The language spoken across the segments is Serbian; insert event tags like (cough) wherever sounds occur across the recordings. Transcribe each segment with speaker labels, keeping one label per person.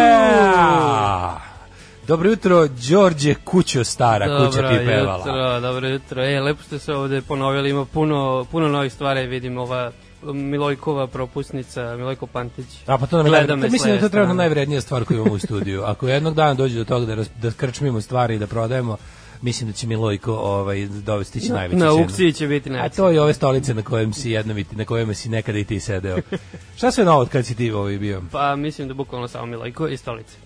Speaker 1: Yeah! Dobro jutro, Đorđe Kućo stara, kuća ti pevala.
Speaker 2: jutro, dobro jutro. E, lepo ste se ovde ponovili, ima puno, puno novih stvari, vidim ova Milojkova propusnica, Milojko Pantić.
Speaker 1: A pa to nam je
Speaker 2: Gleda
Speaker 1: najvre-
Speaker 2: me s
Speaker 1: mislim da je to
Speaker 2: leve
Speaker 1: trenutno
Speaker 2: strane.
Speaker 1: najvrednija stvar koju imamo u studiju. Ako jednog dana dođe do toga da, ras, da skrčmimo stvari i da prodajemo, mislim da će Milojko ovaj, dovesti će najveću
Speaker 2: Na
Speaker 1: cenu.
Speaker 2: Uksiji će biti
Speaker 1: A
Speaker 2: najveći.
Speaker 1: to je ove stolice na kojem si jednom i ti, na kojima si nekada i ti
Speaker 2: (laughs)
Speaker 1: sedeo. Šta sve novo od kad si ti ovaj bio?
Speaker 2: Pa mislim da bukvalno samo Milojko i stolice.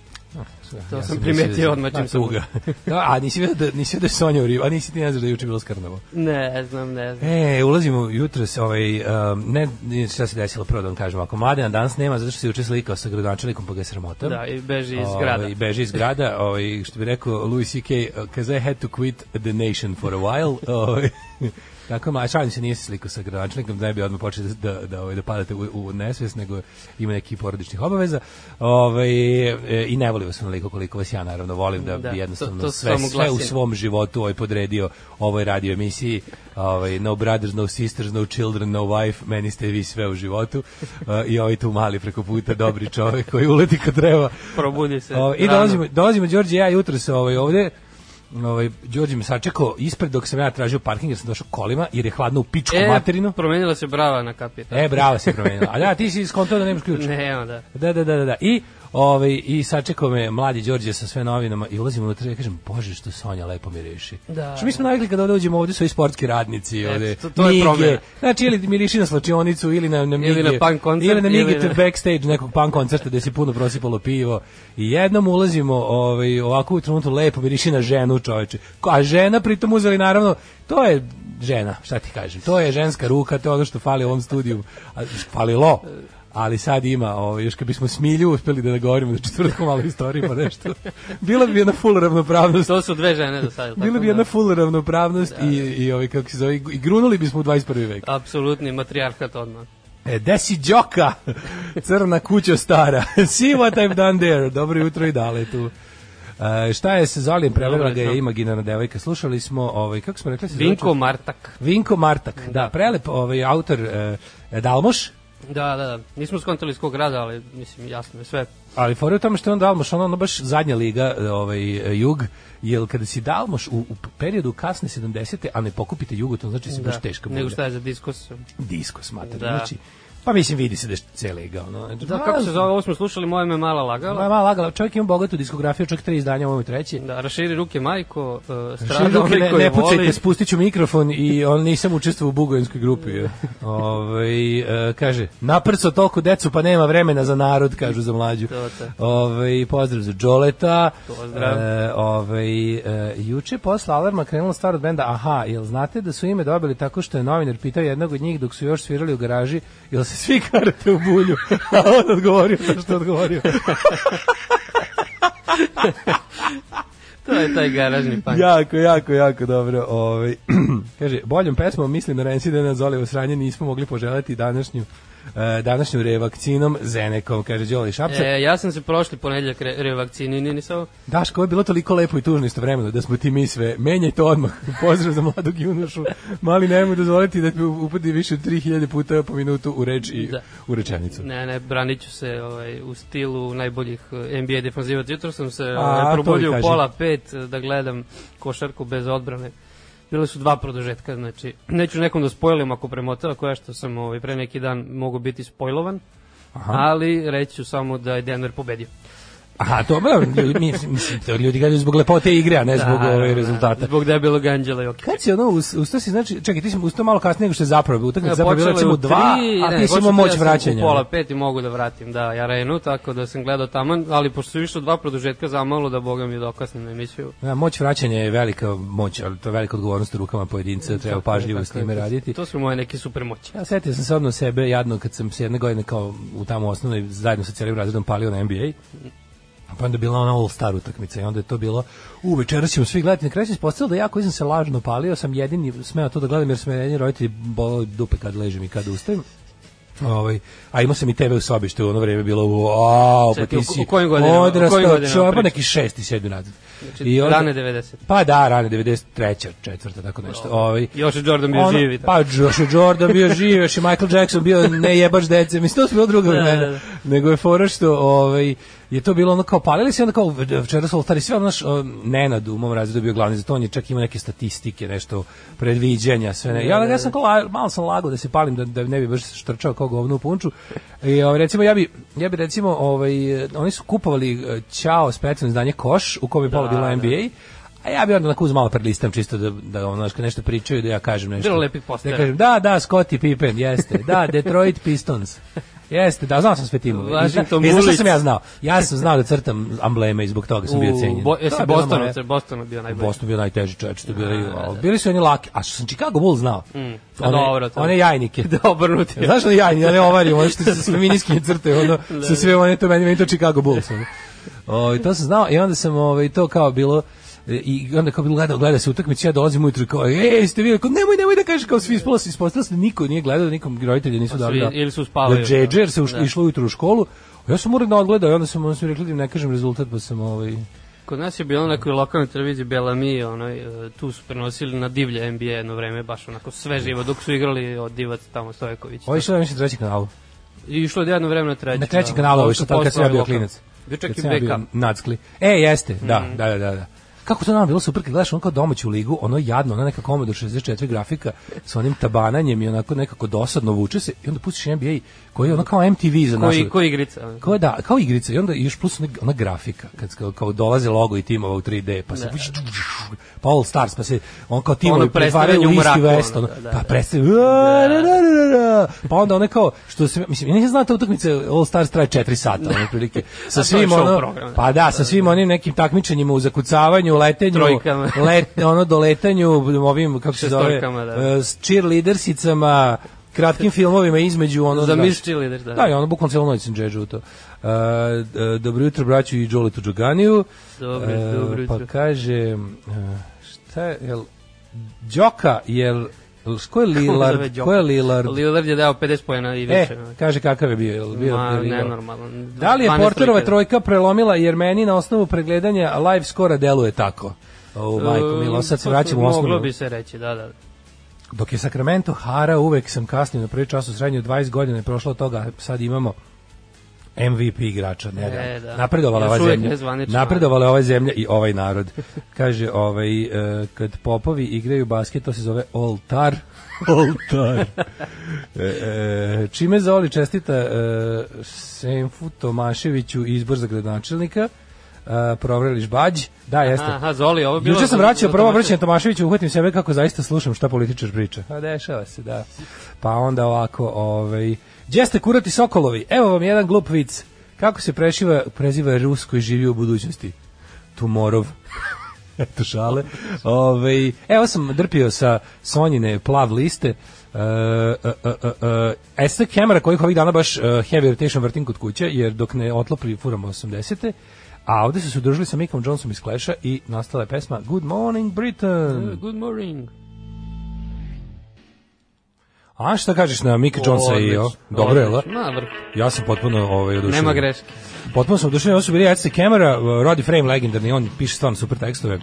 Speaker 2: To sam
Speaker 1: mislio
Speaker 2: primetio
Speaker 1: da-
Speaker 2: odmah čim
Speaker 1: A,
Speaker 2: sam-
Speaker 1: tuga. Da, a nisi vidio da, nisi vidio da je Sonja u Rivu, a nisi ti ne znaš da je juče bilo skrnavo.
Speaker 2: Ne znam, ne znam.
Speaker 1: E, ulazimo jutro se, ovaj, um, ne, ne, šta se desilo, prvo da vam kažem, ako Mladen danas nema, zato što se juče slikao sa gradonačelikom, pa ga je sramota.
Speaker 2: Da, i beži iz
Speaker 1: Ovaj,
Speaker 2: grada.
Speaker 1: beži iz grada, ovaj, što bi rekao Louis C.K., because I had to quit the nation for a while. (laughs) Ovaj, tako, ma, šalim se, nije se slikao sa gradonačelnikom, da ne bi odmah počeli da, da, da, ovaj, da padate u, u nesvest, nego ima neki porodičnih obaveza. Ovaj, e, I ne volim vas onoliko koliko vas ja naravno volim, da,
Speaker 2: Da,
Speaker 1: bi jednostavno
Speaker 2: to- to
Speaker 1: sve,
Speaker 2: samo
Speaker 1: sve u
Speaker 2: glasine.
Speaker 1: svom životu ovaj podredio ovoj radio emisiji. Ovaj, no brothers, no sisters, no children, no wife, meni ste vi sve u životu. E, I ovaj tu mali preko puta, dobri čovek koji uleti kad treba.
Speaker 2: Probudi se.
Speaker 1: Ovaj, I
Speaker 2: rano.
Speaker 1: dolazimo, dolazimo Đorđe i ja jutro se ovaj, ovde, ovaj, Đorđe me sačekao ispred dok sam ja tražio parking jer sam došao kolima jer je hladno u pičku
Speaker 2: E,
Speaker 1: materinu.
Speaker 2: promenila se brava na kapi.
Speaker 1: E, bravo se promenila. A da, ti si skontao da nemaš ključ.
Speaker 2: Ne, onda.
Speaker 1: Da, da, da, da, da. I, ovaj, I sačekao me mladi Đorđe sa sve novinama i ulazim unutra i ja kažem, bože što Sonja lepo miriši.
Speaker 2: Da.
Speaker 1: Što mi smo navikli kada ovde uđemo, ovde su i sportski radnici, ovde
Speaker 2: to- to je
Speaker 1: mige.
Speaker 2: promena.
Speaker 1: Znači, ili miriši na slačionicu, ili na, na mige.
Speaker 2: Ili na punk koncert,
Speaker 1: Ili na mige
Speaker 2: ili na-
Speaker 1: backstage nekog punk koncerta gde se puno prosipalo pivo. I jednom ulazimo ovaj, ovako u trenutku lepo miriši na ženu čoveče. Ko- A žena pritom uzeli naravno, to je žena, šta ti kažem, to je ženska ruka, to je ono što fali ovom studiju, a, falilo, ali sad ima, ovaj, još kad bismo smilju uspeli da nagovorimo da četvrtkom malo istoriji pa nešto, bila bi jedna full ravnopravnost
Speaker 2: To su dve žene do sada. jel tako? da-
Speaker 1: Bila bi jedna full ravnopravnost i, i ovaj, kako se zove, i grunuli bismo u 21. vek.
Speaker 2: Apsolutni matrijarhat odmah.
Speaker 1: E, desi džoka,
Speaker 2: (laughs)
Speaker 1: crna kuća stara, (laughs) see what I've done there, dobro jutro i dale tu. E, šta je se Zolijem prevela
Speaker 2: Dobro
Speaker 1: ga je
Speaker 2: jutro.
Speaker 1: imaginarna devojka, slušali smo, ovaj, kako smo rekli? se zove
Speaker 2: Vinko
Speaker 1: čovjek?
Speaker 2: Martak.
Speaker 1: Vinko Martak, da, prelep ovaj, autor e, Dalmoš,
Speaker 2: Da, da, da. Nismo skontali iz kog grada, ali mislim, jasno je sve.
Speaker 1: Ali fora je u tome što je on Dalmoš, ono, ono baš zadnja liga, e, ovaj, e, jug, jer kada si Dalmoš u, u periodu kasne 70. a ne pokupite jugu, to znači si baš teška
Speaker 2: Da. Nego
Speaker 1: bulja.
Speaker 2: šta je za diskus.
Speaker 1: Disko smatra,
Speaker 2: Da.
Speaker 1: znači, pa mislim vidi se da je cijela liga, ono. znači,
Speaker 2: Da,
Speaker 1: ma,
Speaker 2: kako se zove, ovo smo slušali, moja me
Speaker 1: Ma,
Speaker 2: mala lagala.
Speaker 1: ma, lagala, čovjek ima bogatu diskografiju, čak tri izdanja, ovo je treće.
Speaker 2: Da, raširi ruke majko, uh,
Speaker 1: Širi ruke,
Speaker 2: strada onaj
Speaker 1: ne,
Speaker 2: koji
Speaker 1: ne
Speaker 2: voli.
Speaker 1: pucajte, spustit ću mikrofon i on nisam učestvovao u bugovinskoj grupi. Ove, e, kaže, naprco toliko decu pa nema vremena za narod, kažu za mlađu.
Speaker 2: To, to.
Speaker 1: Ove, pozdrav za Đoleta.
Speaker 2: Pozdrav.
Speaker 1: E, ove, e, juče posle alarma krenula stvar od benda Aha, jel znate da su ime dobili tako što je novinar pitao jednog od njih dok su još svirali u garaži, jel se svi karate u bulju? (laughs) A on odgovorio to što je odgovorio.
Speaker 2: To je taj garažni panj.
Speaker 1: Jako, jako, jako dobro. Ovaj (clears throat) kaže boljom pesmom mislim na Rensidena Zolivo sranje nismo mogli poželati današnju e, današnju revakcinom Zenekom, kaže Đoli Šapca.
Speaker 2: E, ja sam se prošli ponedeljak re, revakcinin, nisam
Speaker 1: Daško, ovo je bilo toliko lepo i tužno istovremeno da smo ti mi sve. Menjaj to (laughs) odmah. Pozdrav za mladog junošu. Mali nemoj dozvoliti da ti upadi više od 3000 puta po minutu u reč i
Speaker 2: Da.
Speaker 1: u rečenicu.
Speaker 2: Ne, ne, branit ću se ovaj, u stilu najboljih eh, NBA defanzivaca. Jutro sam se
Speaker 1: to
Speaker 2: ovaj,
Speaker 1: mi
Speaker 2: probudio u
Speaker 1: kaži.
Speaker 2: pola pet eh, da gledam košarku bez odbrane. Bile su dva produžetka, znači neću nekom da spojlim ako premotava koja što sam ovaj, pre neki dan mogu biti spojlovan,
Speaker 1: Aha.
Speaker 2: ali reći ću samo da je Denver pobedio.
Speaker 1: Aha, to ba, ljudi, mislim, mislim, to ljudi gledaju zbog lepote igre, a ne zbog
Speaker 2: Da,
Speaker 1: ove
Speaker 2: da,
Speaker 1: rezultata.
Speaker 2: Zbog debelog Anđela Jokića.
Speaker 1: Kad si ono, us- ustao si, znači, čekaj, ti si ustao malo kasnije nego što je zapravo, utakmica
Speaker 2: E,
Speaker 1: je zapravo bila
Speaker 2: počela
Speaker 1: recimo
Speaker 2: je u
Speaker 1: dva,
Speaker 2: tri,
Speaker 1: a
Speaker 2: ne,
Speaker 1: ti si imao
Speaker 2: počela
Speaker 1: moć
Speaker 2: sam
Speaker 1: vraćanja.
Speaker 2: U pola pet i mogu da vratim, da, i arenu, tako da sam gledao taman, ali pošto su išlo dva produžetka zamalo da boga mi dokasnim na emisiju.
Speaker 1: Da, moć vraćanja je velika moć, ali to je velika odgovornost u rukama pojedinca, treba pažljivo s time raditi.
Speaker 2: To su moje neke supermoći.
Speaker 1: Pa Ja setio sam se odno sebe jadno kad sam se jedne godine kao u tamo osnovnoj zajedno sa celim razredom palio na NBA. Pa onda je bila ona All-Star utakmica i onda je to bilo u večeras ćemo svi gledati. Na kraju se ispostavilo da ja koji sam se lažno palio sam jedini smeo to da gledam jer su me jedini roditelji bolali dupe kad ležim i kad ustajem. Ovaj, a imao sam i tebe u sobi što je u ono vrijeme bilo u au, pa
Speaker 2: Čekaj, u-
Speaker 1: ti
Speaker 2: u
Speaker 1: si
Speaker 2: kojim godinama? U
Speaker 1: odrastao
Speaker 2: kojim godinama
Speaker 1: čovjek, pa
Speaker 2: pričaš?
Speaker 1: neki šesti, sedmi razred.
Speaker 2: Znači, rane 90.
Speaker 1: Pa da, rane 93. četvrta, tako nešto. Ovaj,
Speaker 2: Još je Jordan bio
Speaker 1: ono-
Speaker 2: živi. tako.
Speaker 1: Pa još je Jordan bio živ, još je Michael Jackson bio ne jebaš dece, mislim to su bilo druga
Speaker 2: Da, da,
Speaker 1: vremena.
Speaker 2: da.
Speaker 1: Nego je fora što ovaj, je to bilo ono kao palili se, onda kao v- večeras oltari, sve ono naš Nenad u mom razredu je bio glavni za to, on je čak imao neke statistike, nešto predviđanja, sve ne.
Speaker 2: Da,
Speaker 1: Ja, ja sam kao, la- malo sam lago da se palim, da, da ne bi baš štrčao kao govno u punču. I ovaj, recimo, ja bi, ja bi recimo, ovaj, eh, oni su kupovali eh, Ćao specijalno izdanje Koš, u kojem je
Speaker 2: Da,
Speaker 1: pola bilo NBA, A ja bi onda onako uz malo prelistam čisto da, da ono, znaš, kad nešto pričaju da ja kažem nešto.
Speaker 2: Bilo lepih postera.
Speaker 1: Da kažem, da, da, Scottie Pippen, jeste. Da, Detroit Pistons. Jeste, da, znao sam sve timove. I zna-
Speaker 2: Washington
Speaker 1: I znaš šta
Speaker 2: Bullets.
Speaker 1: sam ja znao? Ja sam znao da crtam ambleme i zbog toga da sam bio
Speaker 2: U
Speaker 1: cenjen.
Speaker 2: Bo,
Speaker 1: To
Speaker 2: jesi Da,
Speaker 1: je bila
Speaker 2: Bostonu,
Speaker 1: moja-
Speaker 2: Bostonu bio najbolji.
Speaker 1: Boston bio najteži čovječ, što je bili, ali bili su i oni laki, a što sam Chicago Bulls znao. One,
Speaker 2: Mm. dobro, to je.
Speaker 1: one jajnike.
Speaker 2: Da, (laughs) obrnuti.
Speaker 1: Znaš li jajni, ali ovari, ono što su sve miniski crte, ono, sa sve one, to meni, meni to Chicago Bulls. Ono. O, to sam znao i onda sam ovaj, to kao bilo, e, i onda kao bilo gledao, gleda se utakmicu, ja dolazim ujutru i kao, ej, ste vidjeli, kao, nemoj, nemoj da kažeš, kao svi ispala se, ispostavila se, da niko nije gledao, da nikom roditelji nisu dali da,
Speaker 2: Pa ili su spavali,
Speaker 1: da džedže, jer se uš,
Speaker 2: da.
Speaker 1: išlo ujutru u školu, A ja sam uredno odgledao i onda sam, onda sam rekli da im ne kažem rezultat, pa sam ovaj...
Speaker 2: Kod nas je bilo na nekoj lokalnoj televiziji Bellamy, onoj, e, tu su prenosili na divlje NBA jedno vreme, baš onako sve živo, dok su igrali od Divac tamo Stojković.
Speaker 1: Ovo je išlo, ja mislim, treći kanalu.
Speaker 2: I išlo je jedno vreme na treći.
Speaker 1: Na trećem kanalu, ovo je išlo,
Speaker 2: su
Speaker 1: tamo kad sam ja
Speaker 2: poslali
Speaker 1: bio
Speaker 2: lokal.
Speaker 1: klinac.
Speaker 2: Bio čak
Speaker 1: Kad
Speaker 2: i
Speaker 1: sam ja bio
Speaker 2: backup.
Speaker 1: Nackli. E, jeste, da, da, da, da, da. Kako to nam bilo super, kad gledaš on kao domaću ligu, ono jadno, ona neka komodo 64 grafika sa onim tabananjem i onako nekako dosadno vuče se i onda pustiš NBA koji je ono kao MTV za našu.
Speaker 2: Koji, koji igrica? ono.
Speaker 1: Kao da, kao igrica i onda još plus ona, ona grafika, kad kao, kao dolaze logo i timova u 3D, pa se pa All Stars, pa se on kao timovi
Speaker 2: Da. Ono
Speaker 1: pretvaraju u
Speaker 2: predstavljanje u
Speaker 1: East i
Speaker 2: mraku,
Speaker 1: West,
Speaker 2: ono,
Speaker 1: ono,
Speaker 2: da, da,
Speaker 1: pa
Speaker 2: da.
Speaker 1: predstavljaju, pa onda one kao, što se, mislim, ja nisam znao da ta utakmice All Stars traje 4 sata, ono,
Speaker 2: (laughs)
Speaker 1: prilike, sa
Speaker 2: je
Speaker 1: svim,
Speaker 2: show
Speaker 1: ono,
Speaker 2: program, da.
Speaker 1: pa da, sa svim onim nekim takmičenjima u zakucavanju, letenju,
Speaker 2: Trojkama.
Speaker 1: (laughs) let, ono, doletanju, ovim, kako se zove,
Speaker 2: Šestorkama, da.
Speaker 1: eh, s cheerleadersicama, kratkim filmovima između ono
Speaker 2: Za
Speaker 1: znaš.
Speaker 2: Miss Cheerleader, da.
Speaker 1: Da, i ono bukvalno celu noć sam džedžu u to. E, e, dobro jutro braću i Đoletu Đoganiju.
Speaker 2: Dobro,
Speaker 1: E,
Speaker 2: dobro jutro.
Speaker 1: Pa kaže, e, šta je, jel, Đoka, jel, jel- ko je
Speaker 2: zove
Speaker 1: Lillard?
Speaker 2: Đoka?
Speaker 1: ko je Lillard?
Speaker 2: Lillard je dao 50 pojena i
Speaker 1: E,
Speaker 2: više. ono.
Speaker 1: kaže kakav je bio, jel bio?
Speaker 2: Ma,
Speaker 1: jel igrao?
Speaker 2: nenormalan.
Speaker 1: Da li je
Speaker 2: 12
Speaker 1: Porterova
Speaker 2: trojke.
Speaker 1: trojka prelomila jer meni na osnovu pregledanja live skora deluje tako? O, majko, milo, sad se
Speaker 2: Pa,
Speaker 1: vraćamo u osnovu.
Speaker 2: Moglo bi se reći, da, da.
Speaker 1: Dok je Sacramento hara, uvek sam kasnio na prvi čas u srednjoj 20 godina je prošlo od toga, sad imamo MVP igrača, ne
Speaker 2: E,
Speaker 1: da.
Speaker 2: da.
Speaker 1: Napredovala
Speaker 2: Još
Speaker 1: ova
Speaker 2: uvek
Speaker 1: zemlja.
Speaker 2: nezvanično.
Speaker 1: Napredovala je ova zemlja i ovaj narod. Kaže, ovaj, e, kad popovi igraju basket, to se zove oltar. Oltar. E, e, čime Zoli čestita e, Senfu Tomaševiću izbor za gradonačelnika, e, provreliš bađ, da jeste.
Speaker 2: Aha, Zoli, ovo je bilo...
Speaker 1: Juče sam
Speaker 2: za-
Speaker 1: vraćao
Speaker 2: za
Speaker 1: prvo
Speaker 2: domaće-
Speaker 1: obraćanje Tomaševiću, uhvatim sebe kako zaista slušam šta političar priča. A dešava se, da. Pa onda ovako, ovaj... Gdje ste kurati sokolovi? Evo vam jedan glup vic. Kako se prešiva, preziva Rus koji živi u budućnosti? Tumorov. Eto (laughs) šale. Ovaj, evo sam drpio sa Sonjine plav liste. Uh, uh, uh, uh, SC kamera kojih ovih dana baš uh, heavy rotation vrtim kod kuće, jer dok ne otlopi furamo 80 A ovde su se udružili sa Mickom Johnsonom iz Clash-a i nastala je pesma Good Morning Britain.
Speaker 2: Good morning.
Speaker 1: A šta kažeš na Mika Jonesa i E o?
Speaker 2: Odlično,
Speaker 1: Dobro da? je, la?
Speaker 2: odlično. Na vrh.
Speaker 1: Ja sam potpuno ovaj, oduševljen.
Speaker 2: Nema greške.
Speaker 1: Potpuno sam oduševljen, ovo su bili Edse Kemera, Roddy Frame legendarni, on piše stvarno super tekstove.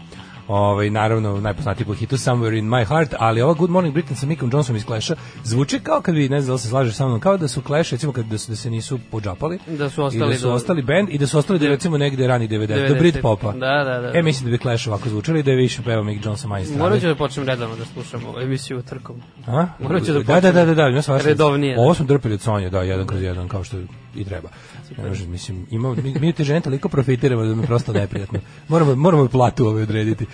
Speaker 1: Ovaj naravno najpoznatiji po hitu Somewhere in my heart, ali ova Good Morning Britain sa Mickom Johnsonom iz Clash-a zvuči kao kad bi ne znam da li se slažeš sa mnom, kao da su Clash recimo kad da, su, da se nisu podžapali.
Speaker 2: Da su
Speaker 1: i da
Speaker 2: ostali
Speaker 1: su
Speaker 2: do-
Speaker 1: ostali band i da su ostali da recimo negde rani 90 do
Speaker 2: 90.
Speaker 1: Britpopa.
Speaker 2: Da, da, da.
Speaker 1: E mislim da bi Clash ovako zvučali da je više pevao Mick Johnson manje strane.
Speaker 2: Morat ću da počnem redovno da slušam ovu emisiju trkom.
Speaker 1: A?
Speaker 2: Morat ću da
Speaker 1: da, da,
Speaker 2: počnem
Speaker 1: da, da, da, ima svašta.
Speaker 2: redovnije.
Speaker 1: Ovo smo drpili od Sonje, da, jedan kroz jedan, kao što i treba. Ne može, mislim, ima, mi, mi te žene toliko profitiramo da mi je prosto neprijatno. Moramo, moramo platu ove odrediti.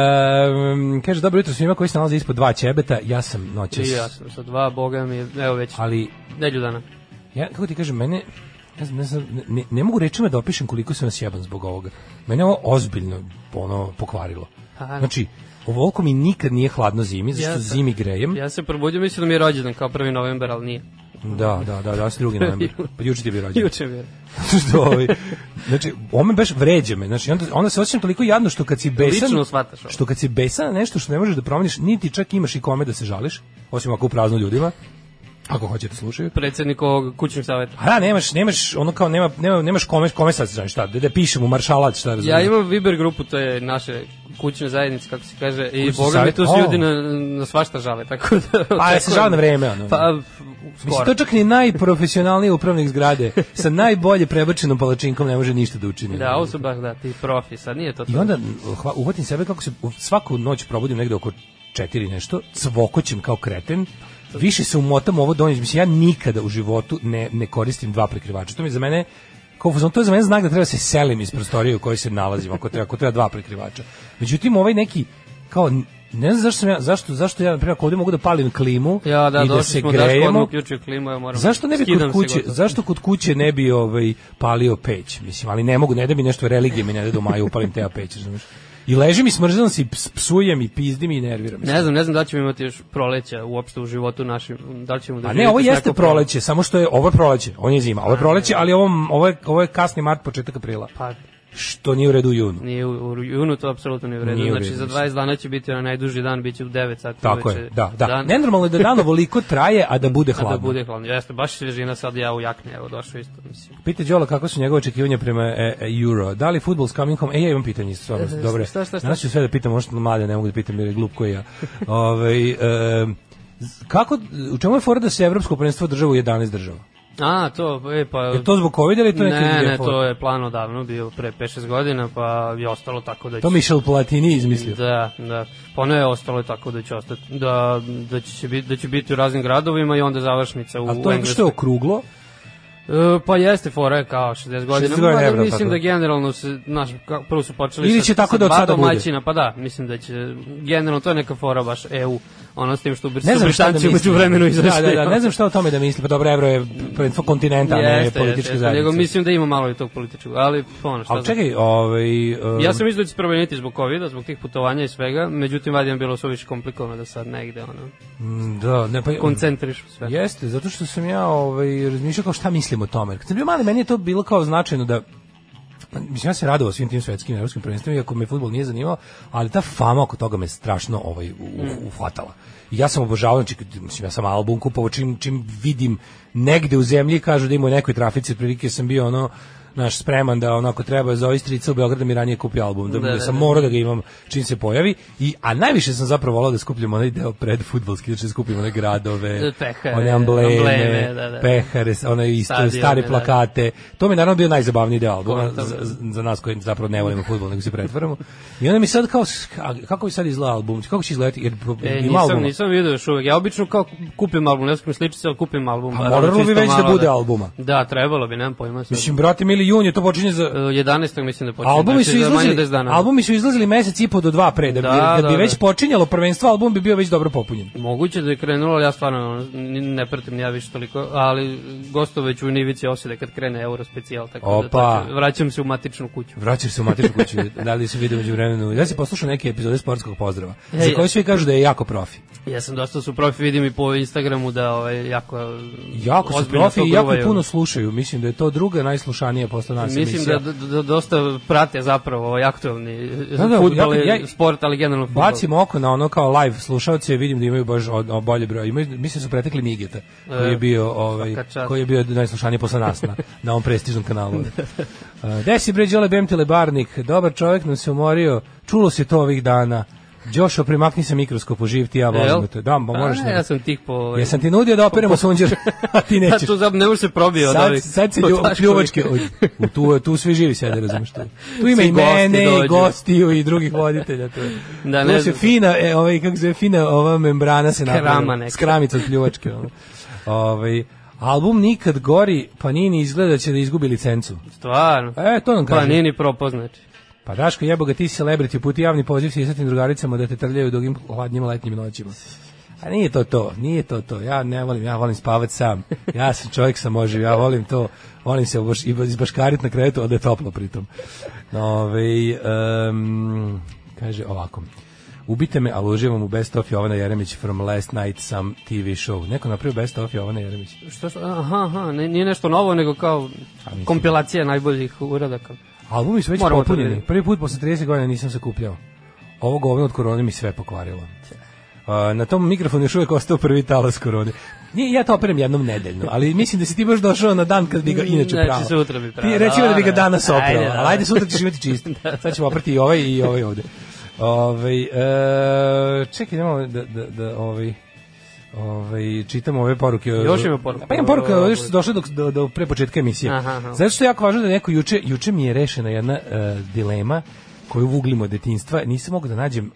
Speaker 1: Um, kaže, dobro jutro svima koji se nalaze ispod dva ćebeta, ja sam noćas.
Speaker 2: I ja sam sa dva, boga mi je, evo već,
Speaker 1: Ali,
Speaker 2: nedelju dana.
Speaker 1: ja, kako ti kažem, mene, ne, znam, ne, znam, ne, ne mogu rečima da opišem koliko sam sjeban zbog ovoga. Mene ovo ozbiljno ono, pokvarilo.
Speaker 2: Aha.
Speaker 1: Znači, ovoliko mi nikad nije hladno zimi, zašto
Speaker 2: Pa, Ja sam-
Speaker 1: zimi grejem.
Speaker 2: Ja se probudio, mislim da mi je rođendan kao 1. novembar, ali nije. (laughs)
Speaker 1: Da, da, da, danas je drugi novembar. Pa juče ti je bio rođen.
Speaker 2: Juče mi je.
Speaker 1: (laughs) što ovaj, znači, on me baš vređa me, znači, onda, onda se osjećam toliko jadno što kad si besan,
Speaker 2: Lično shvataš ovo.
Speaker 1: što kad si besan na nešto što ne možeš da promeniš, niti čak imaš i kome da se žališ, osim ako u prazno ljudima, Ako hoćete slušaju.
Speaker 2: Predsednik ovog kućnog saveta.
Speaker 1: A da, nemaš, nemaš, ono kao, nema, nema, nemaš kome, kome sad znaš šta, da, da pišem u maršalac, šta razumiješ.
Speaker 2: Ja imam Viber grupu, to je naše kućne zajednice, kako se kaže, i
Speaker 1: Kućni
Speaker 2: boga mi
Speaker 1: savjet,
Speaker 2: tu se
Speaker 1: o.
Speaker 2: ljudi na, na svašta žale, tako da...
Speaker 1: Pa, ja se žao na vreme, ono.
Speaker 2: Pa,
Speaker 1: Mislim,
Speaker 2: skoro.
Speaker 1: to čak ni najprofesionalniji upravnik zgrade sa najbolje prebačenom palačinkom ne može ništa da učini.
Speaker 2: Da, ovo su baš, da, ti profi, sad nije to to.
Speaker 1: I onda hva- uhvatim sebe kako se u- svaku noć probudim negde oko četiri nešto, cvokoćem kao kreten, više se umotam u ovo donjeći. Mislim, ja nikada u životu ne, ne koristim dva prekrivača. To mi je za mene kao fuzon, to je za mene znak da treba se selim iz prostorije u kojoj se nalazim, ako treba, ako treba dva prekrivača. Međutim, ovaj neki, kao, ne znam zašto, sam ja, zašto, zašto ja, na primjer, ako ovde mogu da palim klimu
Speaker 2: Ja, da,
Speaker 1: i da
Speaker 2: došli
Speaker 1: se
Speaker 2: smo, Daško odmah
Speaker 1: grejemo,
Speaker 2: uključio klimu, ja moram...
Speaker 1: Zašto ne bi
Speaker 2: skidam
Speaker 1: kod
Speaker 2: se
Speaker 1: kuće,
Speaker 2: gotovo.
Speaker 1: zašto kod kuće ne bi ovaj palio peć, mislim, ali ne mogu, ne da mi nešto religije mi ne da do maja upalim te ja peć, razumeš? I ležim i smrzam se, i ps- psujem i pizdim i nerviram. se.
Speaker 2: Ne znam, ne znam da li ćemo imati još proleća uopšte u životu našim, da li ćemo da
Speaker 1: A Pa ne, ovo jeste proleće, samo što je ovo je proleće, on je zima, ovo je proleće, ali ovo, ovo, je, ovo je kasni mart, početak aprila,
Speaker 2: Pa,
Speaker 1: što nije u redu u junu.
Speaker 2: nije u, u junu to apsolutno nije u redu.
Speaker 1: Nije u redu,
Speaker 2: znači, za
Speaker 1: mislim.
Speaker 2: 20 dana će biti onaj najduži dan, bit će u 9 sati.
Speaker 1: Tako
Speaker 2: uveče
Speaker 1: je, da, da.
Speaker 2: Dan,
Speaker 1: Nenormalno je da dan ovoliko traje, a da bude hladno.
Speaker 2: da bude hladno. Jeste, baš svežina sad ja u jakne, evo, došao isto, mislim.
Speaker 1: Pita Đola kako su njegove očekivanja prema e, e, Euro. Da li futbol s coming home? E, ja imam pitanje, stvarno,
Speaker 2: E,
Speaker 1: dobre.
Speaker 2: šta, šta, šta?
Speaker 1: Znaš ću sve da pitam, možda mlade ne mogu da pitam jer je glup koji ja. Ove, e, z- kako, u čemu je fora da se evropsko prvenstvo država u 11 država?
Speaker 2: A, to, e, pa...
Speaker 1: Je to zbog covid ili je to neka
Speaker 2: ne,
Speaker 1: druga
Speaker 2: ne,
Speaker 1: fora?
Speaker 2: to je plan odavno bio pre 5-6 godina, pa je ostalo tako da će...
Speaker 1: To Michel Platini izmislio.
Speaker 2: Da, da. Pa ono je ostalo tako da će ostati, da, da, će, se biti, da će biti u raznim gradovima i onda završnica u,
Speaker 1: A to
Speaker 2: u
Speaker 1: je što je
Speaker 2: Engleskoj.
Speaker 1: okruglo,
Speaker 2: E, pa jeste fora je kao 60 godina.
Speaker 1: 60 godina
Speaker 2: Mada
Speaker 1: Evra,
Speaker 2: mislim
Speaker 1: tako.
Speaker 2: da generalno se naš prvo su počeli
Speaker 1: Ili
Speaker 2: sa-
Speaker 1: će tako
Speaker 2: sa
Speaker 1: da od
Speaker 2: dva
Speaker 1: sada bude.
Speaker 2: domaćina, pa da, mislim da će generalno to je neka fora baš EU. Ono s tim što Br-
Speaker 1: ne
Speaker 2: su
Speaker 1: znam šta da
Speaker 2: Britanci umeđu
Speaker 1: mislim.
Speaker 2: vremenu izašli.
Speaker 1: Da, da, da, ne znam šta o tome da mislim. Pa dobro, Evro je prvenstvo kontinenta, a ne
Speaker 2: (laughs) Jeste,
Speaker 1: političke
Speaker 2: jeste, jeste, nego
Speaker 1: zajednice.
Speaker 2: mislim da ima malo i tog političkog, ali ono šta
Speaker 1: Ali
Speaker 2: znam.
Speaker 1: čekaj, ovaj, e,
Speaker 2: Ja sam mislio da će se promeniti zbog COVID-a, zbog tih putovanja i svega, međutim, vadim bilo suviše komplikovano da sad negde, ono,
Speaker 1: mm, da, ne, pa,
Speaker 2: koncentrišu sve.
Speaker 1: Jeste, zato što sam ja ovaj, razmišljao kao šta mislim o tome. Kad sam bio mali, meni je to bilo kao značajno da mislim ja se radovao svim tim svetskim i evropskim prvenstvima iako me fudbal nije zanimao, ali ta fama oko toga me strašno ovaj u-
Speaker 2: Mm.
Speaker 1: u- ufatala. I ja sam obožavao, znači kad- mislim ja sam album kupovao čim čim vidim negde u zemlji kažu da ima u nekoj trafici otprilike sam bio ono naš spreman da onako treba za istrica u Beogradu mi ranije kupi album da,
Speaker 2: Da,
Speaker 1: da,
Speaker 2: da,
Speaker 1: da, sam
Speaker 2: da.
Speaker 1: morao da ga imam čim se pojavi i a najviše sam zapravo volao da skupljam onaj deo pred fudbalski znači da skupim one gradove
Speaker 2: Da, Pehare,
Speaker 1: one ambleme,
Speaker 2: ambleme, da, da.
Speaker 1: pehare, s- one isto,
Speaker 2: Stadione,
Speaker 1: stare
Speaker 2: da.
Speaker 1: plakate. To mi je naravno bio najzabavniji deo albuma,
Speaker 2: Kontam.
Speaker 1: za, za nas koji zapravo ne volimo fudbal nego se pretvaramo. I onda mi sad kao, s- ka- kako bi sad izgledao album, kako će izgledati, jer
Speaker 2: E,
Speaker 1: ima
Speaker 2: nisam,
Speaker 1: albuma.
Speaker 2: nisam vidio još uvek. Ja obično kao kupim album, ne skupim sličice, ali kupim album.
Speaker 1: A
Speaker 2: bar,
Speaker 1: moralo
Speaker 2: ono,
Speaker 1: bi
Speaker 2: čisto
Speaker 1: već da
Speaker 2: malo
Speaker 1: bude albuma.
Speaker 2: Da, trebalo bi, nemam pojma. Sad.
Speaker 1: Mislim, brate, mili jun je to počinje
Speaker 2: E,
Speaker 1: za...
Speaker 2: 11. mislim da počinje.
Speaker 1: Albumi
Speaker 2: znači
Speaker 1: su
Speaker 2: za manje od
Speaker 1: izlazili,
Speaker 2: 10 dana.
Speaker 1: albumi su izlazili mesec i po do dva pre, da bi,
Speaker 2: Da,
Speaker 1: da,
Speaker 2: da,
Speaker 1: bi
Speaker 2: da.
Speaker 1: već počinjalo prvenstvo, album bi bio već dobro popunjen.
Speaker 2: Moguće da je krenulo, ali ja stvarno ono, ni- ne pratim ni ja više toliko, ali gosto već u Nivici osjede kad krene Euro specijal, tako da
Speaker 1: Opa.
Speaker 2: tačno, vraćam se u matičnu kuću.
Speaker 1: Vraćaš se u matičnu kuću, (laughs) da li se vidi među vremenu. Ja si poslušao neke epizode sportskog pozdrava, za
Speaker 2: Ej.
Speaker 1: koje svi kažu da je jako profi.
Speaker 2: Ja sam dosta su profi, vidim i po Instagramu da ovaj, jako
Speaker 1: Jako su
Speaker 2: ozbiljno
Speaker 1: profi
Speaker 2: to
Speaker 1: i jako
Speaker 2: gruvaju.
Speaker 1: puno slušaju. Mislim da je to druga najslušanija posle nas
Speaker 2: Mislim da,
Speaker 1: emisija.
Speaker 2: da, da dosta prate zapravo ovaj aktualni
Speaker 1: Da, da,
Speaker 2: futbal,
Speaker 1: ja-
Speaker 2: ja,
Speaker 1: ja-
Speaker 2: sport, ali generalno futbol.
Speaker 1: Bacim oko na ono kao live slušaoce, vidim da imaju baš od, od bolje broje. Imaju, mislim da su pretekli Nigeta, koji je bio, ovaj,
Speaker 2: E, svaka čast.
Speaker 1: koji je bio najslušaniji posle nas
Speaker 2: (laughs)
Speaker 1: na, na ovom prestižnom kanalu. Uh, Desi bre, Đole Bemtile Barnik, dobar čovjek nam se umorio, čulo se to ovih dana. Đošo, primakni se mikroskop, uživ ti ja
Speaker 2: Jel?
Speaker 1: vozim te. Da, pa možeš.
Speaker 2: A,
Speaker 1: da-
Speaker 2: Ja sam tih po... ovaj,
Speaker 1: Jesam ti nudio da
Speaker 2: (laughs)
Speaker 1: operemo sunđer, (laughs) a ti
Speaker 2: Pa (laughs)
Speaker 1: nećeš.
Speaker 2: tu zab, ne može se probio od
Speaker 1: Sad,
Speaker 2: ovih-
Speaker 1: sad se
Speaker 2: od
Speaker 1: lju,
Speaker 2: Daškovih.
Speaker 1: pljuvačke, u, tu, tu svi živi sede, razumiješ tu. Tu ima
Speaker 2: Svi
Speaker 1: i
Speaker 2: gosti
Speaker 1: mene,
Speaker 2: dođu.
Speaker 1: i gostiju, i drugih voditelja. Tu,
Speaker 2: Da,
Speaker 1: da,
Speaker 2: ne
Speaker 1: ne se
Speaker 2: znam.
Speaker 1: fina, e, ovaj, kako se zove, fina ova membrana se
Speaker 2: Krama
Speaker 1: napravila.
Speaker 2: neka.
Speaker 1: Skramica od pljuvačke. Ono. Ovaj, album Nikad gori, Panini izgleda da će da izgubi licencu.
Speaker 2: Stvarno.
Speaker 1: E, to nam kaže.
Speaker 2: Pa nije ni propo, znači.
Speaker 1: Pa Daško, jebo ga, ti si celebrity, uputi javni poziv sisatim drugaricama da te trljaju dugim hladnjim letnjim noćima. A nije to to, nije to to. Ja ne volim, ja volim spavat sam. Ja sam čovjek sam oživ, ja volim to. Volim se oboš, i izbaškarit na krevetu, a da je toplo pritom. Ove, um, kaže ovako. Ubite me, ali uživam u Best of Jovana Jeremić from last night some TV show. Neko napravio Best of Jovana Jeremić.
Speaker 2: Šta, šta, aha, aha, ne- nije nešto novo, nego kao kompilacija najboljih uradaka.
Speaker 1: Albumi su već
Speaker 2: Moramo to da
Speaker 1: popunjeni.
Speaker 2: vidimo.
Speaker 1: Prvi put posle 30 godina nisam se kupljao. Ovo govno od korone mi sve pokvarilo. A, na tom mikrofonu još uvijek ostao prvi talas korone. Nije, ja to operem jednom nedeljno, ali mislim da si ti baš došao na dan kad bi ga inače
Speaker 2: Znači,
Speaker 1: pravo.
Speaker 2: sutra bi prao,
Speaker 1: Ti reći mi da bi ga
Speaker 2: da, da.
Speaker 1: danas oprao,
Speaker 2: Ajde, da,
Speaker 1: ali ajde
Speaker 2: (laughs) da.
Speaker 1: sutra ćeš imati čist. Sad ćemo oprati i ovaj i ovaj ovde. Ovaj e, čekaj, idemo da, da, da ovaj, ovaj, čitamo ove poruke.
Speaker 2: Još ima poruka.
Speaker 1: Pa imam poruke, još su došle do, do, do pre početka emisije.
Speaker 2: Aha, aha.
Speaker 1: Zato što je jako važno da neko juče, juče mi je rešena jedna e, dilema koju vuglimo od detinjstva. Nisam mogao da nađem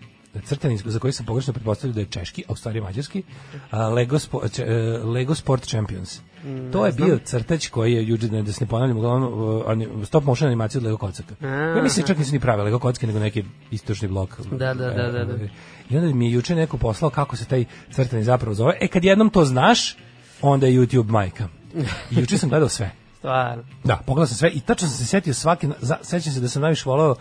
Speaker 1: crtani za koji sam pogrešno pretpostavio da je češki, a u stvari je mađarski, a, Lego, Spo- če- e, Lego Sport Champions.
Speaker 2: Mm,
Speaker 1: to je bio crtač koji je juče, da da se ne ponavljam, uglavnom e, ani- stop motion animacija od Lego kocaka. Ja mislim čak nisu ni prave Lego kocke, nego neki istočni blok. E,
Speaker 2: Da, da, da, da, da.
Speaker 1: I onda mi je juče neko poslao kako se taj crtani zapravo zove. E, kad jednom to znaš, onda je YouTube majka. I juče sam gledao sve.
Speaker 2: Stvarno.
Speaker 1: Da, pogledao sam sve i tačno sam se setio svaki, za- sećam se da sam najviše volao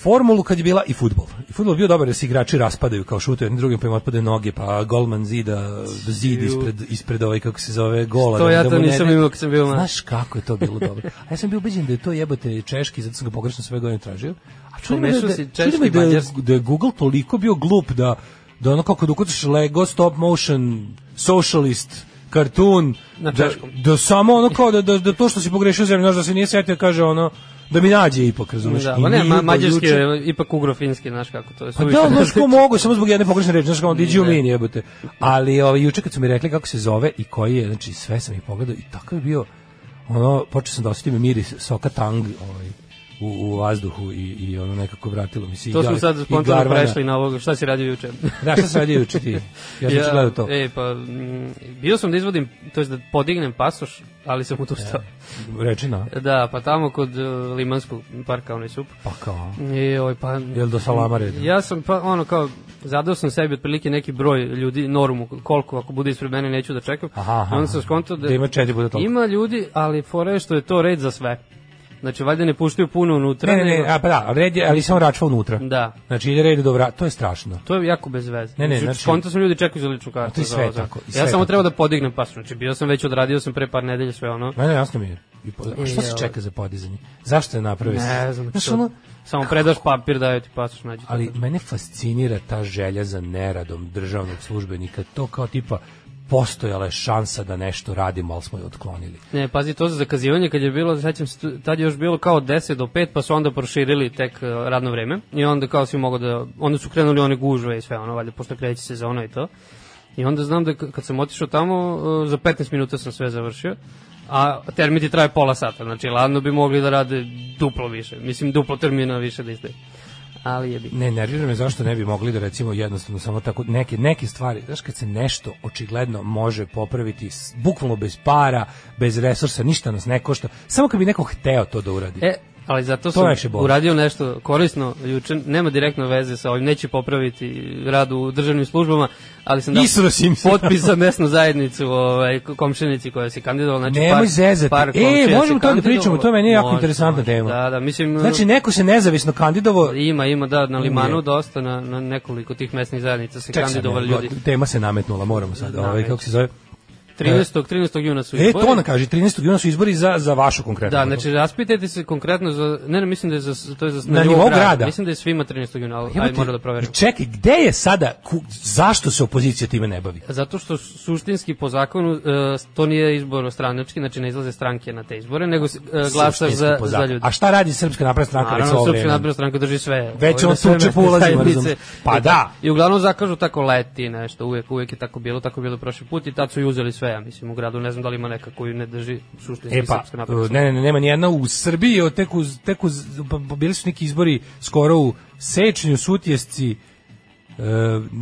Speaker 1: formulu kad je bila i futbol. I futbol je bio dobar jer se igrači raspadaju kao šutu jednim drugim pa im otpade noge, pa golman zida zid ispred, ispred ovaj kako se zove gola.
Speaker 2: To
Speaker 1: da-
Speaker 2: ja
Speaker 1: da
Speaker 2: to
Speaker 1: mu ne
Speaker 2: nisam
Speaker 1: da-
Speaker 2: imao kad sam bio mlad.
Speaker 1: Znaš kako je to bilo dobro. A ja sam bio ubeđen da je to jebote češki, zato sam ga pogrešno sve godine tražio. A čudim da,
Speaker 2: Pomešao
Speaker 1: da,
Speaker 2: si
Speaker 1: čudim
Speaker 2: češki i
Speaker 1: da, je-
Speaker 2: mađarski.
Speaker 1: da je Google toliko bio glup da, da ono kako da ukucaš Lego, stop motion, socialist, cartoon,
Speaker 2: Na
Speaker 1: da,
Speaker 2: češkom.
Speaker 1: da samo ono kao da, da, da to što si pogrešio zemlju, znaš, da se nije setio, kaže ono, da mi nađe ipak, razumeš?
Speaker 2: Da,
Speaker 1: I
Speaker 2: ma ne,
Speaker 1: nije
Speaker 2: ma,
Speaker 1: do
Speaker 2: mađarski
Speaker 1: juče.
Speaker 2: je ipak ugro-finski, znaš kako to je.
Speaker 1: Pa
Speaker 2: suviše.
Speaker 1: da, znaš ko mogu, samo zbog jedne pogrešne reči, znaš kao, diđi u mini, jebote. Ali ovaj, juče kad su mi rekli kako se zove i koji je, znači sve sam ih pogledao i takav je bio, ono, počeo sam da osjetim miris soka tang, ovaj, u, u vazduhu i, i ono nekako vratilo mi se. i
Speaker 2: To smo
Speaker 1: gar-
Speaker 2: sad
Speaker 1: i
Speaker 2: spontano
Speaker 1: garvana.
Speaker 2: prešli na ovog, šta si radio juče?
Speaker 1: Da, šta sam radio juče ti? Ja sam ja, gledao to.
Speaker 2: E, pa, mm, bio sam da izvodim, to je da podignem pasoš, ali sam odustao.
Speaker 1: Reči na,
Speaker 2: Da, pa tamo kod e, Limanskog parka, onaj sup.
Speaker 1: pa kao,
Speaker 2: I, ovaj, pa,
Speaker 1: jel do salama reda?
Speaker 2: Ja sam pa ono kao zadao sam sebi otprilike neki broj ljudi normu koliko ako bude ispred mene neću da čekam.
Speaker 1: Aha, aha,
Speaker 2: I onda sam skonto da,
Speaker 1: Da ima četiri puta toliko.
Speaker 2: ima ljudi, ali fora je što je to red za sve. Znači valjda ne puštaju puno unutra.
Speaker 1: Ne, ne, ne,
Speaker 2: nego-
Speaker 1: a, pa da, red je, ali samo račva unutra.
Speaker 2: Da.
Speaker 1: Znači ide red do vrata, to je strašno.
Speaker 2: To je jako bez veze.
Speaker 1: Ne, ne,
Speaker 2: znači,
Speaker 1: znači-
Speaker 2: skonto sam ljudi čekaju za ličnu kartu.
Speaker 1: To je
Speaker 2: za
Speaker 1: sve
Speaker 2: ovo, za-
Speaker 1: tako, i sve
Speaker 2: Ja samo
Speaker 1: tako.
Speaker 2: treba da podignem pas. Znači, bio sam već odradio sam pre par nedelja sve ono.
Speaker 1: Ne, ne, jasno mi je. I po- A šta se
Speaker 2: ovaj-
Speaker 1: čeka za podizanje? Zašto je napravio?
Speaker 2: Ne znam.
Speaker 1: Znaš,
Speaker 2: što-
Speaker 1: ono,
Speaker 2: Samo predaš papir, daju ti pasoš, nađi. to.
Speaker 1: ali mene fascinira ta želja za neradom državnog službenika. To kao tipa postojala je šansa da nešto radimo, ali smo je otklonili.
Speaker 2: Ne, pazi, to za zakazivanje kad je bilo, sećam se, tu- tad je još bilo kao 10 do 5, pa su onda proširili tek e, radno vreme i onda kao si mogao da, onda su krenuli one gužve i sve ono, valjda, pošto kreće se za ono i to. I onda znam da k- kad sam otišao tamo, e, za 15 minuta sam sve završio, a termiti traje pola sata, znači ladno bi mogli da rade duplo više, mislim duplo termina više da izdaju. Ali je bi.
Speaker 1: Ne, nervira me zašto ne bi mogli da recimo jednostavno samo tako neke, neke stvari, znaš kad se nešto očigledno može popraviti s- bukvalno bez para, bez resursa, ništa nas ne košta, samo kad bi neko hteo to da uradi.
Speaker 2: E, ali zato
Speaker 1: To
Speaker 2: sam
Speaker 1: najviše boli.
Speaker 2: uradio nešto korisno juče, nema direktno veze sa ovim, neće popraviti rad u državnim službama, ali sam dao
Speaker 1: Isro si im se.
Speaker 2: da. potpis za mesnu zajednicu ovaj, komšinici koja se kandidovala. Znači,
Speaker 1: Nemoj
Speaker 2: par,
Speaker 1: zezati.
Speaker 2: Par
Speaker 1: E,
Speaker 2: komšija se
Speaker 1: možemo to da
Speaker 2: kandidovalo.
Speaker 1: pričamo, to je meni jako
Speaker 2: Može,
Speaker 1: interesantna
Speaker 2: može.
Speaker 1: tema.
Speaker 2: Da, da, mislim,
Speaker 1: Znači neko se nezavisno kandidovo
Speaker 2: ima, ima, da, na Limanu
Speaker 1: Ne.
Speaker 2: dosta, na, na nekoliko tih mesnih zajednica se
Speaker 1: Čekaj sad,
Speaker 2: kandidovali
Speaker 1: ne,
Speaker 2: ljudi.
Speaker 1: Tema se nametnula, moramo sad. Ovaj,
Speaker 2: Nametnula.
Speaker 1: kako se zove?
Speaker 2: 13. 13. juna su
Speaker 1: E,
Speaker 2: izbori.
Speaker 1: to ona kaže, 13. juna su izbori za, za vašu konkretnu.
Speaker 2: Da, znači raspitajte se konkretno za ne, ne mislim da je za to je za
Speaker 1: Na nivou grada.
Speaker 2: Mislim da je svima 13. juna, ali
Speaker 1: Jebote,
Speaker 2: aj moram da proverim.
Speaker 1: Čekaj, gde je sada, ku, zašto se opozicija time ne bavi?
Speaker 2: Zato što su- suštinski po zakonu e, to nije izborno stranački, znači ne izlaze stranke na te izbore, nego se, e, glasaš
Speaker 1: Suštinski
Speaker 2: za,
Speaker 1: po
Speaker 2: za
Speaker 1: zakonu.
Speaker 2: ljudi.
Speaker 1: A šta radi Srpska napredna stranka već
Speaker 2: Naravno,
Speaker 1: ovo
Speaker 2: Srpska
Speaker 1: vreme?
Speaker 2: napredna stranka drži sve.
Speaker 1: Već
Speaker 2: Ove,
Speaker 1: on
Speaker 2: na sve
Speaker 1: tuče po
Speaker 2: mesne
Speaker 1: ulazima,
Speaker 2: zajednice.
Speaker 1: razumem. Pa
Speaker 2: I
Speaker 1: da.
Speaker 2: I uglavnom zakažu tako leti nešto, uvek, uvek je tako bilo, tako je bilo prošli put i tad su i uzeli sve, ja mislim, u gradu, ne znam da li ima neka koju ne drži suštinski
Speaker 1: E pa,
Speaker 2: Srpska napredna stranka.
Speaker 1: ne, ne, nema ni jedna u Srbiji, evo, tek uz, tek uz, pa, pa bili su neki izbori skoro u Sečnju, Sutjesci, e,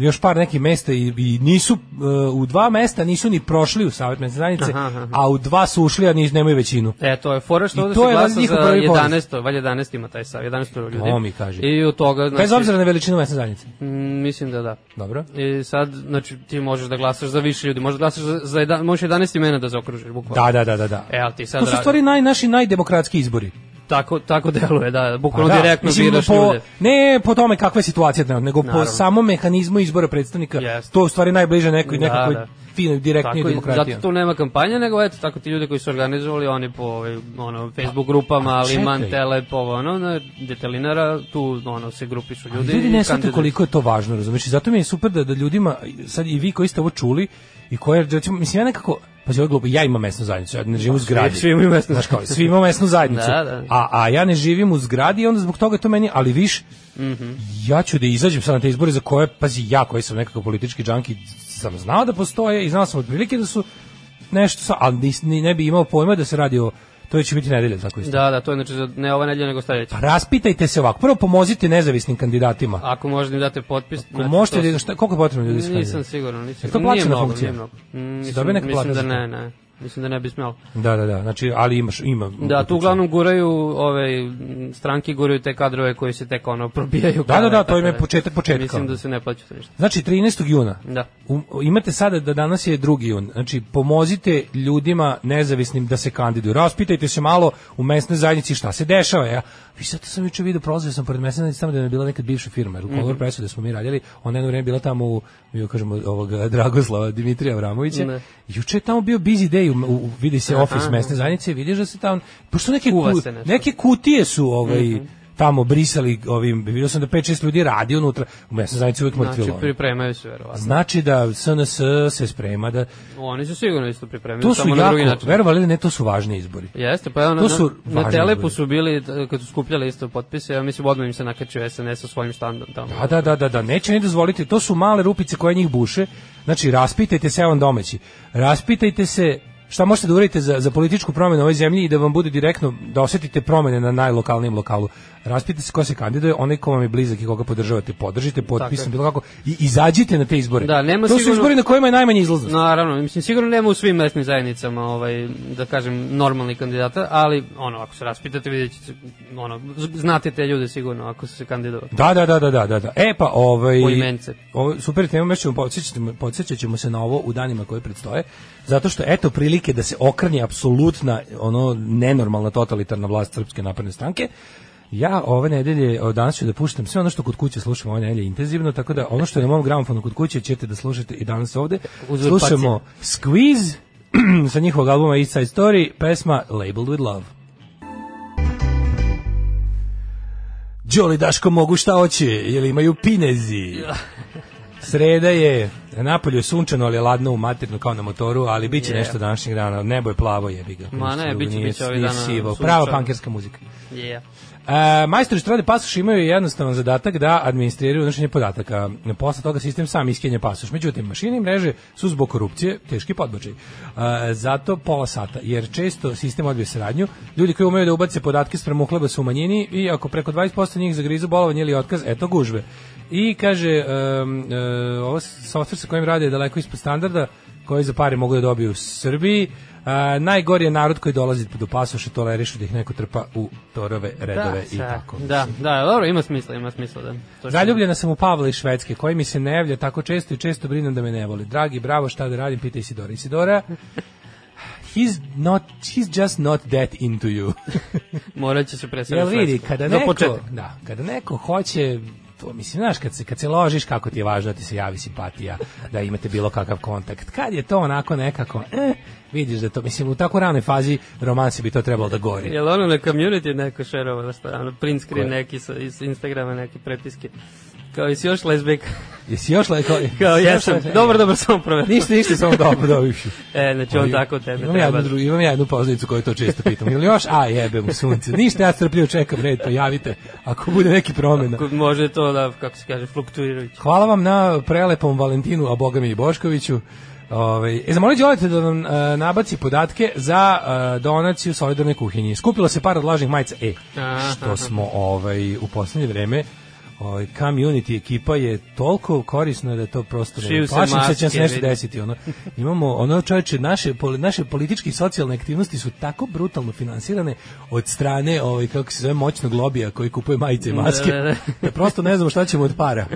Speaker 1: još par nekih mesta i, i nisu, e, u dva mesta nisu ni prošli u Savjet mesne zajednice,
Speaker 2: Aha, aha.
Speaker 1: a u dva su ušli, a niz, nemaju većinu.
Speaker 2: E, to je fora što
Speaker 1: I
Speaker 2: ovde
Speaker 1: to
Speaker 2: se
Speaker 1: je
Speaker 2: glasa
Speaker 1: valjda njihov
Speaker 2: za
Speaker 1: prvi poraz.
Speaker 2: 11. Valjda 11 ima taj sav, 11 ljudi.
Speaker 1: To mi kaže.
Speaker 2: I od toga, znači,
Speaker 1: Bez obzira na veličinu mesne zajednice.
Speaker 2: m, mislim da da.
Speaker 1: Dobro.
Speaker 2: I sad, znači, ti možeš da glasaš za više ljudi, možeš da glasaš za, za jedan, možeš 11 imena da zaokružiš, bukvalno.
Speaker 1: Da, da, da, da, da.
Speaker 2: E, ali ti sad
Speaker 1: To su u
Speaker 2: radi-
Speaker 1: stvari naj, naši najdemokratski izbori.
Speaker 2: tako, tako deluje, da, bukvalno
Speaker 1: Pa da,
Speaker 2: direktno
Speaker 1: mislim,
Speaker 2: biraš
Speaker 1: po,
Speaker 2: ljude.
Speaker 1: Ne po tome kakva je situacija trenutno, nego po
Speaker 2: Naravno.
Speaker 1: samom mehanizmu izbora predstavnika.
Speaker 2: Jeste.
Speaker 1: To je u stvari najbliže nekoj,
Speaker 2: Da,
Speaker 1: nekakvoj
Speaker 2: da.
Speaker 1: finoj, direktnoj
Speaker 2: Tako, i-
Speaker 1: demokratiji.
Speaker 2: zato tu nema kampanja, nego eto, tako ti ljudi koji su organizovali, oni po ovaj, ono, Facebook grupama, ali
Speaker 1: čekaj.
Speaker 2: man, telep, ovo, ono, na detelinara, tu ono, se grupišu ljudi.
Speaker 1: ljudi, ljudi
Speaker 2: i
Speaker 1: ne shvataju
Speaker 2: kandiduju.
Speaker 1: koliko je to važno, razumeš? I zato mi je super da, da ljudima, sad i vi koji ste ovo čuli, i koje, recimo, mislim, ja nekako, pa ovo je glupo, ja imam mesnu zajednicu, ja ne živim u zgradi.
Speaker 2: Pa, svi imaju mesnu
Speaker 1: Znaš kao, svi imamo mesnu zajednicu.
Speaker 2: Da, da.
Speaker 1: A, a ja ne živim u zgradi i onda zbog toga je to meni, ali viš,
Speaker 2: Mhm.
Speaker 1: ja ću da izađem sad na te izbore za koje, pazi, ja koji sam nekako politički džanki, sam znao da postoje i znao sam otprilike da su nešto, sa, ali nis- ni, ne bi imao pojma da se radi o, to će biti nedelja, tako isto.
Speaker 2: Da, da, to je znači za- ne ova nedelja, nego sledeća.
Speaker 1: Raspitajte se ovako, prvo pomozite nezavisnim kandidatima.
Speaker 2: Ako možda im date potpis.
Speaker 1: Ako
Speaker 2: znači,
Speaker 1: možete
Speaker 2: to-
Speaker 1: da šta koliko je potrebno ljudi skandira?
Speaker 2: Nisam siguran, nisam.
Speaker 1: Jel to plaćena
Speaker 2: Nije mnogo,
Speaker 1: funkcija?
Speaker 2: nije mnogo. Mm,
Speaker 1: dobio
Speaker 2: Mislim,
Speaker 1: neka plata
Speaker 2: mislim da
Speaker 1: za to?
Speaker 2: ne, ne. Mislim da ne bi smelo.
Speaker 1: Da, da, da. Znači, ali imaš ima.
Speaker 2: Da, tu uglavnom guraju ove m, stranke guraju te kadrove koji se tek ono probijaju.
Speaker 1: Da, da, da, to im je
Speaker 2: Tako da,
Speaker 1: početak početka.
Speaker 2: Mislim da se ne plaća to ništa.
Speaker 1: Znači 13. juna.
Speaker 2: Da.
Speaker 1: U- imate sada da danas je drugi jun. Znači pomozite ljudima nezavisnim da se kandiduju. Raspitajte se malo u mesnoj zajednici šta se dešava. Ja, vi sad sam juče video prolazio sam pored mesne zajednice tamo da je bila nekad bivša firma, jer u
Speaker 2: Mhm.
Speaker 1: Color Pressu da smo mi radili, ona je jedno vreme bila tamo u mi joj kažemo ovog Dragoslava Dimitrija Avramovića.
Speaker 2: Ne.
Speaker 1: Juče je tamo bio busy day, u, u- u- vidi se office mesne zajednice, i vidiš da se tamo pošto neke
Speaker 2: Kuva
Speaker 1: ku-
Speaker 2: se nešto. Mhm.
Speaker 1: neke kutije su ovaj tamo brisali ovim vidio sam da 5 6 ljudi radi unutra u mesnoj zajednici uvek mrtvilo.
Speaker 2: Znači
Speaker 1: ono.
Speaker 2: pripremaju se verovatno.
Speaker 1: Znači da SNS se sprema da
Speaker 2: Oni su sigurno isto pripremili,
Speaker 1: to su
Speaker 2: samo na drugi
Speaker 1: jako,
Speaker 2: način.
Speaker 1: verovali ili ne, to su važni izbori.
Speaker 2: Jeste, pa evo,
Speaker 1: To
Speaker 2: na,
Speaker 1: su
Speaker 2: na, na
Speaker 1: važni
Speaker 2: Telepu
Speaker 1: ljudi.
Speaker 2: su bili, t- kad su skupljali isto potpise, ja mislim odmah im se nakačio SNS sa svojim štandom tamo.
Speaker 1: A da, da, da, da, neće ni dozvoliti, to su male rupice koje njih buše. Znači, raspitajte se, evo vam domaći, raspitajte se šta možete da uradite za, za političku promenu u ovoj zemlji i da vam bude direktno, da osetite promene na najlokalnijem lokalu. Raspitajte se ko se kandiduje, onaj ko vam je blizak i koga podržavate, podržite,
Speaker 2: Tako
Speaker 1: potpisom,
Speaker 2: je.
Speaker 1: bilo kako, i izađite na te izbore.
Speaker 2: Da, nema
Speaker 1: to su
Speaker 2: sigurno-
Speaker 1: izbori na kojima je najmanje izlaznost.
Speaker 2: Naravno, mislim sigurno nema u svim mesnim zajednicama, ovaj da kažem normalni kandidata, ali ono ako se raspitate videćete ono z- znate te ljude sigurno ako su se kandidovali.
Speaker 1: Da, da, da, da, da, da, da. E pa, ovaj...
Speaker 2: Po imence.
Speaker 1: Ovo, super tema, mi ćemo podsjećati, podsjećat ćemo se na ovo u danima koje predstoje, zato što eto prilike da se okrni apsolutna, ono, nenormalna totalitarna vlast Srpske napredne stranke. Ja ove nedelje, o, danas ću da puštam sve ono što kod kuće slušam ove nedelje intenzivno, tako da ono što je na mom gramofonu kod kuće ćete da slušate i danas ovde.
Speaker 2: Uzurpacija.
Speaker 1: Slušamo Squeeze (clears throat) sa njihovog albuma East Side Story, pesma Labeled with Love. Đoli Daško mogu šta hoće, jel imaju pinezi. Sreda je, napolju je sunčano, ali je ladno u maternu kao na motoru, ali bit će
Speaker 2: Je.
Speaker 1: nešto današnjeg dana, nebo je plavo jebi ga.
Speaker 2: Ma
Speaker 1: Ništa
Speaker 2: ne,
Speaker 1: drugo
Speaker 2: bit će-
Speaker 1: nije,
Speaker 2: bit će ovih
Speaker 1: nije
Speaker 2: dana
Speaker 1: sivo.
Speaker 2: sunčano.
Speaker 1: Prava pankerska muzika.
Speaker 2: Yeah.
Speaker 1: E, majstori štrade pasoš imaju jednostavan zadatak da administriraju unošenje podataka. Posle toga sistem sam iskenja pasoš. Međutim, mašine i mreže su zbog korupcije teški podbačaj. E, zato pola sata, jer često sistem odbije saradnju. Ljudi koji umeju da ubace podatke sprem uhleba su u manjini i ako preko 20% njih zagrizu bolovanje ili otkaz, eto gužve. I kaže, um, e, ovo softver sa kojim rade je daleko ispod standarda, koji za pare mogu da dobiju u Srbiji. E, najgori je narod koji dolazi do pasoša, tolerišu da ih neko trpa u torove redove i
Speaker 2: sa-
Speaker 1: tako.
Speaker 2: Da, da, dobro, ima smisla, ima smisla, da. To što-
Speaker 1: Zaljubljena sam u Pavla iz Švedske, koji mi se ne javlja tako često i često brinem da me ne voli. Dragi, bravo, šta da radim, pita Isidora. Isidora, he's, not, he's just not that into you.
Speaker 2: Morat će se preseliti.
Speaker 1: Jel
Speaker 2: u
Speaker 1: vidi,
Speaker 2: Švedsku.
Speaker 1: kada
Speaker 2: Za
Speaker 1: neko,
Speaker 2: početak.
Speaker 1: da, kada neko hoće to mislim, znaš, kad se, kad se ložiš, kako ti je važno da ti se javi simpatija, da imate bilo kakav kontakt. Kad je to onako nekako, eh, vidiš da to, mislim, u tako ranoj fazi romansi bi to trebalo da gori.
Speaker 2: Jel ono na community neko šerovalo šta, ono print screen neki sa, iz Instagrama neke prepiske. Kao jesi još lesbijka?
Speaker 1: Jesi još lajko?
Speaker 2: (laughs)
Speaker 1: (laughs)
Speaker 2: Kao jesam. Dobro, dobro, samo proverim.
Speaker 1: Ništa, ništa, samo dobro, dobro.
Speaker 2: E, znači on tako tebe
Speaker 1: Imam ja
Speaker 2: treba.
Speaker 1: jednu, drugu, imam ja jednu poznanicu koju to često pitam. Ili još, a jebe mu sunce. Ništa, ja strpljivo čekam red, pa javite ako bude neki promjena.
Speaker 2: Ko- Može to da, kako se kaže, fluktuirajući.
Speaker 1: Hvala vam na prelepom Valentinu, a boga mi i Boškoviću. Ove, e, zamolit Đoleta da vam e, nabaci podatke za e, donaciju
Speaker 2: Da,
Speaker 1: solidarne kuhinje. Skupilo se par odlažnih majica E,
Speaker 2: Aha.
Speaker 1: što smo ovaj, u poslednje vreme ovaj community ekipa je toliko korisna da to prosto
Speaker 2: Šiju
Speaker 1: ne
Speaker 2: se
Speaker 1: plašim se da će nam
Speaker 2: maske,
Speaker 1: se nešto
Speaker 2: vidi.
Speaker 1: desiti ono. Imamo ono čoveče naše poli- naše političke i socijalne aktivnosti su tako brutalno finansirane od strane ovaj kako se zove moćnog lobija koji kupuje majice i maske.
Speaker 2: Da, da, da.
Speaker 1: da prosto ne znamo šta ćemo od para.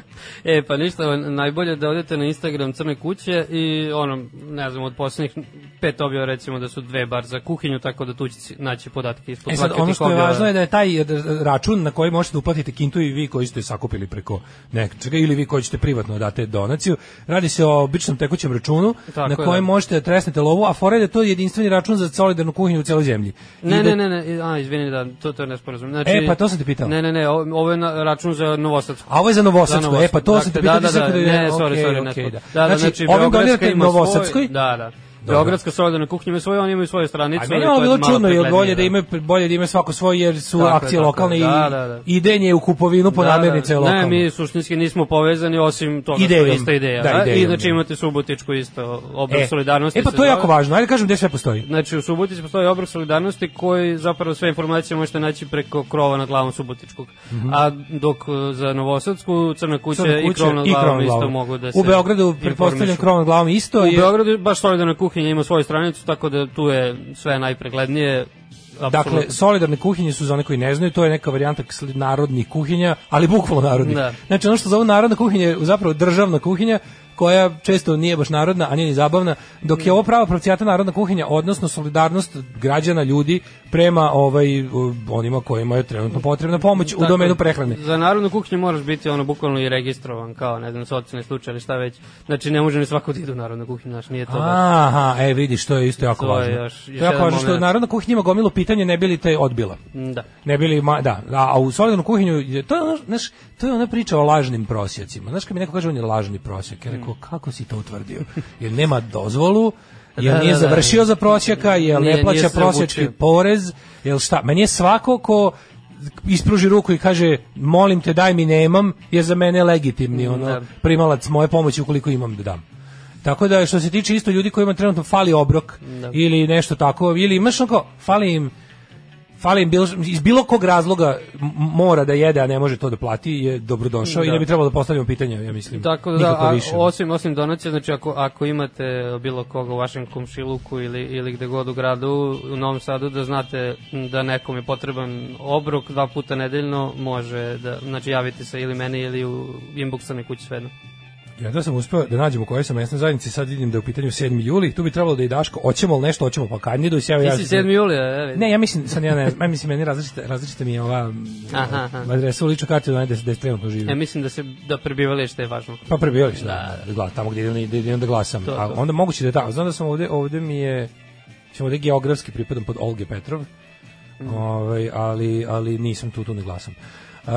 Speaker 2: E, pa ništa, najbolje da odete na Instagram Crne kuće i ono, ne znam, od posljednjih pet objava recimo da su dve bar za kuhinju, tako da tu će naći podatke ispod
Speaker 1: E sad,
Speaker 2: svake
Speaker 1: ono
Speaker 2: tih
Speaker 1: što je
Speaker 2: objava.
Speaker 1: važno je da je taj r- račun na koji možete da uplatite kintu i vi koji ste sakupili preko nečega ili vi koji ćete privatno da date donaciju, radi se o običnom tekućem računu
Speaker 2: Tako
Speaker 1: na
Speaker 2: je,
Speaker 1: kojem
Speaker 2: da.
Speaker 1: možete da tresnete lovu, a fora je da je to jedinstveni račun za solidarnu kuhinju u celoj zemlji. I
Speaker 2: Ne,
Speaker 1: da-
Speaker 2: ne, ne, ne, a, izvini da, to, to je nesporazum. Znači,
Speaker 1: E, pa to sam te pitao.
Speaker 2: Ne, ne, ne, o- ovo je na, račun za Novosadsku.
Speaker 1: A ovo je za
Speaker 2: Za
Speaker 1: Novosadsko,
Speaker 2: Novosadsku,
Speaker 1: e pa to
Speaker 2: dakle,
Speaker 1: sam te pitao.
Speaker 2: da,
Speaker 1: ti sad
Speaker 2: da,
Speaker 1: kad je-
Speaker 2: ne, sorry,
Speaker 1: okej,
Speaker 2: sorry,
Speaker 1: okej,
Speaker 2: ne,
Speaker 1: da.
Speaker 2: da, da, znači,
Speaker 1: znači, ovim
Speaker 2: Beogradska
Speaker 1: donirate
Speaker 2: ima svoj-
Speaker 1: Novosadskoj,
Speaker 2: Da, da. Beogradska solidarna kuhinja ima svoje, oni imaju svoju stranicu.
Speaker 1: A meni
Speaker 2: ali
Speaker 1: je ovo
Speaker 2: to
Speaker 1: bilo
Speaker 2: malo
Speaker 1: čudno, jer bolje
Speaker 2: preglednije,
Speaker 1: da imaju bolje da imaju svako svoj jer su
Speaker 2: Tako je,
Speaker 1: akcije
Speaker 2: tako je,
Speaker 1: lokalne
Speaker 2: da, da, da.
Speaker 1: i idenje u kupovinu po namirnice
Speaker 2: da,
Speaker 1: lokalno.
Speaker 2: Ne, mi suštinski nismo povezani osim toga što je
Speaker 1: Idejom.
Speaker 2: ista ideja.
Speaker 1: Da,
Speaker 2: Da,
Speaker 1: idejom,
Speaker 2: I znači
Speaker 1: da.
Speaker 2: imate Subotičku isto obrok solidarnosti.
Speaker 1: E pa
Speaker 2: se
Speaker 1: to je
Speaker 2: zove.
Speaker 1: jako važno. Ajde kažem gde sve postoji.
Speaker 2: Znači u Subotici postoji obrok solidarnosti koji zapravo sve informacije možete naći preko krova nad glavom Subotičkog. A dok e, za Novosadsku Crna kuća,
Speaker 1: Mhm. Crna
Speaker 2: i
Speaker 1: kuća
Speaker 2: krov nad
Speaker 1: i
Speaker 2: glavom
Speaker 1: krov nad
Speaker 2: isto
Speaker 1: glavom.
Speaker 2: mogu da se
Speaker 1: U Beogradu
Speaker 2: informišu.
Speaker 1: pretpostavljam krov nad glavom isto
Speaker 2: U
Speaker 1: je
Speaker 2: Beogradu baš solidarna kuhinja ima svoju stranicu, tako da tu je sve najpreglednije. apsolutno.
Speaker 1: Dakle, solidarne kuhinje su za one koji ne znaju, to je neka varijanta sli- narodnih kuhinja, ali bukvalno narodnih.
Speaker 2: Da.
Speaker 1: Znači, ono što zovu narodna kuhinja je zapravo državna kuhinja, koja često nije baš narodna, a nije ni zabavna, dok je ovo prava pravcijata narodna kuhinja, odnosno solidarnost građana, ljudi, prema ovaj, u- onima kojima je trenutno potrebna pomoć u
Speaker 2: Tako
Speaker 1: domenu
Speaker 2: je.
Speaker 1: prehrane.
Speaker 2: Za narodnu kuhinju moraš biti ono bukvalno i registrovan kao, ne znam, socijalni slučaj ili šta već. Znači ne može ni svako da ide u narodnu kuhinju, znaš, nije to baš.
Speaker 1: Aha, e vidiš, to je isto jako
Speaker 2: To je
Speaker 1: važno.
Speaker 2: još- još
Speaker 1: to je jako
Speaker 2: jedan
Speaker 1: važno što
Speaker 2: moment.
Speaker 1: narodna kuhinja ima gomilu pitanja, ne bi li te odbila.
Speaker 2: Da.
Speaker 1: Ne bili ma, da, a, a u solidarnu kuhinju je- to je ono, znaš, to je ona priča o lažnim prosjecima. Znaš kad mi neko kaže on je lažni prosjek, ja rekao kako si to utvrdio? Jer nema dozvolu, jer
Speaker 2: Da,
Speaker 1: nije
Speaker 2: da, da.
Speaker 1: završio za prosjeka, jer
Speaker 2: Nije-
Speaker 1: ne
Speaker 2: nije
Speaker 1: plaća
Speaker 2: se
Speaker 1: prosječki
Speaker 2: obučio.
Speaker 1: porez, jel šta? Meni je svako ko ispruži ruku i kaže molim te daj mi nemam je za mene legitimni ono
Speaker 2: da.
Speaker 1: primalac moje pomoći ukoliko imam da dam. Tako da što se tiče isto ljudi kojima trenutno fali obrok
Speaker 2: Da.
Speaker 1: ili nešto tako ili imaš onako fali im fali im bilo, iz bilo kog razloga m- mora da jede, a ne može to da plati, je dobrodošao i
Speaker 2: Da.
Speaker 1: ne bi trebalo da postavljamo pitanja, ja mislim.
Speaker 2: Tako da,
Speaker 1: Nikako
Speaker 2: a,
Speaker 1: više.
Speaker 2: osim, osim donacija, znači ako, ako imate bilo koga u vašem komšiluku ili, ili gde god u gradu, u Novom Sadu, da znate da nekom je potreban obrok dva puta nedeljno, može da, znači javite se ili meni ili u inbox sa kući svejedno.
Speaker 1: Ja da sam uspeo da nađem u kojoj sam mesnoj zajednici, sad vidim da je u pitanju 7. juli, tu bi trebalo da i Daško, hoćemo li nešto, hoćemo pa kandidu, sjava
Speaker 2: Ti
Speaker 1: ja. da-"
Speaker 2: si 7. julija, evi.
Speaker 1: Ne, ja mislim, sad ja ne znam, ja mislim, meni različite, različite mi je ova
Speaker 2: Aha, aha.
Speaker 1: adresa u ličnu kartu da najde da trenutno živim.
Speaker 2: Ja mislim da se da prebivalište je važno.
Speaker 1: Pa prebivalište, da, da, gla- tamo gde idem, gde idem da glasam.
Speaker 2: To,
Speaker 1: A
Speaker 2: to.
Speaker 1: onda moguće da je tako. Znam da sam ovde, ovde mi je, mislim ovde geografski pripadam pod Olge Petrov,
Speaker 2: Mhm.
Speaker 1: ovaj, ali, ali nisam tu, tu ne glasam. E,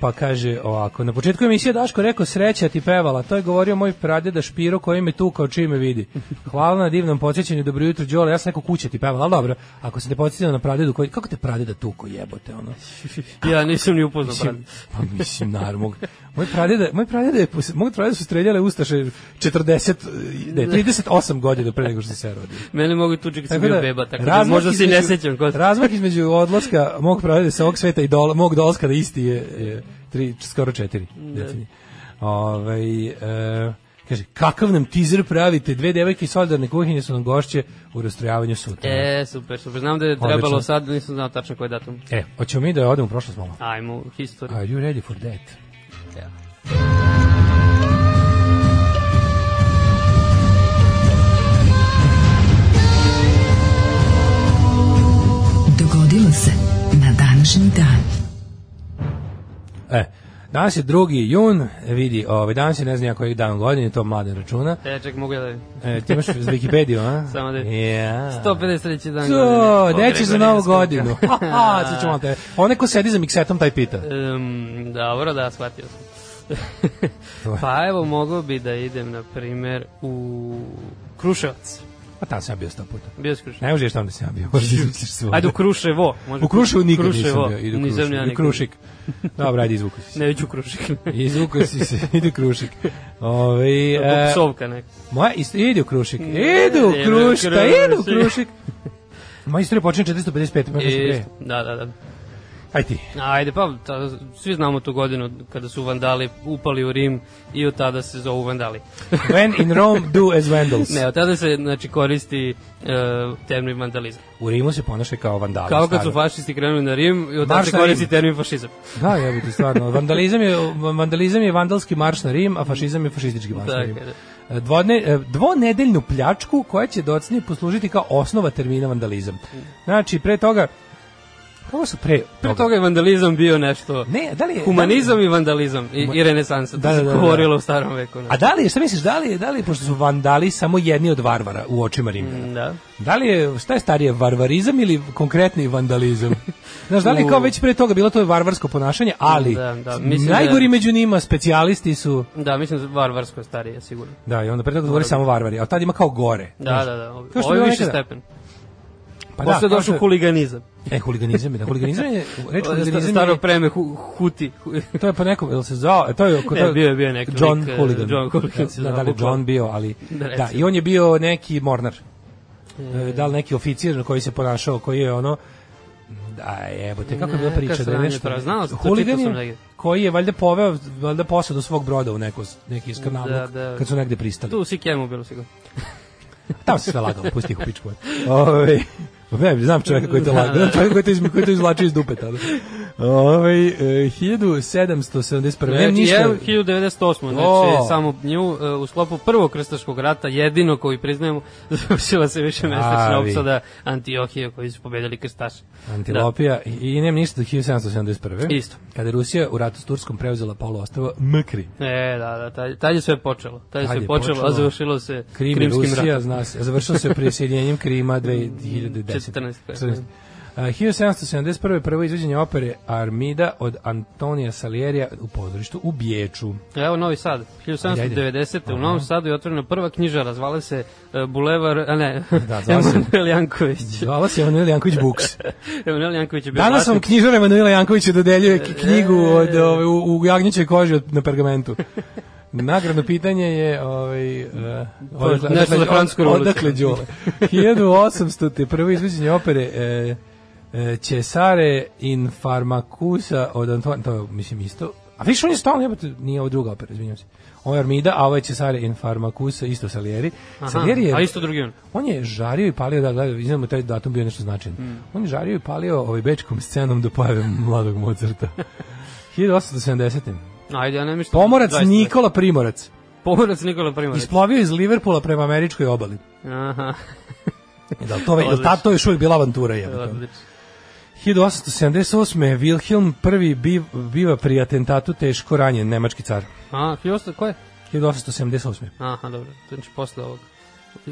Speaker 1: pa kaže ovako, na početku emisije Daško rekao sreća ti pevala, to je govorio moj pradeda Špiro koji me tukao čime vidi. Hvala na divnom podsjećanju, dobro jutro Đole, ja sam rekao kuća ti pevala, ali dobro, ako se te podsjetio na pradedu, koji, kako te pradeda tuko jebote, ono?
Speaker 2: Ja nisam ni upoznao brate.
Speaker 1: Mislim, pa mislim, naravno. Mog, moj pradeda, moj pradeda je, pos- moj pradeda su streljale ustaše 40,
Speaker 2: Da.
Speaker 1: ne, 38 godina pre nego što sam se rodio.
Speaker 2: Mene mogu i tuči kad sam bio beba, tako da
Speaker 1: razmak
Speaker 2: možda se i ne
Speaker 1: između-
Speaker 2: sećam. Ko...
Speaker 1: Razmak između odlaska mog pradeda sa ovog sveta i dola, mog dolaska da isti je, je tri, skoro četiri.
Speaker 2: Da.
Speaker 1: decenije. Ovaj, e, kaže, kakav nam teaser pravite? Dve devojke iz solidarne kuhinje su nam gošće u rastrojavanju sutra. E,
Speaker 2: E, super, super. Znam da je
Speaker 1: Odlično.
Speaker 2: trebalo sad, nisam znao tačno koji je datum.
Speaker 1: hoćemo mi da odemo u prošlost, mama?
Speaker 2: Ajmo, historiju.
Speaker 1: Are you ready for that? Da.
Speaker 2: Ja.
Speaker 3: Dogodilo se na današnji dan.
Speaker 1: E, danas je drugi jun, vidi, ovaj, danas je ne znam ja koji dan godine, to mladen računa.
Speaker 2: E, ček, mogu ja da vidim.
Speaker 1: E, ti imaš za Wikipediju, a?
Speaker 2: (laughs) Samo da-
Speaker 1: Ja.
Speaker 2: 153. dan
Speaker 1: To,
Speaker 2: godine.
Speaker 1: neće za novu godinu.
Speaker 2: (laughs)
Speaker 1: Ha, ha, sad ćemo te. Onaj ko sedi za miksetom, taj pita.
Speaker 2: Um, dobro, da, shvatio sam. pa evo, mogo bi da idem, na primer, u Kruševac.
Speaker 1: Pa tamo sam ja bio sto puta.
Speaker 2: Bio si Kruševac.
Speaker 1: Ne možeš tamo da sam ja bio. Možeš da izmisliš svoje.
Speaker 2: Ajde u Kruševo. Može
Speaker 1: U Kruševu nikad
Speaker 2: Kruševo.
Speaker 1: nisam bio. Idu
Speaker 2: Nisam ja
Speaker 1: Krušik.
Speaker 2: nikad.
Speaker 1: Idu Krušik. Dobro, ajde, izvukuj
Speaker 2: (laughs)
Speaker 1: si se.
Speaker 2: Ne, iću Krušik.
Speaker 1: Izvukuj si se, idu Krušik. Ove, e,
Speaker 2: Psovka neka.
Speaker 1: Moja isto ide u krušik. Ide u
Speaker 2: Ide u
Speaker 1: krušik,
Speaker 2: krušik.
Speaker 1: ide u krušik. Moja istorija počinje 455. pa nešto
Speaker 2: I,
Speaker 1: pre.
Speaker 2: e, da, da, da.
Speaker 1: Aj ti.
Speaker 2: Ajde, pa ta, svi znamo tu godinu kada su vandali upali u Rim i od tada se zovu vandali.
Speaker 1: When in Rome, do as Vandals.
Speaker 2: ne, od tada se znači, koristi e, termin vandalizam.
Speaker 1: U Rimu se ponašaj kao vandali.
Speaker 2: Kao kad su
Speaker 1: stari.
Speaker 2: fašisti krenuli na Rim i od tada
Speaker 1: Marš
Speaker 2: se
Speaker 1: na Rim.
Speaker 2: koristi termin fašizam.
Speaker 1: Da, ja bih stvarno. Vandalizam je, vandalizam je vandalski marš na Rim, a fašizam je fašistički marš na
Speaker 2: Tako
Speaker 1: Rim.
Speaker 2: je, da.
Speaker 1: E, Dvodne, e, dvonedeljnu pljačku koja će docnije poslužiti kao osnova termina vandalizam. Znači, pre toga, kako su pre,
Speaker 2: Mm. Pre toga je vandalizam bio nešto...
Speaker 1: Ne, da li je...
Speaker 2: Humanizam i vandalizam i, i renesansa, to da, da, da, se govorilo u starom veku. ne.
Speaker 1: A da li je, šta misliš, da li je, da li je, pošto su vandali samo jedni od varvara u očima Rimljana,
Speaker 2: Da.
Speaker 1: da li je, šta je starije, varvarizam ili konkretni
Speaker 2: (laughs)
Speaker 1: vandalizam? Znaš, da li je kao već pre toga bilo to varvarsko ponašanje, ali
Speaker 2: Da, da, mislim da je-
Speaker 1: najgori među njima specijalisti su...
Speaker 2: Da, mislim da varvarsko je starije, sigurno.
Speaker 1: Da, i onda pre toga govori samo varvari, a tad ima kao gore.
Speaker 2: Da, da, da. Ovo,
Speaker 1: Kao što
Speaker 2: ovo je
Speaker 1: bilo
Speaker 2: više
Speaker 1: nekada.
Speaker 2: stepen.
Speaker 1: Pa
Speaker 2: Posle je
Speaker 1: kao
Speaker 2: došao
Speaker 1: što-
Speaker 2: huliganizam.
Speaker 1: E, huliganizam je, da, huliganizam je, reč huliganizam je...
Speaker 2: (laughs) Staro preme hu, huti. hu-
Speaker 1: To je po nekom, jel se zvao, e, to je...
Speaker 2: Ne, bio je- bio je neki
Speaker 1: John
Speaker 2: lik, e,
Speaker 1: Hooligan.
Speaker 2: John Hooligan se
Speaker 1: Da, da
Speaker 2: zvao,
Speaker 1: li je
Speaker 2: bukvalno.
Speaker 1: John bio, ali...
Speaker 2: Da,
Speaker 1: Da,
Speaker 2: recimo.
Speaker 1: i on je bio neki mornar. E, Da li neki oficir na koji se ponašao, koji je ono... Da, evo te, kako je bila
Speaker 2: Neka
Speaker 1: priča da je
Speaker 2: sranja,
Speaker 1: nešto...
Speaker 2: pra- znao sam, to
Speaker 1: Hooligan
Speaker 2: čitao sam
Speaker 1: je
Speaker 2: negdje.
Speaker 1: koji je valjda poveo, valjda posadu svog broda u neko, neki iskanavluk,
Speaker 2: Da, da.
Speaker 1: kad su negde pristali.
Speaker 2: Tu u Sikemu bilo sigurno.
Speaker 1: Tamo se sve lagao, pusti ih u pičku. Ove, ne, znam čovjeka koji to
Speaker 2: Da,
Speaker 1: lagao, znam čovjeka koji to, iz, koji to izvlači iz dupe tada. Ove, e, 1771.
Speaker 2: Ne,
Speaker 1: Nemam ništa.
Speaker 2: je 1998. Znači,
Speaker 1: O.
Speaker 2: samo nju e, u sklopu prvog krstaškog rata, jedino koji priznajemo, (laughs) završila se više mesečna
Speaker 1: Pravi.
Speaker 2: opsada Antiohije koji su pobedili krstaši.
Speaker 1: Antilopija
Speaker 2: Da.
Speaker 1: i, i nemam ništa do 1771.
Speaker 2: Isto.
Speaker 1: Kada je Rusija u ratu s Turskom preuzela polu ostrava Mkri.
Speaker 2: E, da, da, tad, tad je sve počelo. Tad je
Speaker 1: Tad
Speaker 2: sve
Speaker 1: je
Speaker 2: počelo, a
Speaker 1: počelo.
Speaker 2: završilo se
Speaker 1: Krim i
Speaker 2: krimskim
Speaker 1: Rusija,
Speaker 2: ratom. Mm,
Speaker 1: zna se. Završilo se prisjedinjenjem Krima 2010.
Speaker 2: 14.
Speaker 1: 14.
Speaker 2: da.
Speaker 1: A, 1771. prvo izveđenje opere Armida od Antonija Salierija u pozorištu u Biječu.
Speaker 2: E, Evo Novi Sad, 1790. u Novom Sadu je otvorena prva knjižara, zvala se e, Bulevar, a ne, (laughs)
Speaker 1: Da, zvala se-
Speaker 2: Emanuel Janković.
Speaker 1: Zvala se Emanuel Janković Buks.
Speaker 2: Emanuel Janković je bio
Speaker 1: Danas vam
Speaker 2: vlasnik- E,
Speaker 1: knjižar Emanuela Jankovića dodeljuje k- knjigu od, ove, u, u jagnjećoj koži od, na pergamentu. Nagradno pitanje je ovaj, uh, odakle,
Speaker 2: nešto za Francusku revoluciju.
Speaker 1: odakle Đole. 1800. te prvo izveđenje opere e, e, Cesare in Farmacusa od Antoine, to je, mislim isto. A viš on je stalno, jebate, nije ovo druga opera, izvinjam se. Ovo je Armida, a ovo je Cesare in Farmacusa, isto Salieri. Salieri je
Speaker 2: Aha, a isto drugi on.
Speaker 1: on je žario i palio, da, da, iznamo taj datum bio nešto značajan. On je žario i palio ovaj bečkom scenom do pojave mladog Mozarta. 1870.
Speaker 2: Ajde, ja ne mislim.
Speaker 1: Pomorac
Speaker 2: 20.
Speaker 1: Nikola Primorac
Speaker 2: Pomorac Nikola Primorac.
Speaker 1: isplovio iz Liverpoola prema američkoj obali.
Speaker 2: Aha,
Speaker 1: E, Da, li to, ve- da, ta, to je još uvijek bila avantura. jebote.
Speaker 2: odlično.
Speaker 1: 1878. Wilhelm I biv, biva pri atentatu teško ranjen, nemački car.
Speaker 2: A, 1800, ko je?
Speaker 1: 1878.
Speaker 2: Aha, dobro, znači posle ovog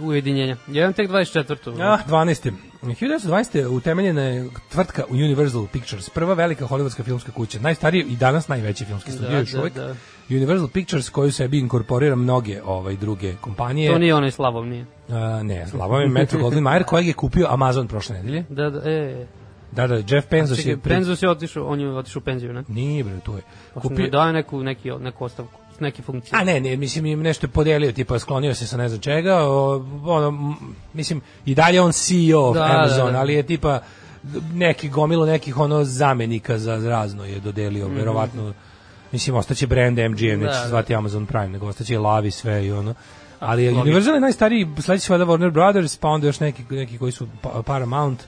Speaker 2: ujedinjenja. Ja imam tek 24.
Speaker 1: Ah, 12. 1920. utemeljena je tvrtka Universal Pictures, prva velika hollywoodska filmska kuća, najstariji i danas najveći filmski studio
Speaker 2: Da,
Speaker 1: još
Speaker 2: da,
Speaker 1: uvek.
Speaker 2: da.
Speaker 1: Universal Pictures koju sebi inkorporira mnoge ovaj druge kompanije.
Speaker 2: To nije onaj slabom, nije.
Speaker 1: A, ne, slabo je Metro Goldwyn Mayer
Speaker 2: (laughs)
Speaker 1: kojeg je kupio Amazon prošle nedelje.
Speaker 2: Da, da, e.
Speaker 1: Da, da, Jeff Bezos
Speaker 2: Čekaj,
Speaker 1: je... pri-
Speaker 2: Penzos je otišao, on je otišao u penziju, ne? Pa
Speaker 1: Nije, bre, to je.
Speaker 2: Kupio...
Speaker 1: Kupio...
Speaker 2: Daje neku, neki, neku ostavku, neke funkcije.
Speaker 1: A ne, ne, mislim im nešto je podelio, tipa sklonio se sa ne znam čega, o, ono, m, mislim i dalje je on CEO
Speaker 2: Da,
Speaker 1: da,
Speaker 2: da,
Speaker 1: Amazon,
Speaker 2: da.
Speaker 1: ali je tipa neki gomilo nekih ono zamenika za razno je dodelio, verovatno mislim ostaće brand MGM,
Speaker 2: Mhm. Da,
Speaker 1: neće
Speaker 2: da.
Speaker 1: se zvati Amazon Prime, nego ostaće Lavi sve i ono. Ali je Universal je najstariji, sledeći su valjda Warner Brothers, pa onda još neki, neki koji su pa- Paramount,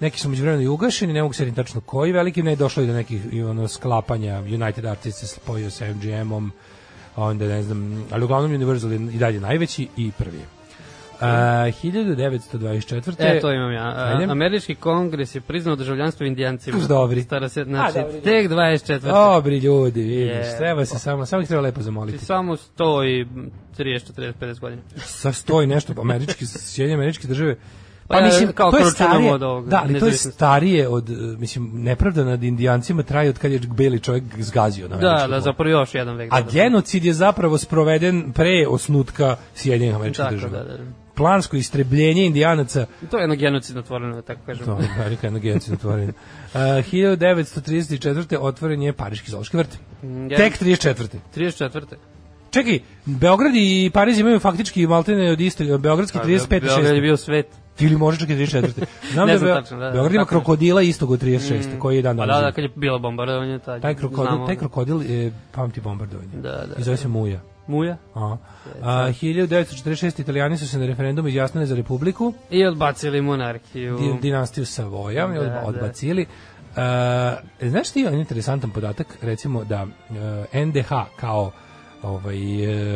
Speaker 1: neki su međuvremeno i ugašeni, ne mogu se sjetiti tačno koji veliki, ne došlo i do nekih i ono, sklapanja, United Artists se spojio sa MGM-om, a onda ne znam, ali uglavnom Universal je i dalje najveći i prvi. A, 1924.
Speaker 2: Mhm. E, to imam ja.
Speaker 1: Ajde.
Speaker 2: A, američki kongres je priznao državljanstvo indijancima.
Speaker 1: Už dobri.
Speaker 2: Stara se, znači,
Speaker 1: A, dobri ljudi.
Speaker 2: tek 24.
Speaker 1: Dobri ljudi, vidiš,
Speaker 2: Je.
Speaker 1: treba se samo, samo ih treba lepo zamoliti.
Speaker 2: Samo 100 i 30, 40, 50 godina.
Speaker 1: sa stoji nešto pa američki sjedinjene američke države
Speaker 2: Pa ja, kao kročenamo od ovoga,
Speaker 1: da, ali to je
Speaker 2: nezavisnosti.
Speaker 1: starije od, e, mislim, nepravda nad indijancima traje od kad je beli čovjek zgazio na
Speaker 2: Da,
Speaker 1: američku
Speaker 2: da,
Speaker 1: tlu.
Speaker 2: zapravo još jedan vek.
Speaker 1: znači A
Speaker 2: da, da.
Speaker 1: genocid je zapravo sproveden pre osnutka Sjedinjenih američkih
Speaker 2: Tako,
Speaker 1: država.
Speaker 2: da, da.
Speaker 1: Plansko istrebljenje indijanaca
Speaker 2: To je jedno genocidno tvoreno, da tako kažem.
Speaker 1: to je Amerika jedna genocid (laughs) otvoren. Uh, 1934. otvoren je Pariški zoološki vrt.
Speaker 2: Mm, ja-
Speaker 1: Tek 34.
Speaker 2: 34.
Speaker 1: Čekaj, Beograd i Pariz imaju faktički maltene od isto, beogradski
Speaker 2: Pa,
Speaker 1: 35 i
Speaker 2: Beograd je
Speaker 1: 6.
Speaker 2: bio svet.
Speaker 1: ili možda čak i 34.
Speaker 2: (laughs)
Speaker 1: Znam
Speaker 2: Ne
Speaker 1: da,
Speaker 2: znam
Speaker 1: Beo-
Speaker 2: tačno, da, da,
Speaker 1: Beograd ima
Speaker 2: tačno.
Speaker 1: krokodila istog od 36. koji je dan
Speaker 2: Pa
Speaker 1: danas.
Speaker 2: da, da, kad je bilo bombardovanje, taj,
Speaker 1: Taj krokodil,
Speaker 2: znamo,
Speaker 1: taj krokodil je pamti bombardovanje.
Speaker 2: Da, da.
Speaker 1: I zove se Muja.
Speaker 2: Muja.
Speaker 1: A, a, 1946. Italijani su se na referendumu izjasnili za republiku,
Speaker 2: I odbacili monarhiju.
Speaker 1: di- dinastiju Savoja,
Speaker 2: Da,
Speaker 1: i odba-
Speaker 2: da.
Speaker 1: odbacili. E, znaš ti jedan interesantan podatak, recimo da e, NDH kao ovaj,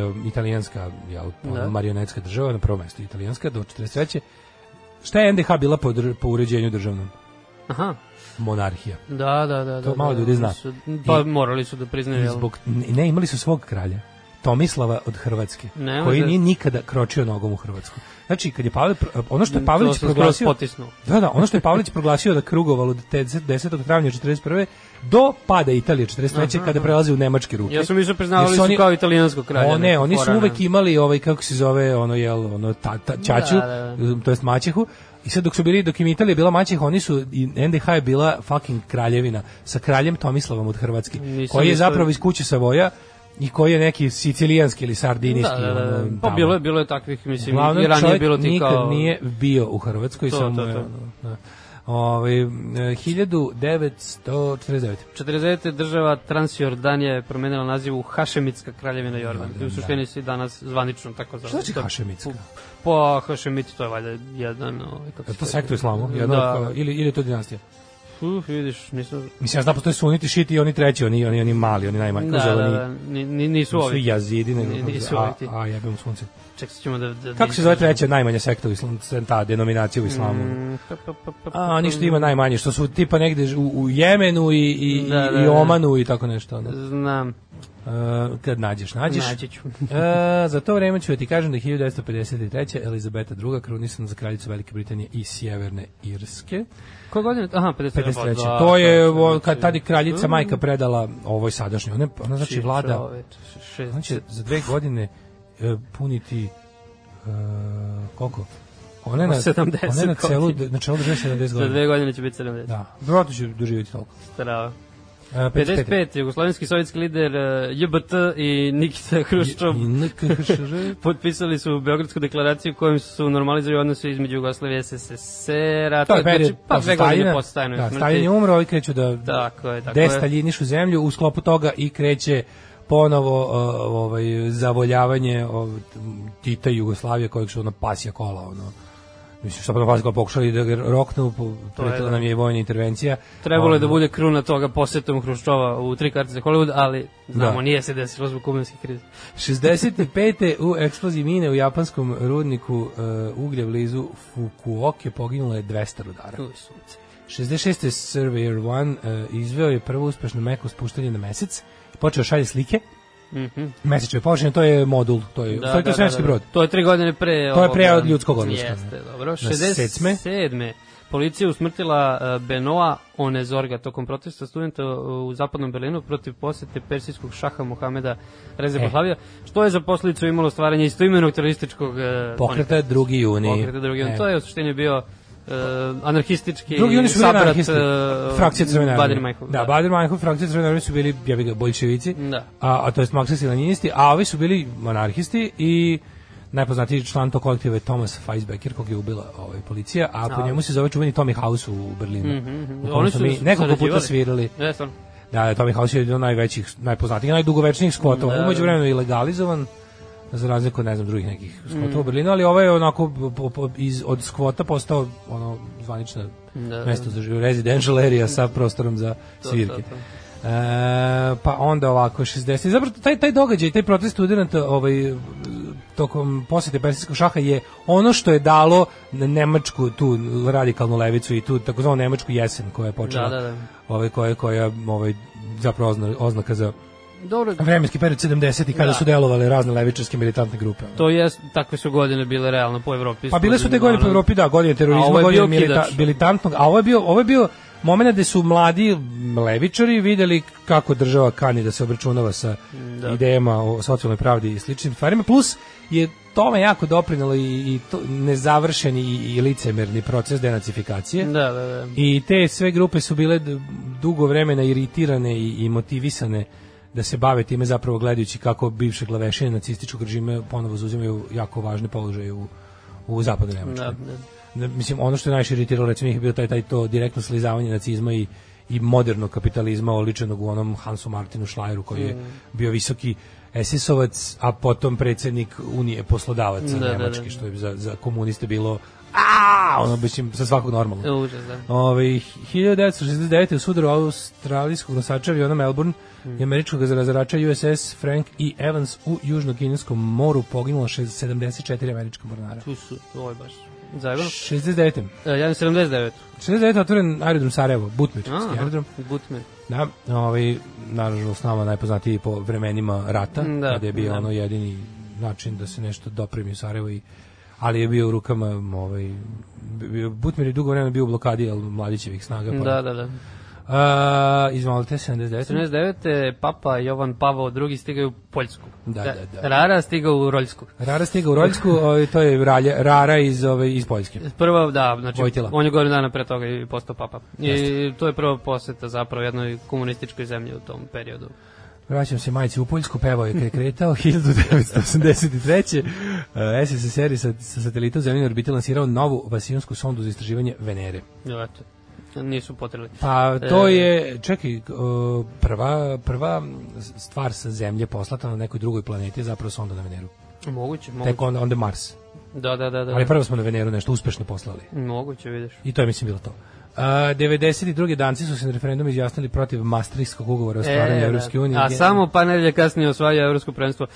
Speaker 1: e, italijanska jel, ono,
Speaker 2: Da.
Speaker 1: marionetska država, na prvo mesto italijanska, do 43. Šta je NDH bila po, dr- po uređenju državnom?
Speaker 2: Aha.
Speaker 1: Monarhija.
Speaker 2: Da, da, da.
Speaker 1: To
Speaker 2: da,
Speaker 1: malo
Speaker 2: da,
Speaker 1: ljudi zna.
Speaker 2: Su, pa morali su da priznaju.
Speaker 1: I
Speaker 2: jel?
Speaker 1: Zbog, ne, imali su svog kralja. Tomislava od Hrvatske,
Speaker 2: Ne
Speaker 1: koji
Speaker 2: može.
Speaker 1: nije nikada kročio nogom u Hrvatsku. Znači, kad je Pavle, pro- ono što je
Speaker 2: To
Speaker 1: Pavelić
Speaker 2: sam skroz
Speaker 1: Pa proglasio...
Speaker 2: potisnuo.
Speaker 1: Da, da, ono što je Pavlić proglasio da krugovalo od te- 10. travnja 41. do pada Italije 43. kada prelazi u nemačke ruke.
Speaker 2: Ja sam mislio priznavali
Speaker 1: Jer
Speaker 2: su
Speaker 1: oni-
Speaker 2: kao italijansko kralje.
Speaker 1: O ne, oni su
Speaker 2: Forana.
Speaker 1: uvek imali ovaj kako se zove ono jel ono ta, ta ćaću, um,
Speaker 2: Da,
Speaker 1: to jest maćehu. I sad dok su bili dok im Italija bila maćeha, oni su i NDH je bila fucking kraljevina sa kraljem Tomislavom od Hrvatske,
Speaker 2: Nisam
Speaker 1: koji je
Speaker 2: mislio-
Speaker 1: zapravo iz kuće Savoja i koji je neki sicilijanski ili
Speaker 2: Da,
Speaker 1: sardinijski.
Speaker 2: da, da, da.
Speaker 1: ono,
Speaker 2: Pa
Speaker 1: tamo.
Speaker 2: bilo je, bilo je takvih, mislim,
Speaker 1: Uglavnom,
Speaker 2: i ranije je
Speaker 1: čovjek
Speaker 2: bilo ti
Speaker 1: nikad
Speaker 2: kao...
Speaker 1: nije bio u Hrvatskoj,
Speaker 2: To,
Speaker 1: samo
Speaker 2: to,
Speaker 1: je,
Speaker 2: to.
Speaker 1: ono, da. Ovaj, e, 1949.
Speaker 2: 49. država Transjordanija je promenila naziv u Hašemitska kraljevina Jordan.
Speaker 1: Da,
Speaker 2: I u suštini se i danas zvanično tako zove.
Speaker 1: Šta znači
Speaker 2: To-
Speaker 1: Hašemitska?
Speaker 2: Pa Hašemiti to je valjda jedan... Ovaj, kako
Speaker 1: Je
Speaker 2: se
Speaker 1: to
Speaker 2: kaže.
Speaker 1: sektor islamu? Jedno,
Speaker 2: da.
Speaker 1: kao- ili, ili je to dinastija?
Speaker 2: Uf, vidiš, nisam...
Speaker 1: Mislim, ja znam, postoje suniti, šiti i oni treći, oni, oni, oni mali, Pa, oni najmanji.
Speaker 2: Da, da, da, ni, ni, nisu
Speaker 1: Su
Speaker 2: ovi.
Speaker 1: jazidi, nego,
Speaker 2: Ni- nisu
Speaker 1: a,
Speaker 2: ovi ti.
Speaker 1: a jebem sunce.
Speaker 2: Ček, sad ćemo da... da
Speaker 1: Kako se zove treća najmanja sekta u islamu, ta denominacija u islamu?
Speaker 2: Mm, pa, pa, pa, pa,
Speaker 1: A, oni što ima najmanje, što su tipa negde u, u Jemenu i, i,
Speaker 2: Da, da,
Speaker 1: i
Speaker 2: da.
Speaker 1: Omanu i tako nešto. Ono.
Speaker 2: pa, Znam,
Speaker 1: E, kad nađeš, nađeš.
Speaker 2: naći ću. (laughs)
Speaker 1: E, za to vreme ću da ti kažem da je 1953. Elizabeta II. krunisana za kraljicu Velike Britanije i Sjeverne Irske.
Speaker 2: Koje godine? Aha, 53.
Speaker 1: 53.
Speaker 2: Pa, da,
Speaker 1: to je
Speaker 2: čoveče,
Speaker 1: o, kad tad je kraljica
Speaker 2: Mm,
Speaker 1: majka predala ovoj sadašnjoj. Ona, je- ona znači
Speaker 2: čoveče,
Speaker 1: vlada, Znači,
Speaker 2: čoveče, šest-
Speaker 1: ona će za dve godine e, puniti e, koliko? Ona je na,
Speaker 2: 70
Speaker 1: ona je na, celu,
Speaker 2: godina.
Speaker 1: na čelu države 70
Speaker 2: Za
Speaker 1: godina.
Speaker 2: dve godine će biti 70.
Speaker 1: Da, vjerojatno će doživjeti toliko.
Speaker 2: Strava.
Speaker 1: E, 55.
Speaker 2: 55. Jugoslovenski sovjetski lider eh, JBT i Nikita Hruščov
Speaker 1: I NKHR.
Speaker 2: potpisali su Beogradsku deklaraciju kojom su normalizovali odnose između Jugoslavije i SSSR-a.
Speaker 1: To je period,
Speaker 2: znači, pa
Speaker 1: posle
Speaker 2: dve godine znači.
Speaker 1: Staljina.
Speaker 2: posle Staljinove
Speaker 1: Da,
Speaker 2: smrti.
Speaker 1: Stalin je umro, ovi kreću da
Speaker 2: Tako je, tako je.
Speaker 1: destaljinišu zemlju, u sklopu toga i kreće ponovo uh, ovaj zavoljavanje uh, Tita i Jugoslavije kojeg su ono pasja kola ono mislim što pa pasja kola pokušali da ga roknu po- pretila
Speaker 2: da.
Speaker 1: nam je i vojna intervencija Ovaj,
Speaker 2: Trebalo je da
Speaker 1: Ono,
Speaker 2: bude kruna toga posetom Hruščova u tri karte za Hollywood, ali znamo,
Speaker 1: Da.
Speaker 2: nije se desilo zbog kubanske krize.
Speaker 1: 65. u eksploziji mine u japanskom rudniku uh, uglja blizu Fukuoke poginulo je 200 rudara.
Speaker 2: Tu je sunce.
Speaker 1: 66. Surveyor 1 uh, izveo je prvo uspešno meko spuštanje na mesec i počeo šalje slike
Speaker 2: Mhm.
Speaker 1: mesečne površine, to je modul, to je, da, to je da, svemirski brod.
Speaker 2: To je tri godine pre...
Speaker 1: To je pre
Speaker 2: ovoga.
Speaker 1: od ljudskog odlaska. da.
Speaker 2: Jeste, dobro.
Speaker 1: sedme.
Speaker 2: 67. Policija usmrtila eh, Benoa Onezorga tokom protesta studenta e, u zapadnom Berlinu protiv posete persijskog šaha Mohameda
Speaker 1: E.
Speaker 2: Reza Pahlavija, što je za posledicu imalo stvaranje istoimenog terorističkog eh,
Speaker 1: Pokreta 2. juni.
Speaker 2: pokreta drugi.
Speaker 1: E.
Speaker 2: To je u suštini bio eh, anarhistički
Speaker 1: Drugi juni su bili
Speaker 2: sabrat,
Speaker 1: anarhisti.
Speaker 2: eh,
Speaker 1: Frakcija Crvene armije.
Speaker 2: Baden Meinhof,
Speaker 1: Da, Bader Meinhof, frakcija Crvene armije su bili, ja bih ga, boljševici,
Speaker 2: Da.
Speaker 1: a, a to jest maksisti leninisti, a ovi su bili anarhisti i najpoznatiji član tog kolektiva je Thomas Feisbecker, kog je ubila ovaj, policija, a po
Speaker 2: A.
Speaker 1: njemu se zove čuveni Tommy House u Berlinu.
Speaker 2: mhm.
Speaker 1: u kojem
Speaker 2: Oni
Speaker 1: su
Speaker 2: su
Speaker 1: mi nekoliko puta
Speaker 2: sarađivali.
Speaker 1: svirali.
Speaker 2: Ne, stvarno.
Speaker 1: Da, da, Tommy House je jedan od najvećih, najpoznatijih, najdugovečnijih skvotova.
Speaker 2: Da,
Speaker 1: Da,
Speaker 2: da.
Speaker 1: Umeđu vremenu je i legalizovan, za razliku od, ne znam, drugih nekih skvotova
Speaker 2: Mm.
Speaker 1: u Berlinu, ali ovaj je onako po, po, iz, od skvota postao ono, zvanično
Speaker 2: Da,
Speaker 1: mesto za život, residential area sa prostorom za
Speaker 2: to,
Speaker 1: svirke.
Speaker 2: to.
Speaker 1: E, pa onda ovako 60. Zapravo taj taj događaj, taj protest studenata ovaj tokom posete persijskog šaha je ono što je dalo nemačku tu radikalnu levicu i tu takozvanu nemačku jesen koja je počela.
Speaker 2: Da, da, da.
Speaker 1: Ovaj koja koja ovaj zapravo ozna- oznaka za
Speaker 2: Dobro,
Speaker 1: vremenski period 70 i kada
Speaker 2: Da.
Speaker 1: su delovale razne levičarske militantne grupe. ono.
Speaker 2: To je, takve su godine bile realno po Evropi.
Speaker 1: Pa bile su te godine po
Speaker 2: Ono,
Speaker 1: Evropi, da, godine
Speaker 2: A
Speaker 1: terorizma,
Speaker 2: ovo je
Speaker 1: godine
Speaker 2: bio
Speaker 1: milita,
Speaker 2: kidač.
Speaker 1: militantnog, a ovo je bio, ovo je bio moment gde su mladi levičari videli kako država kani da se obračunava sa
Speaker 2: da.
Speaker 1: idejama o socijalnoj pravdi i sličnim stvarima, plus je tome jako doprinalo i, i to, nezavršeni i, i licemerni proces denacifikacije.
Speaker 2: Da, da, da.
Speaker 1: I te sve grupe su bile d- dugo vremena iritirane i, i motivisane da se bave time zapravo gledajući kako bivše glavešine nacističkog režima ponovo zauzimaju jako važne položaje u, u zapadnoj Nemačkoj.
Speaker 2: da, da.
Speaker 1: mislim ono što je najviše iritiralo recimo njih je bio taj taj to direktno slizavanje nacizma i i modernog kapitalizma oličenog u onom Hansu Martinu Schleieru koji
Speaker 2: Mm.
Speaker 1: je bio visoki SS-ovac, a potom predsednik Unije poslodavaca
Speaker 2: Da, da,
Speaker 1: Nemačke,
Speaker 2: da.
Speaker 1: što je za, za komuniste bilo a ono mislim sa svakog normalno.
Speaker 2: E, Užas, da.
Speaker 1: Ove, 1969. u sudaru australijskog nosača aviona Melbourne i američkog razarača USS Frank E. Evans u južno-kineskom moru poginulo 6- 74 američka mornara.
Speaker 2: Tu su, ovo je baš zajebano.
Speaker 1: 69.
Speaker 2: E, ja imam 79.
Speaker 1: 69. otvoren aerodrom Sarajevo, Butmički
Speaker 2: A,
Speaker 1: aerodrom.
Speaker 2: Gutman.
Speaker 1: Da, ovaj, naravno s nama najpoznatiji po vremenima rata,
Speaker 2: Da,
Speaker 1: da, kada je bio
Speaker 2: da.
Speaker 1: ono jedini način da se nešto dopremi u Sarajevo i ali je bio u rukama m, ovaj bio- Butmir je dugo vremena bio u blokadi jel, mladićevih snaga pa
Speaker 2: Da, da, da.
Speaker 1: A, izvolite, 79.
Speaker 2: 79. Papa Jovan Pavao II stigao je u Poljsku.
Speaker 1: Da, da, da.
Speaker 2: Rara stigao u Roljsku.
Speaker 1: Rara stiga u
Speaker 2: (laughs)
Speaker 1: Roljsku, ovaj, to je Ralja, Rara iz, ovaj, iz Poljske.
Speaker 2: Prva, da, znači,
Speaker 1: Vojtila.
Speaker 2: on je godinu dana pre toga i postao papa. I to je prva poseta zapravo jednoj komunističkoj zemlji u tom periodu.
Speaker 1: Vraćam se majici u Poljsku, pevao je kad je kretao, (laughs) 1983. E, SSSR je sa, sa satelita u zemljeni orbiti lansirao novu vasionsku sondu za istraživanje Venere.
Speaker 2: Jel, eto, nisu potrebili.
Speaker 1: Pa to
Speaker 2: E.
Speaker 1: je, čekaj, e, prva, prva stvar sa zemlje poslata na nekoj drugoj planeti je zapravo sonda na Veneru.
Speaker 2: Moguće, moguće.
Speaker 1: Tek onda, onda Mars.
Speaker 2: Da, da, da, da.
Speaker 1: Ali prvo smo na Veneru nešto uspešno poslali.
Speaker 2: Moguće, vidiš.
Speaker 1: I to je mislim bilo to. Uh, 92. danci su se na referendumu izjasnili protiv Maastrichtskog ugovora o stvaranju
Speaker 2: da.
Speaker 1: Evropske unije.
Speaker 2: A samo pa nedelje kasnije osvaja evropsko prvenstvo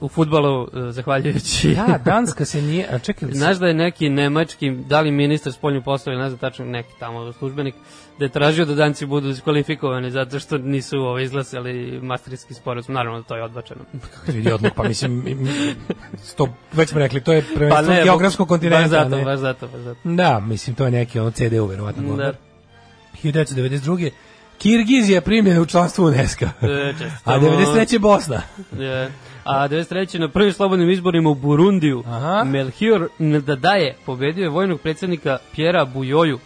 Speaker 2: u futbalu, e, zahvaljujući...
Speaker 1: Da, Danska se nije... A čekaj,
Speaker 2: (laughs) Znaš da je neki nemački, da li ministar spoljnih poslova, ne znam tačno, neki tamo službenik, da je tražio da danci budu diskvalifikovani zato što nisu ovo, izglasali mastrijski sporazum. Naravno da to je odbačeno.
Speaker 1: vidi odmah, pa mislim, im- sto, već smo rekli, to je prvenstvo
Speaker 2: Pa ne,
Speaker 1: geografskog
Speaker 2: Baš
Speaker 1: kontinenta.
Speaker 2: zato,
Speaker 1: ne?
Speaker 2: baš zato, baš zato.
Speaker 1: Da, mislim, to je neki ono CDU, verovatno.
Speaker 2: Da.
Speaker 1: govor. 1992. Kirgizija primljena u članstvo UNESCO.
Speaker 2: E, čestitamo.
Speaker 1: A 93. Bosna.
Speaker 2: E, A 93. na prvim slobodnim izborima u Burundiju
Speaker 1: Aha.
Speaker 2: Melchior Ndadaje pobedio je vojnog predsjednika Pjera Bujoju.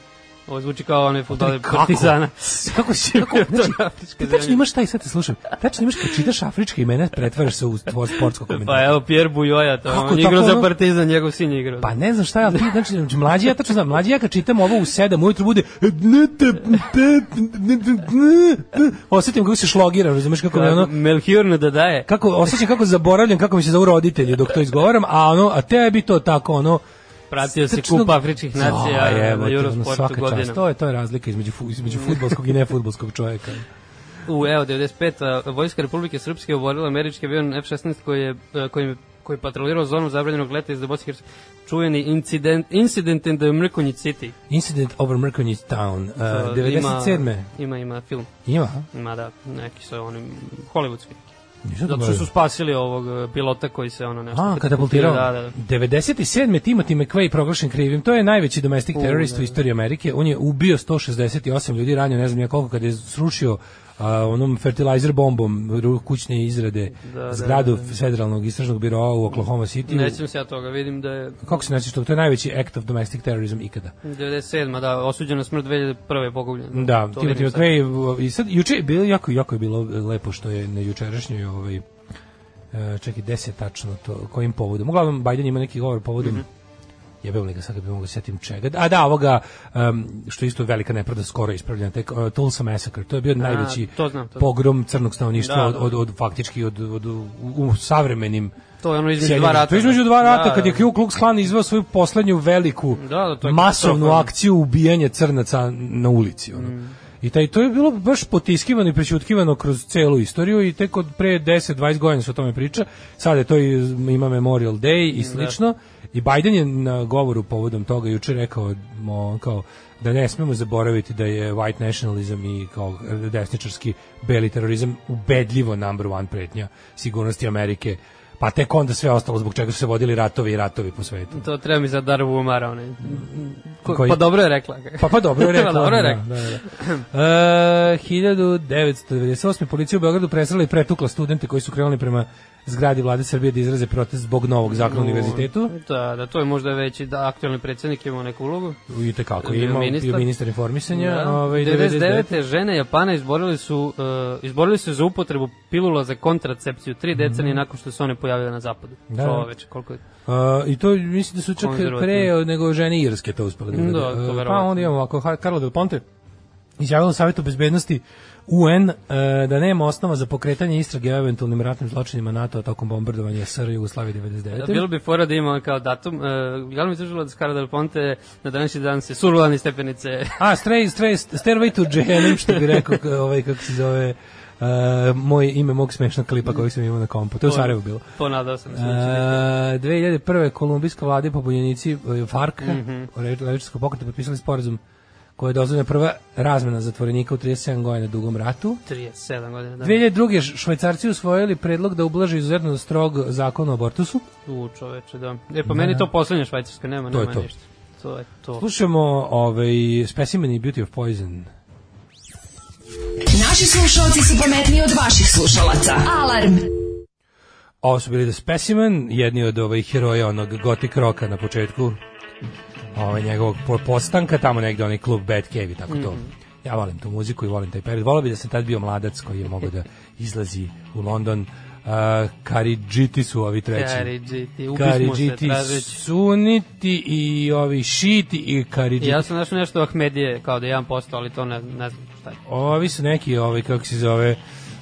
Speaker 2: Ovo zvuči kao onaj futbaler
Speaker 1: (laughs) Pa kako?
Speaker 2: Partizana.
Speaker 1: Kako si? Kako,
Speaker 2: To je
Speaker 1: znači,
Speaker 2: afrička
Speaker 1: ti tačno
Speaker 2: zemlja.
Speaker 1: imaš taj, sad te slušam, tačno imaš kad čitaš afričke imena, pretvaraš se u tvoj sportsko komentar.
Speaker 2: Pa evo, Pierre Bujoja, to
Speaker 1: Kako
Speaker 2: on igrao
Speaker 1: tako, ono?
Speaker 2: za Partizan, njegov sin je igrao.
Speaker 1: Pa ne znam šta, ali ti, znači, znači, mlađi ja tačno znam, mlađi ja kad čitam ovo u sedam ujutru bude "E, osjetim kako se šlogiram, razumeš kako me ono,
Speaker 2: Da, Melchior Ndadaje.
Speaker 1: kako osjećam kako zaboravljam kako mi se zovu roditelji dok to izgovaram, a ono, a tebi to tako ono,
Speaker 2: Pratio se
Speaker 1: Strčno-
Speaker 2: da kup afričkih nacija
Speaker 1: Aj, Pa, evo
Speaker 2: na
Speaker 1: ti, ono,
Speaker 2: Eurosportu
Speaker 1: svaka čast.
Speaker 2: godina.
Speaker 1: To je, to je razlika između, fu, između futbolskog i nefutbolskog čovjeka.
Speaker 2: U evo 95. a, Vojska Republike Srpske oborila američki avion F-16 koji je, e, koji, koji je patrolirao zonu zabranjenog leta iz Bosne i Hercegovine. Čuveni incident, incident in the Mrkonjić City.
Speaker 1: Incident over Mrkonjić Town, uh,
Speaker 2: E,
Speaker 1: 97.
Speaker 2: Ima, ima, ima film.
Speaker 1: Ima?
Speaker 2: Ima da, neki su oni hollywoodski.
Speaker 1: Nisam
Speaker 2: Zato što su spasili ovog e, pilota koji se ono nešto...
Speaker 1: A, katapultirao. Mm.
Speaker 2: Da, da, da.
Speaker 1: 97. Timothy McVeigh proglašen krivim. To je najveći domestic terorist
Speaker 2: da.
Speaker 1: u istoriji Amerike. On je ubio 168 ljudi, ranio ne znam nije koliko, kada je srušio a, onom fertilizer bombom ru- kućne izrade
Speaker 2: Da, da,
Speaker 1: zgradu federalnog istražnog biroa u Oklahoma City.
Speaker 2: Nećem se ja toga, vidim da je
Speaker 1: Kako se nećeš to? To je najveći act of domestic terrorism ikada.
Speaker 2: 97. da, osuđena smrt 2001. pogubljen.
Speaker 1: Da,
Speaker 2: To
Speaker 1: Timothy
Speaker 2: vidim sad.
Speaker 1: McVeigh i sad juče je bilo jako jako je bilo lepo što je na jučerašnjoj ovaj e, čekaj 10 tačno to kojim povodom. Uglavnom Biden ima neki govor povodom.
Speaker 2: Mhm.
Speaker 1: Mm -hmm. Jebem li ga sad da bi mogao da se setim čega. A da, ovoga, um, što je isto velika nepravda, skoro ispravljena, tek, uh, Tulsa Massacre, to je bio najveći
Speaker 2: to znam, to znam.
Speaker 1: pogrom crnog stanovništva
Speaker 2: Da,
Speaker 1: od,
Speaker 2: da.
Speaker 1: od, od, faktički od, od, u, u savremenim
Speaker 2: To je ono između
Speaker 1: Sjedinjenim-
Speaker 2: dva rata.
Speaker 1: To je između dva rata,
Speaker 2: Da,
Speaker 1: kad je
Speaker 2: da.
Speaker 1: Ku Klux Klan izveo svoju poslednju veliku
Speaker 2: Da, da, to je
Speaker 1: masovnu
Speaker 2: katastrofa.
Speaker 1: akciju ubijanja crnaca na ulici. Ono.
Speaker 2: Mm.
Speaker 1: I taj, to je bilo baš potiskivano i prećutkivano kroz celu istoriju i tek od pre 10-20 godina se o tome priča. Sada je to i, ima Memorial Day
Speaker 2: Da.
Speaker 1: i slično. I Biden je na govoru povodom toga juče rekao mo, kao, da ne smemo zaboraviti da je white nationalism i kao e, desničarski beli terorizam ubedljivo number one pretnja sigurnosti Amerike pa tek onda sve ostalo zbog čega su se vodili ratovi i ratovi po svetu.
Speaker 2: To treba mi za Darbu Umara, onaj. Ko,
Speaker 1: Koji?
Speaker 2: Pa dobro je rekla.
Speaker 1: Pa pa
Speaker 2: (laughs)
Speaker 1: dobro je rekla.
Speaker 2: Pa dobro je
Speaker 1: da,
Speaker 2: rekla.
Speaker 1: Da, da, da. E, 1998. policija u Beogradu presrela i pretukla studente koji su krenuli prema zgradi vlade Srbije da izraze protest zbog novog zakona o univerzitetu.
Speaker 2: Da, da, to je možda već i da aktualni predsednik ima neku ulogu.
Speaker 1: I tekako,
Speaker 2: Bio
Speaker 1: imao
Speaker 2: ministar.
Speaker 1: bio ministar informisanja.
Speaker 2: Da.
Speaker 1: ovaj,
Speaker 2: 99. žene Japana izborili su, uh, izborili su za upotrebu pilula za kontracepciju tri decenije nakon što se one pojavile na zapadu.
Speaker 1: Mhm. Da.
Speaker 2: Čoveč, koliko je...
Speaker 1: A, I to mislim da su čak
Speaker 2: Konzervativno.
Speaker 1: pre od- nego žene Irske to uspeli.
Speaker 2: Da,
Speaker 1: urade.
Speaker 2: to
Speaker 1: E, pa
Speaker 2: verovatno.
Speaker 1: onda imamo ovako, Har- Carlo Del Ponte izjavilo Savjetu bezbednosti UN e, da nema osnova za pokretanje istrage o eventualnim ratnim zločinima NATO-a tokom bombardovanja SR Jugoslavije 99.
Speaker 2: Da, bilo bi fora da ima kao datum. Uh, Glavni tužilac Cara del Ponte na današnji dan se survani stepenice. (laughs)
Speaker 1: A, stray, stray, stairway to Jehannam, što bi rekao, k- ovaj, kako se zove, uh, moj ime mog smešnog klipa koji sam imao na kompu. To je u Sarajevu bilo.
Speaker 2: Ponadao sam
Speaker 1: Uh,
Speaker 2: se. da će biti.
Speaker 1: 2001. kolumbijska vlada i pobunjenici e, FARC, mm -hmm. levičarskog pokreta, potpisali sporazum koja je dozvoljena prva razmena zatvorenika u 37 godina dugom ratu.
Speaker 2: 37 godina, da.
Speaker 1: 2002. š- švajcarci usvojili predlog da ublaže izuzetno strog zakon o abortusu.
Speaker 2: U čoveče, da. E pa meni je to poslednja švajcarska, nema,
Speaker 1: To je
Speaker 2: nema
Speaker 1: to.
Speaker 2: ništa. To je to.
Speaker 1: Slušamo ovaj, Specimen i Beauty of Poison.
Speaker 3: Naši slušalci su pametniji od vaših slušalaca. Alarm.
Speaker 1: Ovo su bili The Specimen, jedni od ovaj heroja onog gotik roka na početku ovaj, njegovog po- postanka, tamo negde onaj klub Bad Cave i tako to.
Speaker 2: Mm-hmm.
Speaker 1: Ja volim tu muziku i volim taj period. Volao bi da sam tad bio mladac koji je mogao da izlazi u London. Uh, Karidžiti su ovi treći.
Speaker 2: Karidžiti, ubismo se
Speaker 1: Karidžiti,
Speaker 2: tražeći.
Speaker 1: Suniti i ovi Šiti i Karidžiti.
Speaker 2: Ja sam našao nešto Ahmedije, kao da je 1%, ali to ne, ne znam šta je.
Speaker 1: Ovi su neki, ovaj, kako se zove,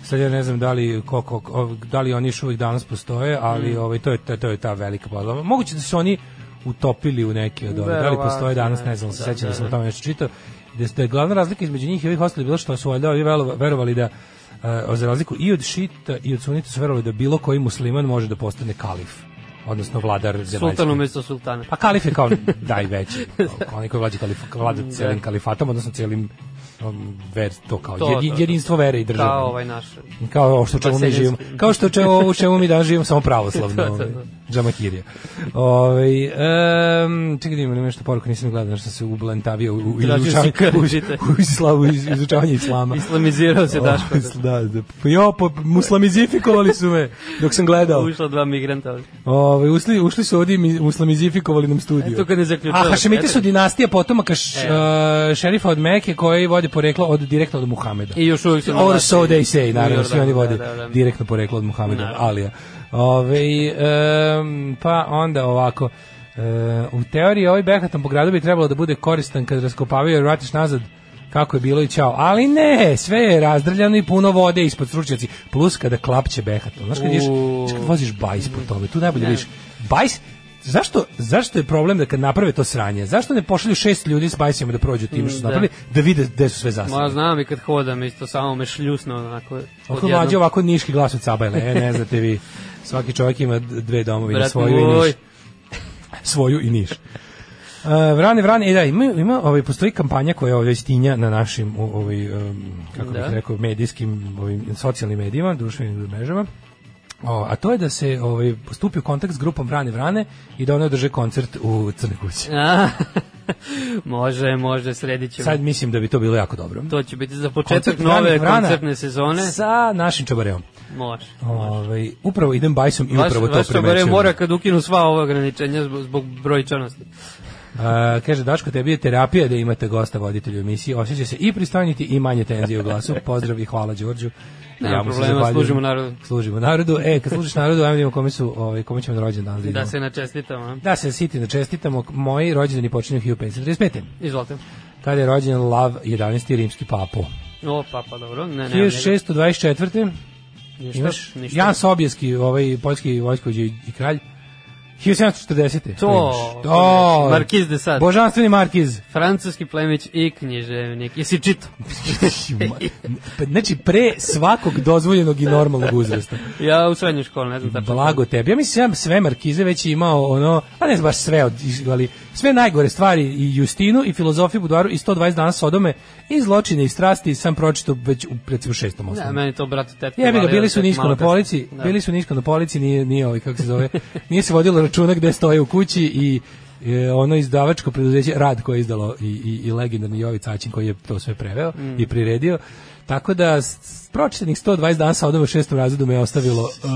Speaker 1: sad ja ne znam da li, koliko, ov- da li oni još uvijek danas postoje, ali
Speaker 2: Mm.
Speaker 1: ovaj, to, je, to, to je ta velika podlova. Moguće da su oni utopili u neke od ovih. Da li
Speaker 2: Verovatno,
Speaker 1: postoje danas, ne znam,
Speaker 2: ne.
Speaker 1: se
Speaker 2: Da,
Speaker 1: sećam da
Speaker 2: da,
Speaker 1: sam o
Speaker 2: da.
Speaker 1: tome nešto čitao. Da, da je glavna razlika između njih i ovih ostalih bilo što su valjda ovi velo- verovali da e, za razliku i od šita i od sunita su verovali da bilo koji musliman može da postane kalif, odnosno vladar zemaljski.
Speaker 2: Sultan umesto sultana.
Speaker 1: Pa kalif je kao daj veći, kao onaj koji vlađa kalif, vlada
Speaker 2: Da.
Speaker 1: celim kalifatom, odnosno celim um, ver, to kao
Speaker 2: To,
Speaker 1: to, jedi,
Speaker 2: to, to.
Speaker 1: jedinstvo vere i države.
Speaker 2: Kao pa ovaj naš.
Speaker 1: Kao ovo što čemu mi
Speaker 2: Vaseljenski.
Speaker 1: živimo. Kao što čemu, u čemu mi danas živimo samo
Speaker 2: (laughs)
Speaker 1: pravoslavno.
Speaker 2: To, to, to.
Speaker 1: ovaj, Džamakirija. Ovaj em, čekaj da imam nešto poruku, nisam gledao, nešto sam se ublentavio u, u,
Speaker 2: Tražio si
Speaker 1: izučavanje, u,
Speaker 2: karadžite.
Speaker 1: (laughs) u, islamu, iz- izučavanje islama.
Speaker 2: Islamizirao se Daško.
Speaker 1: (laughs) O, da, da. Jo, po, muslamizifikovali su me dok sam gledao.
Speaker 2: Ušla dva migranta. ovdje.
Speaker 1: Ovaj ušli, ušli su ovdje i mi- muslamizifikovali nam studio.
Speaker 2: E, to kad ne zaključava.
Speaker 1: A Hašemiti su dinastija potomaka š,
Speaker 2: E.
Speaker 1: uh, šerifa od Meke koji vodi poreklo od direktno od Muhameda.
Speaker 2: I još uvijek su na
Speaker 1: Or
Speaker 2: vlasti.
Speaker 1: so they say,
Speaker 2: U
Speaker 1: naravno,
Speaker 2: Jordanu,
Speaker 1: svi oni vode
Speaker 2: da, da, da.
Speaker 1: direktno poreklo od Muhameda,
Speaker 2: Naravno.
Speaker 1: Alija. Ove, um, pa onda ovako, e, u teoriji ovaj Behaton po gradu bi trebalo da bude koristan kad raskopavaju jer vratiš nazad kako je bilo i čao. Ali ne, sve je razdrljano i puno vode ispod stručnjaci. Plus kada klapće Behaton. Znaš kad, ješ,
Speaker 2: Uuu.
Speaker 1: kad voziš bajs po tome, tu najbolje vidiš. Bajs, zašto, zašto je problem da kad naprave to sranje? Zašto ne pošalju šest ljudi s bajsima da prođu tim što su
Speaker 2: Da.
Speaker 1: napravili, da vide gde su sve zasade?
Speaker 2: Ma znam i kad hodam isto samo me šljusno onako.
Speaker 1: Ovako
Speaker 2: odjednom.
Speaker 1: mlađe, Pa ovako niški glas od Cabajle, e, ne znate vi. Svaki čovjek ima d- dve domovine,
Speaker 2: Brat
Speaker 1: svoju i
Speaker 2: moj.
Speaker 1: niš. Svoju i niš. Uh, vrane, vrane, e da, ima, ima ovaj, postoji kampanja koja ovdje stinja na našim o- ovaj, um, kako bih
Speaker 2: Da.
Speaker 1: rekao, medijskim, ovim, socijalnim medijima, društvenim mrežama, o, a to je da se ovaj, stupi u kontakt s grupom Vrane Vrane i da one održe koncert u Crnoj kući.
Speaker 2: A, (laughs) može, može, sredit ćemo.
Speaker 1: Sad mislim da bi to bilo jako dobro.
Speaker 2: To će biti za
Speaker 1: Koncert
Speaker 2: početak
Speaker 1: Vrane
Speaker 2: nove
Speaker 1: Vrana
Speaker 2: koncertne sezone.
Speaker 1: Sa našim čabareom.
Speaker 2: Može.
Speaker 1: Ovaj, upravo idem bajsom i
Speaker 2: Vaš,
Speaker 1: upravo to
Speaker 2: vaš čabarej
Speaker 1: primećujem.
Speaker 2: mora kad ukinu sva ova ograničenja zbog, zbog brojčanosti.
Speaker 1: A, kaže Daško, tebi je terapija da imate gosta voditelju emisije. Osjeća se i pristojniti i manje tenzije u
Speaker 2: (laughs)
Speaker 1: glasu. Pozdrav i hvala Đorđu.
Speaker 2: Nema
Speaker 1: mu se
Speaker 2: problema,
Speaker 1: zahvaljujem.
Speaker 2: služimo narodu.
Speaker 1: Služimo narodu. E, kad služiš narodu, ajmo da vidimo kome su, ovaj kome ćemo na rođendan da idemo.
Speaker 2: Da se načestitamo. a?
Speaker 1: da se siti da čestitamo. Moji rođendani počinju 1535.
Speaker 2: Izvolite.
Speaker 1: Kada je rođen Lav 11. rimski papo.
Speaker 2: O, pa, pa dobro. Ne, ne, ne,
Speaker 1: 1624.
Speaker 2: ništa,
Speaker 1: Imaš
Speaker 2: ništa.
Speaker 1: Jan Sobieski, ovaj poljski vojskovođa i i kralj. 1740.
Speaker 2: To,
Speaker 1: Imaš.
Speaker 2: to
Speaker 1: to,
Speaker 2: je Markiz de Sade.
Speaker 1: Božanstveni Markiz.
Speaker 2: Francuski plemić i književnik. Jesi čito?
Speaker 1: Pa, znači pre svakog dozvoljenog i normalnog uzrasta.
Speaker 2: Ja u srednjoj školi, ne znam tačno.
Speaker 1: Blago tebi. Ja mislim ja sve Markize već imao ono, a ne znam baš sve, od, ali sve najgore stvari i Justinu i filozofiju Budaru i 120 dana Sodome i zločine i strasti sam pročitao već u recimo šestom
Speaker 2: Ne,
Speaker 1: osnovu.
Speaker 2: Da, meni to bratu tetke.
Speaker 1: Jebi ga,
Speaker 2: valio
Speaker 1: bili su
Speaker 2: tek
Speaker 1: nisko
Speaker 2: malo
Speaker 1: na polici,
Speaker 2: kasnije. Da. (laughs)
Speaker 1: bili su nisko na polici, nije, nije ovaj, kako se zove, nije se vodilo računa gde stoje u kući i e, ono izdavačko preduzeće Rad koje je izdalo i, i, i legendarni Jovi Caćin koji je to sve preveo mm. i priredio. Tako da s- pročitanih 120 dana sa odom u šestom razredu me ostavilo e,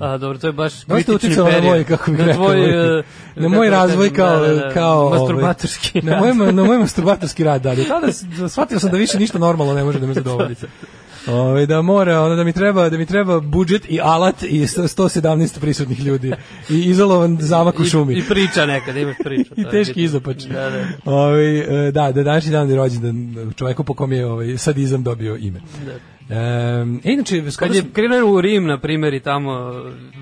Speaker 2: A, dobro, to je baš
Speaker 1: Dosta
Speaker 2: kritični
Speaker 1: uticalo na
Speaker 2: period.
Speaker 1: moj, kako bih
Speaker 2: na
Speaker 1: rekao,
Speaker 2: tvoj,
Speaker 1: moj-
Speaker 2: e,
Speaker 1: na moj
Speaker 2: kako
Speaker 1: razvoj
Speaker 2: kažem,
Speaker 1: kao-
Speaker 2: da, da, da,
Speaker 1: kao, ovaj,
Speaker 2: masturbatorski.
Speaker 1: na moj, na moj masturbatorski rad
Speaker 2: (laughs)
Speaker 1: dalje. Tada s- shvatio sam da više ništa normalno ne može da me zadovolji. Ove, da mora, ono, da mi treba, da mi treba budžet i alat i sto- 117 prisutnih ljudi i izolovan zamak u šumi.
Speaker 2: I, I priča nekad, imaš
Speaker 1: (laughs)
Speaker 2: priču.
Speaker 1: I
Speaker 2: to je
Speaker 1: teški
Speaker 2: bitno.
Speaker 1: izopač.
Speaker 2: Da, da.
Speaker 1: Ovaj, e, da, da današnji dan je rođendan čoveku po kom je ovaj, sadizam dobio ime. Ehm, e, inače, skoro
Speaker 2: Da. Kad je krenuo u Rim, na primjer, i tamo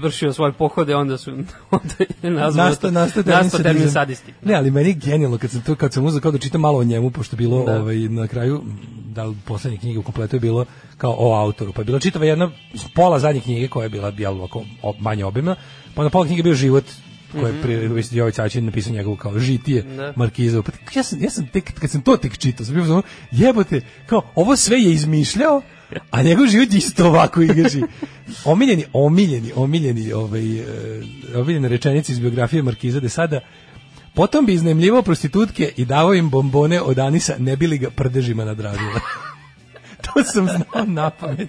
Speaker 2: vršio svoje pohode, onda su (laughs) onda je nazvao
Speaker 1: Nasta,
Speaker 2: to-
Speaker 1: nasta termin,
Speaker 2: nastao termin
Speaker 1: sadizam.
Speaker 2: sadisti.
Speaker 1: Ne, ali meni je genijalno kad sam to kad sam uzeo kao da čitam malo o njemu pošto je bilo
Speaker 2: Da.
Speaker 1: ovaj na kraju da li poslednje knjige u kompletu je bilo kao o autoru. Pa je bila čitava jedna pola zadnje knjige koja je bila bjel ovako o- manje obimna. Pa na pola knjige je bio život koji je pri Vesti Jović Sačin napisao njegovu kao žitije
Speaker 2: Mhm. Da.
Speaker 1: Markiza. Pa tek- ja sam, ja sam tek, kad sam to tek čitao, sam bio u fazonu, jebote, kao, ovo sve je izmišljao, a njegov život je isto ovako
Speaker 2: (laughs)
Speaker 1: igraži. Omiljeni, omiljeni, omiljeni, ovaj, e, omiljene rečenice iz biografije Markiza de Sada, Potom bi iznemljivao prostitutke i davao im bombone od Anisa, ne bi li ga prdežima nadražila. (laughs) to sam znao na pamet.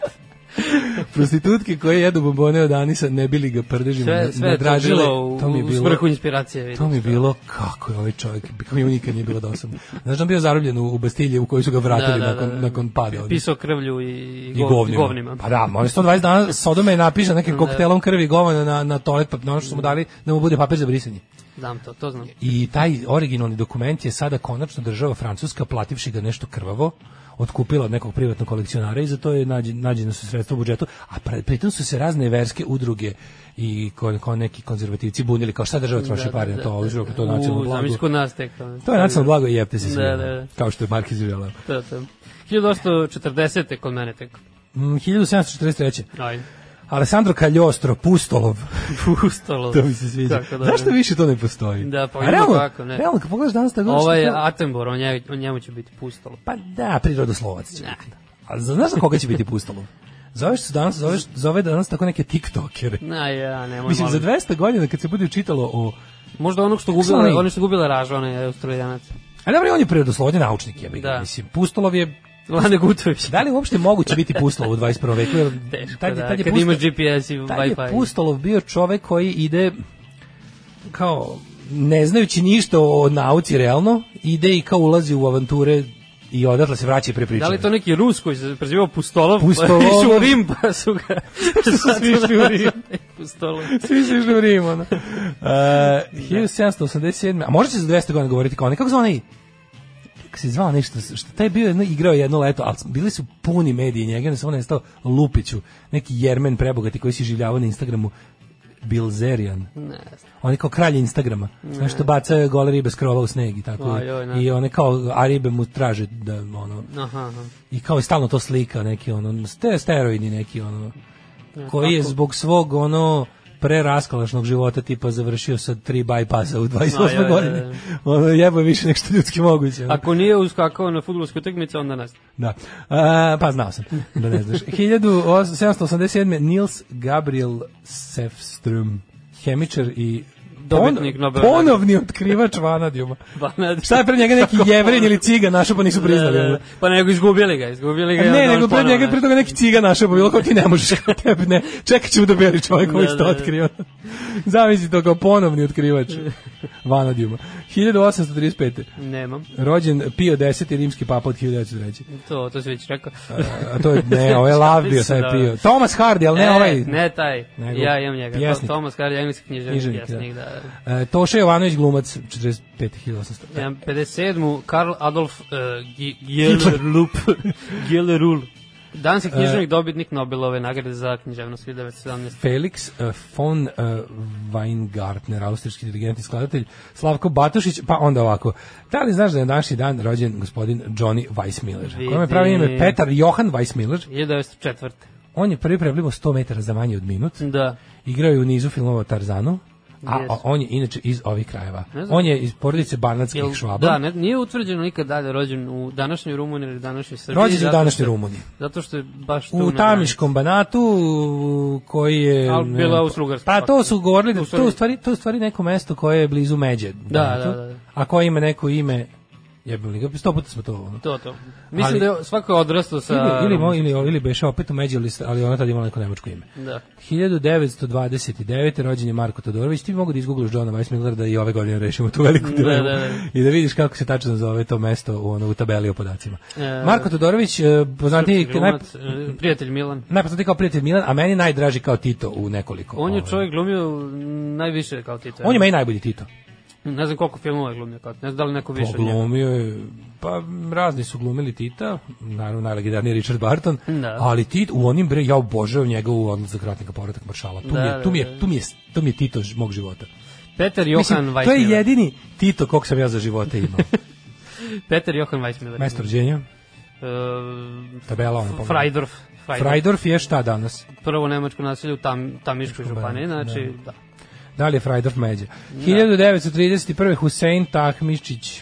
Speaker 1: Prostitutke koje jedu bombone od Anisa, ne bi li ga prdežima
Speaker 2: Sve, sve je to
Speaker 1: nadražile.
Speaker 2: bilo u, u svrhu inspiracije. vidim.
Speaker 1: To mi je bilo kako je ovaj čovjek, kako mi nikad nije bilo dosadno. Znaš da on bio zarobljen u, u Bastilje u koju su ga vratili da, da, nakon, da. nakon pada.
Speaker 2: Pisao krvlju i,
Speaker 1: I govnima.
Speaker 2: govnima. Da.
Speaker 1: Pa da, on je 120 dana Sodome je napisan nekim koktelom krvi i govana na, na toalet, pa na ono što su mu dali da mu bude papir za brisanje.
Speaker 2: Znam to, to znam.
Speaker 1: I taj originalni dokument je sada konačno država Francuska, plativši ga nešto krvavo, otkupila od nekog privatnog kolekcionara i za to je nađe- nađeno su sredstva u budžetu, a pre- pritom su se razne verske udruge i ko, ko neki konzervativci bunili kao šta država troši pare na to, uzrok to nacionalno
Speaker 2: Da, U, zamisli
Speaker 1: blago.
Speaker 2: kod nas tek.
Speaker 1: To je nacionalno blago i jebte se svi.
Speaker 2: Da, da, da.
Speaker 1: Kao što je Markiz želeo.
Speaker 2: To, to. 1840. kod mene tek.
Speaker 1: Mm, 1743.
Speaker 2: Ajde.
Speaker 1: Alessandro Cagliostro, Pustolov.
Speaker 2: (laughs)
Speaker 1: (laughs)
Speaker 2: Pustalo. da,
Speaker 1: to mi se sviđa.
Speaker 2: Kako dobro.
Speaker 1: Zašto više to ne postoji?
Speaker 2: Da, pa
Speaker 1: A
Speaker 2: ima
Speaker 1: realno,
Speaker 2: tako, ne. Ovaj
Speaker 1: Realno, kad pogledaš danas tako...
Speaker 2: Ovo je Attenborough, on njemu, on njemu će biti pustalo.
Speaker 1: Pa da, prirodoslovac će biti. A za- znaš za koga će biti Pustolov? Zoveš se danas, zoveš, zove danas tako neke tiktokere.
Speaker 2: Na ja, nemoj
Speaker 1: Mislim, za
Speaker 2: Da, molim.
Speaker 1: 200 godina kad se bude čitalo o...
Speaker 2: Možda onog što gubila,
Speaker 1: Slani.
Speaker 2: oni što gubila raža, onaj australijanac.
Speaker 1: A dobro, on je prirodoslovni naučnik, je ga.
Speaker 2: Da.
Speaker 1: Mislim, Pustolov je...
Speaker 2: Lane Gutović.
Speaker 1: Da li je uopšte moguće biti Pustolov u 21. veku? Jer
Speaker 2: Teško,
Speaker 1: tad je-
Speaker 2: da,
Speaker 1: tad je
Speaker 2: kad
Speaker 1: Pusto-
Speaker 2: imaš GPS i
Speaker 1: Tad je
Speaker 2: Wi-Fi.
Speaker 1: Pustolov bio čovek koji ide kao ne znajući ništa o nauci realno, ide i kao ulazi u avanture i odatle se vraća i prepričava.
Speaker 2: Da li je to neki Rus koji se prezivao Pustolov?
Speaker 1: Pustolov.
Speaker 2: Pa (laughs) išao u Rim, pa su ga...
Speaker 1: (laughs)
Speaker 2: (laughs)
Speaker 1: svi išli u Rim?
Speaker 2: Pustolov.
Speaker 1: Svi su išli u Rim, (laughs) ono. Uh, E, 1787. A možete za 200 godina govoriti kao onaj, kako zvao onaj, kako se zvao nešto, što taj je bio jedno, igrao je jedno leto, ali bili su puni mediji njega, onda se on je stao Lupiću, neki jermen prebogati koji si življavao na Instagramu, Bilzerian.
Speaker 2: Ne,
Speaker 1: On je kao kralj Instagrama. Znaš što baca gole ribe s krova u sneg i tako.
Speaker 2: Aj, joj, ne.
Speaker 1: I one kao, a ribe mu traže da, ono,
Speaker 2: aha, aha.
Speaker 1: i kao je stalno to slika neki ono ste steroidni neki ono koji je zbog svog ono preraskalašnog života tipa završio sa tri bypassa u 28
Speaker 2: Aj, aj, aj,
Speaker 1: godine.
Speaker 2: aj.
Speaker 1: (laughs) Ono jebo je više nego što je ljudski moguće. ono.
Speaker 2: Ako nije uskakao na futbolsku utakmicu, onda nas.
Speaker 1: Da. A, pa znao sam da ne
Speaker 2: (laughs)
Speaker 1: znaš. 1787. Nils Gabriel Sefström, hemičar i
Speaker 2: Dobitnik Nobelove nagrade.
Speaker 1: ponovni otkrivač
Speaker 2: (laughs)
Speaker 1: vanadijuma.
Speaker 2: Vanadijum.
Speaker 1: Šta je pre njega neki jevrin ili ciga našao pa nisu priznali?
Speaker 2: Pa Da, da,
Speaker 1: ono?
Speaker 2: da. Pa nego izgubili ga, izgubili ga. i
Speaker 1: Ne,
Speaker 2: onda on
Speaker 1: nego pre
Speaker 2: E, da, ponovo,
Speaker 1: njega
Speaker 2: ne.
Speaker 1: pre toga neki ciga našao, pa bilo kao ti ne možeš, tebi ne. Čekat ćemo da beli čovjek koji
Speaker 2: Da,
Speaker 1: to
Speaker 2: da, da.
Speaker 1: otkrio. Zamisli to kao ponovni otkrivač vanadijuma. 1835.
Speaker 2: Nemam,
Speaker 1: Rođen Pio X, rimski papa od 1903.
Speaker 2: to, to si već rekao.
Speaker 1: A to je,
Speaker 2: (laughs)
Speaker 1: ne, ovo je lav bio, sad je
Speaker 2: Mislim da-
Speaker 1: Pio. Thomas Hardy, ali ne
Speaker 2: E,
Speaker 1: ovaj.
Speaker 2: Ne taj,
Speaker 1: Nego
Speaker 2: ja imam njega.
Speaker 1: pjesnik.
Speaker 2: Pjesnik. Tomas Karli, engleski književnik,
Speaker 1: Književnik, da.
Speaker 2: pjesnik, da. da.
Speaker 1: E, Toša Jovanović glumac, 45. 1800.
Speaker 2: Ja imam 57. Karl Adolf uh, Gjellerup. (laughs) Gjellerul. Danas je
Speaker 1: E.
Speaker 2: književnik dobitnik Nobelove nagrade za književnost 1917.
Speaker 1: Felix eh, von eh, Weingartner, austrijski dirigent i skladatelj, Slavko Batošić, pa onda ovako. Da li znaš da je na današnji dan rođen gospodin Johnny Weissmiller? Kome pravi ime
Speaker 2: Vidi.
Speaker 1: Petar Johan Weissmiller.
Speaker 2: 1904.
Speaker 1: On je prvi preplivo 100 metara za manje od minut.
Speaker 2: Da.
Speaker 1: Igrao je u nizu filmova o Tarzanu. A
Speaker 2: Yes.
Speaker 1: o- on je inače iz ovih krajeva.
Speaker 2: Ne znam.
Speaker 1: On je iz porodice banatskih
Speaker 2: Jel-
Speaker 1: švaba.
Speaker 2: Da, ne, nije utvrđeno nikad dalje rođen u današnjoj Rumuniji ili današnjoj Srbiji.
Speaker 1: Rođen je u
Speaker 2: zato
Speaker 1: današnjoj
Speaker 2: što-
Speaker 1: Rumuniji.
Speaker 2: Zato što je baš tu.
Speaker 1: u
Speaker 2: na
Speaker 1: Tamiškom banatu u- koji je
Speaker 2: Ali
Speaker 1: ne
Speaker 2: bila
Speaker 1: znam,
Speaker 2: Austrougarska
Speaker 1: Pa to su govorili da
Speaker 2: U
Speaker 1: to
Speaker 2: stvari-
Speaker 1: je u stvari to je u stvari neko mesto koje je blizu Međe. Banatu,
Speaker 2: da, da, da.
Speaker 1: A koje ima neko ime jebem li ga, sto puta smo to ono.
Speaker 2: granici. To, to. Mislim
Speaker 1: Ali-
Speaker 2: da je svako odrastao sa...
Speaker 1: Ili, ili, mo- ili, ili beše opet u Međe, ali, ali ona tad imala neko nemačko ime.
Speaker 2: Da.
Speaker 1: 1929. rođen je Marko Todorović. Ti bi mogu da izgooglaš Johna Weissmillera da i ove godine rešimo tu veliku dilemu.
Speaker 2: da, da.
Speaker 1: I da vidiš kako se tačno zove to mesto u, ono, u tabeli o podacima.
Speaker 2: E,
Speaker 1: Marko Todorović, e, poznatiji
Speaker 2: Srpski
Speaker 1: naj,
Speaker 2: glumac, e, prijatelj Milan.
Speaker 1: najpoznatiji kao prijatelj Milan, a meni najdraži kao Tito u nekoliko.
Speaker 2: On je
Speaker 1: ovaj.
Speaker 2: čovjek glumio najviše kao Tito.
Speaker 1: On je meni najbolji Tito.
Speaker 2: Ne znam koliko filmova je glumio kao Tito. Ne znam da li neko više od njega.
Speaker 1: Poglumio je, pa m, razni su glumili Tita, naravno najlegendarniji je Richard Barton,
Speaker 2: Da.
Speaker 1: ali Tit u onim bre, ja obožavam njegovu odlazak ratnika povratak maršala. Tu,
Speaker 2: Da,
Speaker 1: mi
Speaker 2: da,
Speaker 1: je, tu, mi
Speaker 2: da.
Speaker 1: je, tu, mi je, tu mi je Tito ž- mog života.
Speaker 2: Peter Johan
Speaker 1: Mislim, to je
Speaker 2: Weissmiller.
Speaker 1: jedini Tito kog sam ja za života
Speaker 2: (laughs)
Speaker 1: imao.
Speaker 2: Peter Johan Weissmiller.
Speaker 1: Mesto rođenja,
Speaker 2: E,
Speaker 1: tabela ona pomena.
Speaker 2: Freidorf.
Speaker 1: Freidorf je šta danas?
Speaker 2: Prvo nemačko naselje u Tam, Tamiškoj županiji, znači, da.
Speaker 1: Da li je Freidorf međe? 1931. Husein Tahmičić,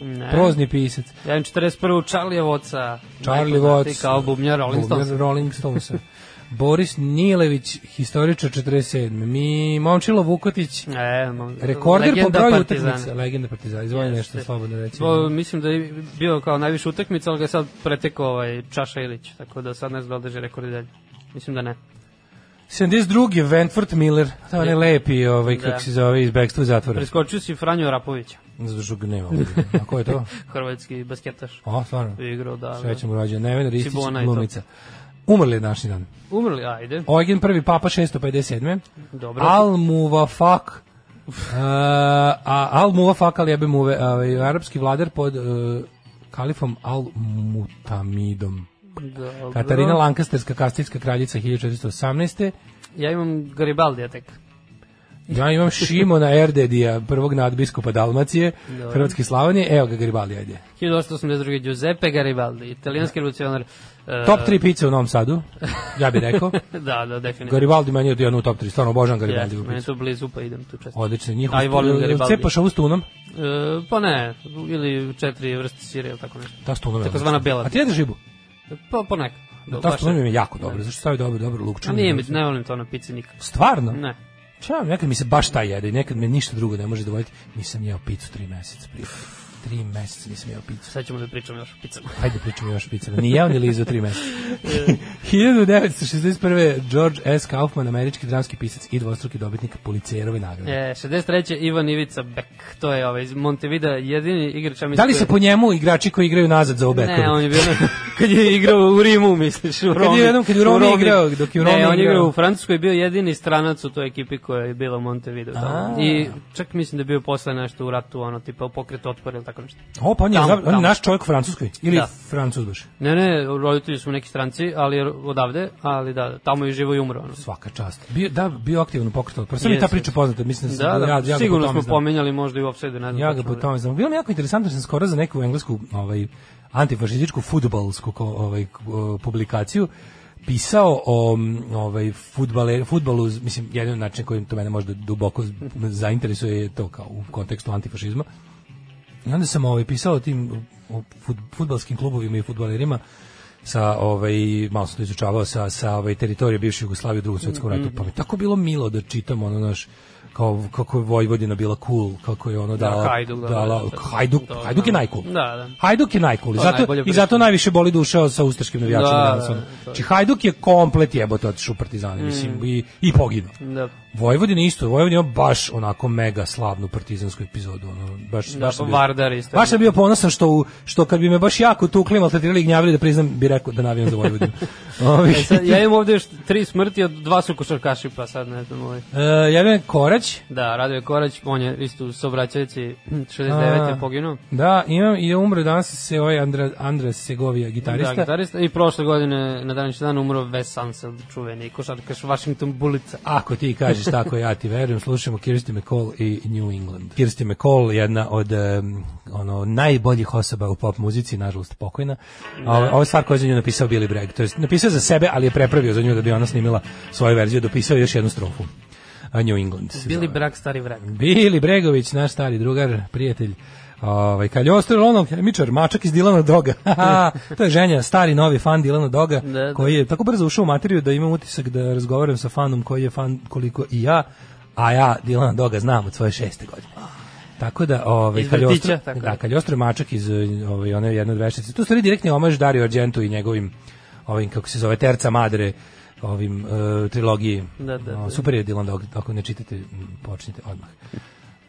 Speaker 2: E. Ne.
Speaker 1: prozni pisac.
Speaker 2: Ja imam 41. Charlie Voca.
Speaker 1: Charlie
Speaker 2: najpoznatiji
Speaker 1: Watts.
Speaker 2: Kao bubnjar Rolling
Speaker 1: Bubnjar
Speaker 2: Stones.
Speaker 1: Rolling Stonesa. (laughs) Boris Nilević, historičar 47. Mi Momčilo Vukotić,
Speaker 2: E, mam-
Speaker 1: rekorder po
Speaker 2: legenda
Speaker 1: broju
Speaker 2: Partizana.
Speaker 1: utakmica. Legenda Partizana. Izvoli
Speaker 2: Jeste.
Speaker 1: nešto slobodno reći.
Speaker 2: Bo, mislim da je bio kao najviše utakmica, ali ga je sad pretekao ovaj Čaša Ilić, tako da sad ne znam da li drži rekord i dalje. Mislim da ne.
Speaker 1: 72. Ventford Miller. To je onaj lepi, ovaj,
Speaker 2: Da.
Speaker 1: kako se zove, iz Bekstva zatvora.
Speaker 2: Preskočio si Franjo Rapovića,
Speaker 1: Zbog nema. ovdje. A ko je
Speaker 2: (laughs)
Speaker 1: to?
Speaker 2: hrvatski basketaš.
Speaker 1: O, stvarno.
Speaker 2: Igrao, da.
Speaker 1: Srećem urađen. Neven Ristić,
Speaker 2: Cibona i to.
Speaker 1: glumica. Umrli je današnji dan.
Speaker 2: Umrli, ajde.
Speaker 1: Eugen prvi papa 657.
Speaker 2: Dobro.
Speaker 1: Al
Speaker 2: (laughs)
Speaker 1: Muvafak. Uh, a Al Muvafak ali jebe muve, ovaj arapski vladar pod uh, kalifom Al Mutamidom.
Speaker 2: Dobro.
Speaker 1: Katarina Lancasterska kastilska kraljica
Speaker 2: (laughs)
Speaker 1: 1418.
Speaker 2: Ja imam Garibaldija tek.
Speaker 1: Ja imam Šimona Erdedija, D-a, prvog nadbiskupa Dalmacije,
Speaker 2: Dobro.
Speaker 1: Hrvatske Slavonije. Evo ga Garibaldi, ajde.
Speaker 2: 1882. Giuseppe Garibaldi,
Speaker 1: Da.
Speaker 2: italijanski revolucionar. E,
Speaker 1: Top 3 pice u Novom Sadu, ja bih rekao.
Speaker 2: (laughs) Da, da, definitivno.
Speaker 1: Garibaldi meni je jedan u top 3, stvarno obožavam Garibaldi.
Speaker 2: Jeste,
Speaker 1: u
Speaker 2: meni je to blizu, pa idem tu često.
Speaker 1: Odlično, njih.
Speaker 2: A i volim Garibaldi.
Speaker 1: Cepaš ovu stunom?
Speaker 2: E, pa ne, ili četiri vrste sire ili tako nešto.
Speaker 1: Ta stunom Da, je
Speaker 2: Takozvana
Speaker 1: odlična.
Speaker 2: bela.
Speaker 1: A ti jedeš žibu?
Speaker 2: Pa, po neka. Do,
Speaker 1: Ta
Speaker 2: baš
Speaker 1: stunom
Speaker 2: ne.
Speaker 1: je jako dobro, zašto stavio dobro, dobro lukčan.
Speaker 2: A nije mi, ne volim to na pici nikako.
Speaker 1: da Stvarno?
Speaker 2: Ne.
Speaker 1: Čao, nekad mi se baš taj jede, i nekad me ništa drugo ne može dovoljiti. Nisam jeo picu tri meseca prije. Tri meseca nisam jeo picu.
Speaker 2: Sad ćemo da pričamo još o picama.
Speaker 1: Hajde pričamo još o picama. Ni jeo ni lizo tri meseca.
Speaker 2: (laughs)
Speaker 1: 1961. George S. Kaufman, američki dramski pisac i dvostruki dobitnik policerove nagrade.
Speaker 2: E, 63. Ivan Ivica Bek, to je ovaj iz Montevida, jedini igrač, ja mislim...
Speaker 1: Da li se
Speaker 2: koji-
Speaker 1: po njemu igrači koji igraju nazad za obekove?
Speaker 2: Ne, on je bio, (laughs) kad je igrao u Rimu, misliš, u Romi.
Speaker 1: jednom- kad je u Romi igrao, dok je u Romi
Speaker 2: Ne, on je igrao
Speaker 1: igrao.
Speaker 2: u Francuskoj, je bio jedini stranac u toj ekipi koja je bila u Montevideo.
Speaker 1: A.
Speaker 2: I čak mislim da je bio posle nešto u ratu, ono, tipa u pokretu otpora ili tako nešto.
Speaker 1: O, pa on je,
Speaker 2: Tamo,
Speaker 1: zabra- on
Speaker 2: tamo.
Speaker 1: je naš čovjek u Francuskoj. Ili
Speaker 2: Da.
Speaker 1: Francuz baš.
Speaker 2: Ne, ne, roditelji su neki stranci, ali je odavde, ali da, tamo je živo i umro. Ono.
Speaker 1: Svaka čast. Bio, da, bio aktivan u pokretu. otpora. Sve mi je ta
Speaker 2: Jeste,
Speaker 1: priča
Speaker 2: jeste.
Speaker 1: poznata. Mislim, sam-
Speaker 2: Da, da,
Speaker 1: ja, ja ga po
Speaker 2: sigurno
Speaker 1: tome
Speaker 2: smo
Speaker 1: znam.
Speaker 2: pomenjali možda i u offside, ne znam.
Speaker 1: Ja ga
Speaker 2: tačno,
Speaker 1: po
Speaker 2: ali-
Speaker 1: tome znam. Bilo mi jako interesantno, da sam skoro za neku englesku ovaj, antifašističku futbalsku ko, ovaj, k- o, publikaciju pisao o m, ovaj fudbaler fudbalu mislim jedan način kojim to mene možda duboko z- zainteresuje je to kao u kontekstu antifašizma I onda sam ovaj, pisao o tim o fut, futbalskim klubovima i futbalerima sa ovaj malo sam to izučavao sa sa ovaj teritorije bivše Jugoslavije u Drugom svetskom ratu.
Speaker 2: Mhm.
Speaker 1: Pa mi je tako bilo milo da čitam ono naš kao kako je Vojvodina bila cool, kako je ono dala
Speaker 2: Hajduk, da,
Speaker 1: dala
Speaker 2: da, da.
Speaker 1: Hajduk,
Speaker 2: To
Speaker 1: Hajduk je
Speaker 2: znam.
Speaker 1: najcool.
Speaker 2: Da, da.
Speaker 1: Hajduk je najcool. i
Speaker 2: To je
Speaker 1: Zato
Speaker 2: najbolje
Speaker 1: i
Speaker 2: priče.
Speaker 1: zato najviše boli duša sa ustaškim navijačima
Speaker 2: Da,
Speaker 1: danas.
Speaker 2: da, Mm.
Speaker 1: ono.
Speaker 2: to je.
Speaker 1: Znači Hajduk je komplet jebote otišao u Partizane, mislim i i poginuo.
Speaker 2: Da.
Speaker 1: Vojvodina isto, Vojvodina ima baš onako mega slavnu partizansku epizodu, ono, baš,
Speaker 2: Da,
Speaker 1: baš
Speaker 2: pa
Speaker 1: sam bio-
Speaker 2: Vardar isto.
Speaker 1: Baš sam bio ponosan što, u, što kad bi me baš jako tukli, maltretirali i gnjavili da priznam, bi rekao da navijam za
Speaker 2: (laughs)
Speaker 1: Vojvodinu. Ovi,
Speaker 2: E, sad, ja imam ovde još tri smrti od dva su košarkaši, pa sad ne znam ovaj.
Speaker 1: e, javio je Korać,
Speaker 2: Da, Radoje Korać, on je isto u saobraćajici 69.
Speaker 1: A.
Speaker 2: je poginuo.
Speaker 1: da, imam i umro danas se ovaj Andra, Andras Segovija, gitarista.
Speaker 2: Da, gitarista. I prošle godine na današnji dan umro Wes Ansel, čuveni košarkaš Washington Bulica.
Speaker 1: Ako ti kažeš tako, ja ti verujem. Slušamo Kirsty McCall i New England. Kirsty McCall jedna od em, ono najboljih osoba u pop muzici, nažalost pokojna. A
Speaker 2: Da.
Speaker 1: ovo, ovo je stvar koju je za nju napisao Billy Bragg. To jest napisao je za sebe, ali je prepravio za nju da bi ona snimila svoju verziju, dopisao je još jednu strofu. a New England. se
Speaker 2: Bili
Speaker 1: zove.
Speaker 2: brak, stari vrag.
Speaker 1: Bili Bregović, naš stari drugar, prijatelj. Ovaj Kaljostro Lonov hemičar, mačak iz Dilana Doga. (laughs) to je ženja, stari novi fan Dilana Doga,
Speaker 2: Da, da.
Speaker 1: koji je tako brzo ušao u materiju da imam utisak da razgovaram sa fanom koji je fan koliko i ja, a ja Dilana Doga znam od svoje šeste godine. Tako da, ovaj
Speaker 2: Iz vrtića,
Speaker 1: Kaljostro,
Speaker 2: tako
Speaker 1: da,
Speaker 2: da.
Speaker 1: Kaljostro je mačak iz eh, ovaj one jedne od veštice. Tu stvari direktni omaž Dario Argentu i njegovim ovim kako se zove Terca Madre ovim uh, trilogiji.
Speaker 2: Da, da,
Speaker 1: O,
Speaker 2: da.
Speaker 1: Super je Dylan Dog, ako ne čitate, m, počnite odmah.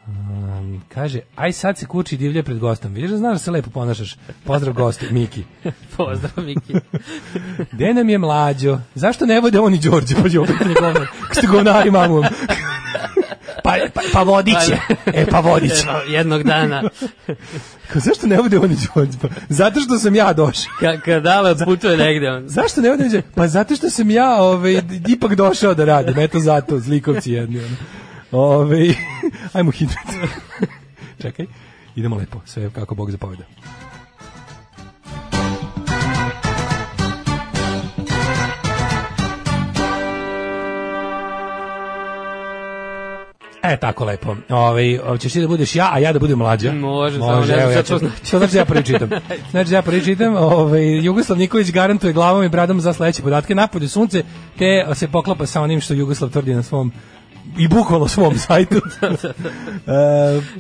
Speaker 1: Um, kaže, aj sad se kući divlje pred gostom. Vidiš da znaš da se lepo ponašaš. Pozdrav gostu, Miki.
Speaker 2: Pozdrav, (laughs) Miki.
Speaker 1: Gde nam je mlađo? Zašto ne vode on i Đorđe? Pođe opet na govnar. Ste govnari mamom. pa, pa, pa vodiće. E, pa vodiće.
Speaker 2: Evo, jednog dana. da.
Speaker 1: Kao, zašto ne vode on i Đorđe? Pa, zato što sam ja došao.
Speaker 2: Ka, kadava putuje negde on.
Speaker 1: Zašto ne odem? Pa zato što sam ja ovaj, ipak došao da radim, eto zato, zlikovci jedni. Ono. Ovaj, (laughs) ajmo hidrat. (laughs) Čekaj, idemo lepo, sve kako Bog zapoveda. E, tako lepo. Ovaj, hoćeš ti da budeš ja, a ja da budem mlađa.
Speaker 2: Može, samo ne znam
Speaker 1: evo, ja
Speaker 2: šta to
Speaker 1: ću-
Speaker 2: znači.
Speaker 1: To znači da ja prvi čitam. Znači da ja prvi čitam, ovaj, Jugoslav Nikolić garantuje glavom i bradom za sledeće podatke. Napolju sunce, te se poklapa sa onim što Jugoslav tvrdi na svom i bukvalno svom sajtu. e,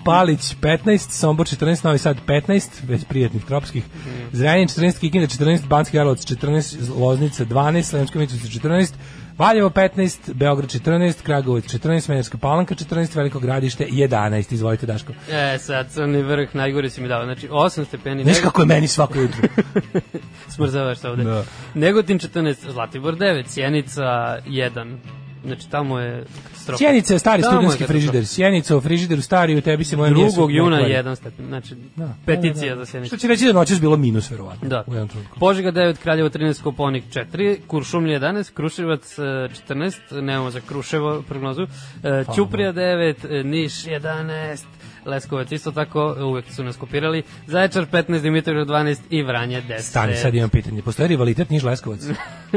Speaker 1: Palić 15, Sombor 14, Novi Sad 15, već prijatnih tropskih. Zrenjanin 14, Kikinda 14, Banski Karlovac 14, Loznica 12, Sremska Mitrovica 14, Valjevo 15, Beograd 14, Kragujevac 14, Menerska Palanka 14, Veliko Gradište 11. Izvolite Daško.
Speaker 2: E, sad, crni vrh, najgore si mi dao. Znači, 8 stepeni.
Speaker 1: Znaš
Speaker 2: Nego-
Speaker 1: kako je meni svako jutro?
Speaker 2: smrzavaš se ovde.
Speaker 1: Da.
Speaker 2: Da. Negotin 14, Zlatibor 9, Sjenica 1. Znači tamo je katastrofa.
Speaker 1: Sjenica je stari
Speaker 2: Tamo
Speaker 1: studentski
Speaker 2: katastrofa.
Speaker 1: frižider. Sjenica u frižideru stari, u tebi se moja
Speaker 2: 2. juna 1 stepen. Znači da. peticija da, za Sjenicu.
Speaker 1: Što će reći da noćas bilo minus, verovatno.
Speaker 2: Da.
Speaker 1: U jednom trenutku.
Speaker 2: Požega 9, Kraljevo 13, Koponik 4, Kuršumlje 11, Kruševac e, 14, nemamo za Kruševo prognozu, e, Ćuprija 9, e, Niš 11, Leskovac isto tako, e, uvek su nas kopirali, Zaječar 15, Dimitrov 12 i Vranje 10.
Speaker 1: Stani, sad imam pitanje. Postoji rivalitet Niš
Speaker 2: (laughs)
Speaker 1: Leskovac?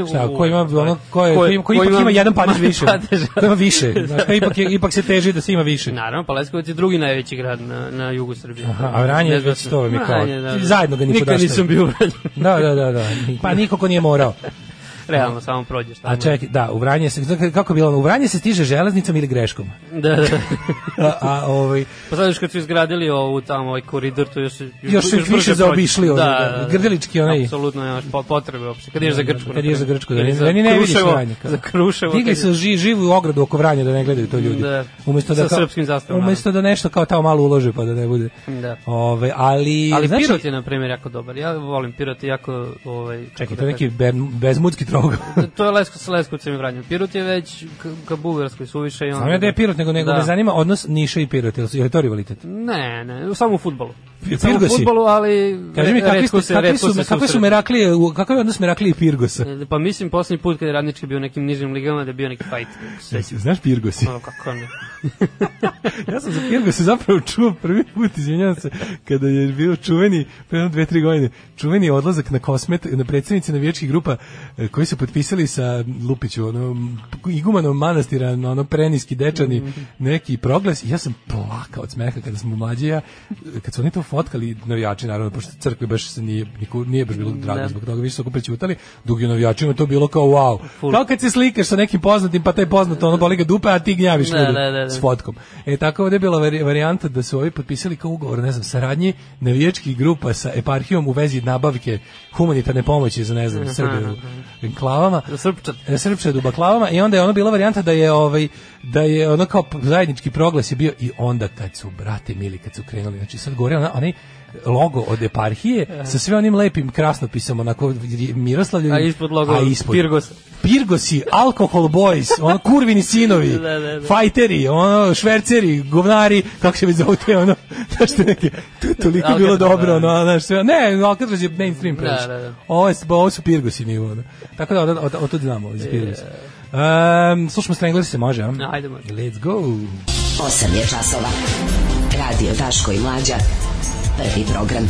Speaker 1: Šta,
Speaker 2: U,
Speaker 1: ko ima, ono, ko, je,
Speaker 2: ko
Speaker 1: ko,
Speaker 2: je-
Speaker 1: ima, ko
Speaker 2: ko
Speaker 1: ipak
Speaker 2: ima
Speaker 1: ima, jedan padež
Speaker 2: manje
Speaker 1: više?
Speaker 2: padeža.
Speaker 1: Ko ima više. Znaš, ko ipak, je- ipak se teži da se ima više.
Speaker 2: Naravno, pa Leskovac je drugi najveći grad na, na jugu Srbije.
Speaker 1: Aha, a Vranje je
Speaker 2: Ne znam
Speaker 1: već
Speaker 2: se-
Speaker 1: to mi kao-
Speaker 2: Vranje, da,
Speaker 1: zajedno da ga ni
Speaker 2: Nikad
Speaker 1: podaštaju.
Speaker 2: nisam bio u Vranju.
Speaker 1: Da, da, da, da. Pa niko ko nije morao.
Speaker 2: Realno, samo prođeš tamo.
Speaker 1: A čekaj, da, u Vranje se, kako je bilo ono, u Vranje se stiže železnicom ili greškom?
Speaker 2: Da, da.
Speaker 1: A, a ovaj,
Speaker 2: Pa sad još kad su izgradili ovu tamo, ovaj koridor, to još... Još,
Speaker 1: Još su ih više
Speaker 2: brže
Speaker 1: zaobišli,
Speaker 2: prođeš.
Speaker 1: ono, da, grdelički onaj.
Speaker 2: Apsolutno, nemaš po- potrebe uopšte. Kad ideš za Grčku.
Speaker 1: Kad ideš za Grčku, da
Speaker 2: Ili
Speaker 1: ne,
Speaker 2: za
Speaker 1: da ni ne vidiš
Speaker 2: Kruševo,
Speaker 1: Vranje. kao.
Speaker 2: Za Kruševo.
Speaker 1: Digli
Speaker 2: kad
Speaker 1: su ži, živu ogradu oko Vranja da ne gledaju to ljudi.
Speaker 2: Da.
Speaker 1: Umesto da
Speaker 2: Sa
Speaker 1: kao,
Speaker 2: srpskim zastavama.
Speaker 1: Umesto da nešto kao tamo malo ulože pa da ne bude.
Speaker 2: ideš- Da.
Speaker 1: Ove, ali,
Speaker 2: Ali
Speaker 1: znači,
Speaker 2: Pirot je, na primjer, jako dobar. Ja volim Pirot, je jako... Ovaj, kako
Speaker 1: Čekaj,
Speaker 2: da
Speaker 1: to je neki ben, bezmudski trogao.
Speaker 2: kažem. To je Lesko sa Leskovcem i Vranjem. Pirot je već k, ka Bugarskoj suviše. i
Speaker 1: Znam
Speaker 2: onda-
Speaker 1: ja da je Pirot, nego, nego
Speaker 2: Da.
Speaker 1: me zanima odnos Niša i Pirot, je li, je li to rivalitet?
Speaker 2: Ne, ne, samo u futbolu.
Speaker 1: Pirgosi.
Speaker 2: Samo u futbolu, ali...
Speaker 1: Kaži mi, kakvi,
Speaker 2: retko
Speaker 1: ste, kakvi
Speaker 2: retko
Speaker 1: su,
Speaker 2: se
Speaker 1: kakvi su
Speaker 2: susreću.
Speaker 1: Meraklije, u- kakav je odnos Meraklije i Pirgosa?
Speaker 2: Pa mislim, poslednji put kad je radnički bio u nekim nižim ligama, da je bio neki fajt. Sveći.
Speaker 1: Znaš Pirgosi?
Speaker 2: Ono kako ne.
Speaker 1: Ja sam za Pirgosa zapravo čuo prvi put, izvinjavam se, kada je bio čuveni, pre jedno dve, tri godine, čuveni odlazak na kosmet, na predsednici navijačkih grupa e, koji su potpisali sa Lupiću, ono, igumanom manastira, na ono preniski dečani, neki proglas i ja sam plakao od smeha kada smo mlađi ja, kad su oni to fotkali, navijači naravno, pošto crkve baš se nije, niko, nije baš bilo drago
Speaker 2: Da.
Speaker 1: zbog toga, više su oko prećutali, dok je navijačima to bilo kao wow.
Speaker 2: Full.
Speaker 1: Kao kad se slikaš sa nekim poznatim, pa taj poznat, ono boli ga dupe, a ti gnjaviš
Speaker 2: Da,
Speaker 1: ljude
Speaker 2: da, da, da.
Speaker 1: s fotkom. E tako ovde je bila vari- varijanta da su ovi potpisali kao ugovor, ne znam, saradnje navijačkih grupa sa eparhijom u vezi nabavke humanitarne pomoći za ne znam, Srbe u enklavama.
Speaker 2: Mhm, Za Srpčat.
Speaker 1: E, Srpčad u baklavama i onda je ono bila varijanta da je ovaj da je ono kao p- zajednički proglas je bio i onda kad su brate mili kad su krenuli znači sad gore ona onaj logo od eparhije sa sve onim lepim krasnopisom onako Miroslavljevim
Speaker 2: A ispod logo
Speaker 1: a ispod
Speaker 2: Pirgosa.
Speaker 1: Pirgosi, Alcohol Boys, ono kurvini sinovi,
Speaker 2: Da, da, da.
Speaker 1: fajteri, ono šverceri, govnari, kako se već zove te ono, znaš te neke, to je toliko
Speaker 2: Alcatraz,
Speaker 1: bilo dobro,
Speaker 2: da.
Speaker 1: ono, znaš sve, ne, Alcatraz je mainstream previše.
Speaker 2: Da, da, da.
Speaker 1: Ovo, je, ovo su Pirgosi nivo, da. Tako da, od, od, od, od znamo, iz Pirgosi. Um, slušamo Stranglers se može, a?
Speaker 2: Ajde, može.
Speaker 1: Let's go.
Speaker 3: 8 je časova. Radio Daško i Mlađa. Prvi program.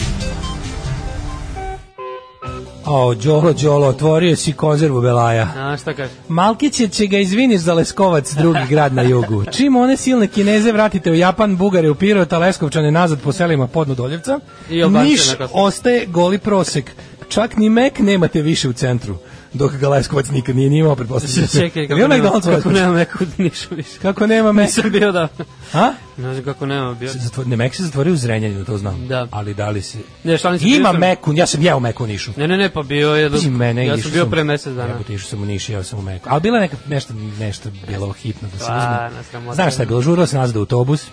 Speaker 1: O, Đolo, Đolo, otvorio si konzervu
Speaker 2: (laughs)
Speaker 1: Belaja.
Speaker 2: A
Speaker 1: (laughs)
Speaker 2: šta kaže?
Speaker 1: Malkiće će ga izviniš za Leskovac, drugi grad na jugu. Čim one silne kineze vratite u Japan, Bugare u Pirot, a Leskovčane nazad po selima podno Doljevca,
Speaker 2: I Albance
Speaker 1: Niš
Speaker 2: na Kosovu.
Speaker 1: ostaje goli prosek. Čak ni Mek nemate više u centru. Dok ga Leskovac nikad nije nimao, pretpostavljam.
Speaker 2: (laughs) Čekaj, kako
Speaker 1: Bio
Speaker 2: nema,
Speaker 1: McDonald's u
Speaker 2: kako
Speaker 1: Leskovcu?
Speaker 2: nema Meku u Nišu više. (laughs)
Speaker 1: Kako nema Mek?
Speaker 2: Nisam bio da...
Speaker 1: A?
Speaker 2: Ne znam kako nema bio.
Speaker 1: Zatvor, ne, Mek se zatvorio u Zrenjaninu, to znam.
Speaker 2: Da.
Speaker 1: Ali da li se...
Speaker 2: Ne, šta nisam bio
Speaker 1: Ima
Speaker 2: sam-
Speaker 1: Meku, ja sam jeo Meku u Nišu.
Speaker 2: Ne, ne, ne, pa bio je... Dok,
Speaker 1: Pazi mene,
Speaker 2: ja
Speaker 1: išao
Speaker 2: sam bio pre mesec dana.
Speaker 1: Jebote, išao sam u Niš, i jeo sam u Meku. Ali bila je neka, nešto, nešto bilo hitno da se
Speaker 2: Stvarno,
Speaker 1: uzme.
Speaker 2: sramota.
Speaker 1: Znaš šta je bilo, žurao se nazad u autobus.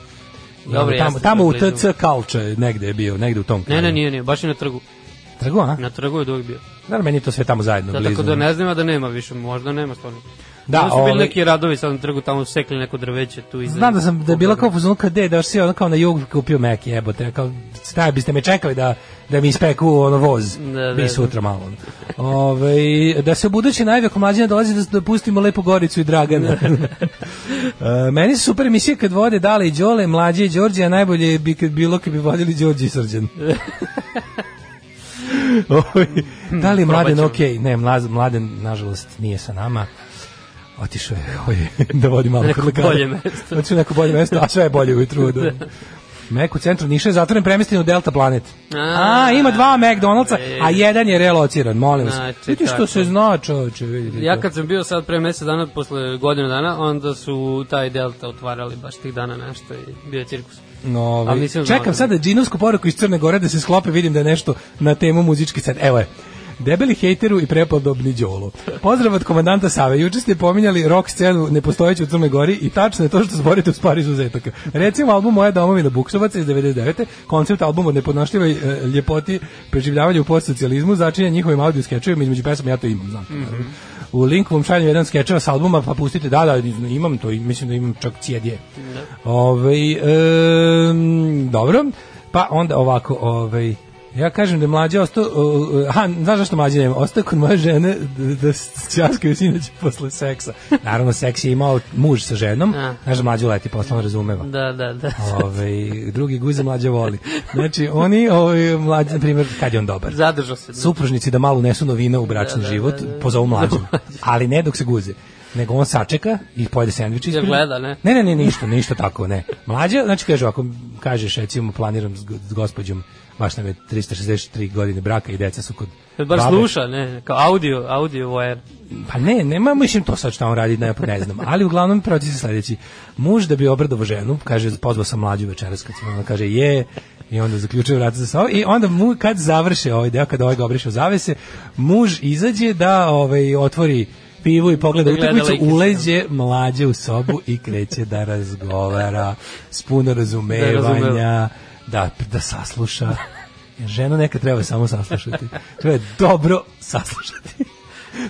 Speaker 1: I
Speaker 2: Dobro,
Speaker 1: onda tamo,
Speaker 2: jeste,
Speaker 1: tamo u
Speaker 2: blizu.
Speaker 1: TC Kalče negde je bio, negde u tom kraju.
Speaker 2: Ne, ne, nije, nije, baš je na trgu.
Speaker 1: Trgu, a?
Speaker 2: Na trgu je duvijek bio.
Speaker 1: Naravno, meni je to sve tamo zajedno,
Speaker 2: Da,
Speaker 1: blizu.
Speaker 2: tako da ne znam ja da nema više, možda nema stvarno.
Speaker 1: Da,
Speaker 2: Da, su bili
Speaker 1: ovaj-
Speaker 2: neki radovi sad na trgu, tamo su sekli neko drveće tu iza.
Speaker 1: Znam da sam da je bila kao fuzon kad da još si ono kao na jug kupio Mac jebote, ja kao staj biste me čekali da da mi ispeku ono voz.
Speaker 2: Da, da,
Speaker 1: Bi
Speaker 2: da.
Speaker 1: sutra malo. ono. Ovaj da se budući najve komlađina dolazi da, da pustimo lepu Goricu i
Speaker 2: (laughs)
Speaker 1: Dragana. E, meni su super emisije kad vode Dale i Đole, mlađe i Đorđe, a najbolje bi kad bilo kad bi vodili Đorđe i
Speaker 2: (laughs)
Speaker 1: Srđan. Ovaj, da li je mladen
Speaker 2: probat
Speaker 1: ok? Ne, mlaz- mladen nažalost nije sa nama. Otišao je (laughs) ovaj, da vodi malo
Speaker 2: Neko
Speaker 1: kod lekara.
Speaker 2: bolje mesto.
Speaker 1: Hoće neko bolje mesto, a sve je bolje
Speaker 2: (laughs)
Speaker 1: ujutru. Da. Mek u centru Niša je zatvoren premješten u Delta Planet. A,
Speaker 2: A, E.
Speaker 1: ima dva McDonald'sa, a jedan je relociran, molim vas.
Speaker 2: Znači,
Speaker 1: Vidite što
Speaker 2: tako.
Speaker 1: se zna, čoveče, vidite.
Speaker 2: Ja
Speaker 1: to.
Speaker 2: kad sam bio sad pre mesec dana, posle godinu dana, onda su taj Delta otvarali baš tih dana nešto i bio je cirkus.
Speaker 1: No, ovaj,
Speaker 2: Ali nisam znao
Speaker 1: čekam
Speaker 2: da-
Speaker 1: sad da džinovsku poruku iz Crne Gore da se sklope, vidim da je nešto na temu muzički set. Evo je. Debeli hejteru i prepodobni đolo. Pozdrav od komandanta Save. Juče ste pominjali rock scenu nepostojeću u Crnoj Gori i tačno je to što zborite uz par izuzetaka. Recimo album Moja domovina Buksovaca iz 99. Koncept albuma o nepodnošljivoj e, ljepoti preživljavanja u postsocijalizmu začinja njihovim audio skečevima između pesama ja to imam, znam. U linku vam šaljem jedan skečeva s albuma, pa pustite, da, da, imam to, i mislim da imam čak cijedje. Ovaj em, dobro. Pa onda ovako, ovaj Ja kažem da je mlađa ostao, uh, uh, ha, znaš zašto mlađa nema, ostao kod moje žene da, da s- časkaju sinoć posle seksa. Naravno, seks je imao muž sa ženom,
Speaker 2: A.
Speaker 1: znaš da mlađu leti posle, on razumeva.
Speaker 2: Da, da,
Speaker 1: (laughs)
Speaker 2: da.
Speaker 1: Ovaj, drugi guze mlađa voli. Znači, oni, ovaj, mlađa, na primjer, kad je on dobar
Speaker 2: Zadržao se.
Speaker 1: supružnici da malo unesu novina u bračni
Speaker 2: Da, da,
Speaker 1: život,
Speaker 2: da, (laughs) da.
Speaker 1: pozovu mlađu. Ali ne dok se guze. Nego on sačeka i pojede sendvič ispred.
Speaker 2: gleda, ne?
Speaker 1: Ne, ne, ne, ništa, ništa tako, ne. Mlađa, znači kaže, ako kažeš, recimo, planiram s, go- s gospođom, baš nam je 363 godine braka i deca su kod
Speaker 2: Baš
Speaker 1: babe.
Speaker 2: sluša, ne, kao audio, audio vojer.
Speaker 1: Pa ne, nema, mislim to sad šta on radi, ne, ne znam. Ali uglavnom proces je sledeći. Muž da bi obradovo ženu, kaže, pozvao sam mlađu večeras, kad sam, ona kaže, je, i onda zaključuje vrata za sobom. I onda mu, kad završe ovaj deo, kada ovaj ga obriše u zavese, muž izađe da ovaj, otvori pivu i pogleda
Speaker 2: Da gleda
Speaker 1: utakmicu,
Speaker 2: like i
Speaker 1: uleđe mlađe u sobu i kreće da razgovara s puno razumevanja, da, da, da sasluša. Ženu neka treba samo saslušati. Treba je dobro saslušati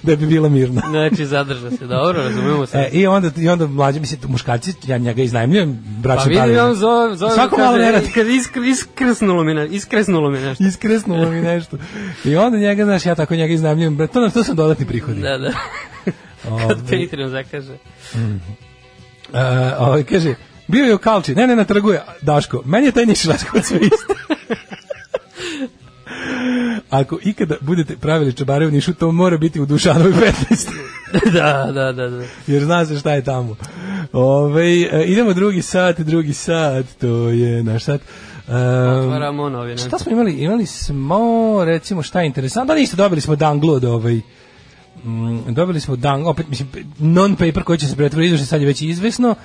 Speaker 1: da bi bila mirna.
Speaker 2: Znači, zadržao se, dobro, razumemo se.
Speaker 1: E, i onda i onda mlađi mislim muškarci ja njega iznajmljujem
Speaker 2: pa
Speaker 1: bračni
Speaker 2: vidim,
Speaker 1: par.
Speaker 2: on zove, zove,
Speaker 1: da. Svako
Speaker 2: kaže,
Speaker 1: malo ne radi.
Speaker 2: Kad iskr, iskrsnulo mi, ne, iskresnulo mi
Speaker 1: (laughs)
Speaker 2: nešto.
Speaker 1: Iskresnulo mi nešto. I onda njega, znaš, ja tako njega iznajmljujem. bra- To, nam- to su dodatni prihodi.
Speaker 2: Da, da. (laughs) Kad Patreon zakaže.
Speaker 1: E, ovaj, kaže, bio je u Kalči. Ne, ne, na trgu je, Daško. (laughs) Meni je taj niš Raškovac sve isto. Ako ikada budete pravili čabare u Nišu, to mora biti u (laughs) Dušanovi 15.
Speaker 2: da, da, da, da.
Speaker 1: jer zna se šta je tamo. Ove, idemo drugi sat, drugi sat, to je naš sat. E,
Speaker 2: Otvaramo novine.
Speaker 1: Šta smo imali? Imali smo, recimo, šta je interesantno? Da ništa, dobili smo Danglu od ovaj... Mm, dobili smo Dang, opet, mislim, non-paper koji će se pretvoriti, izvrši sad je već izvesno.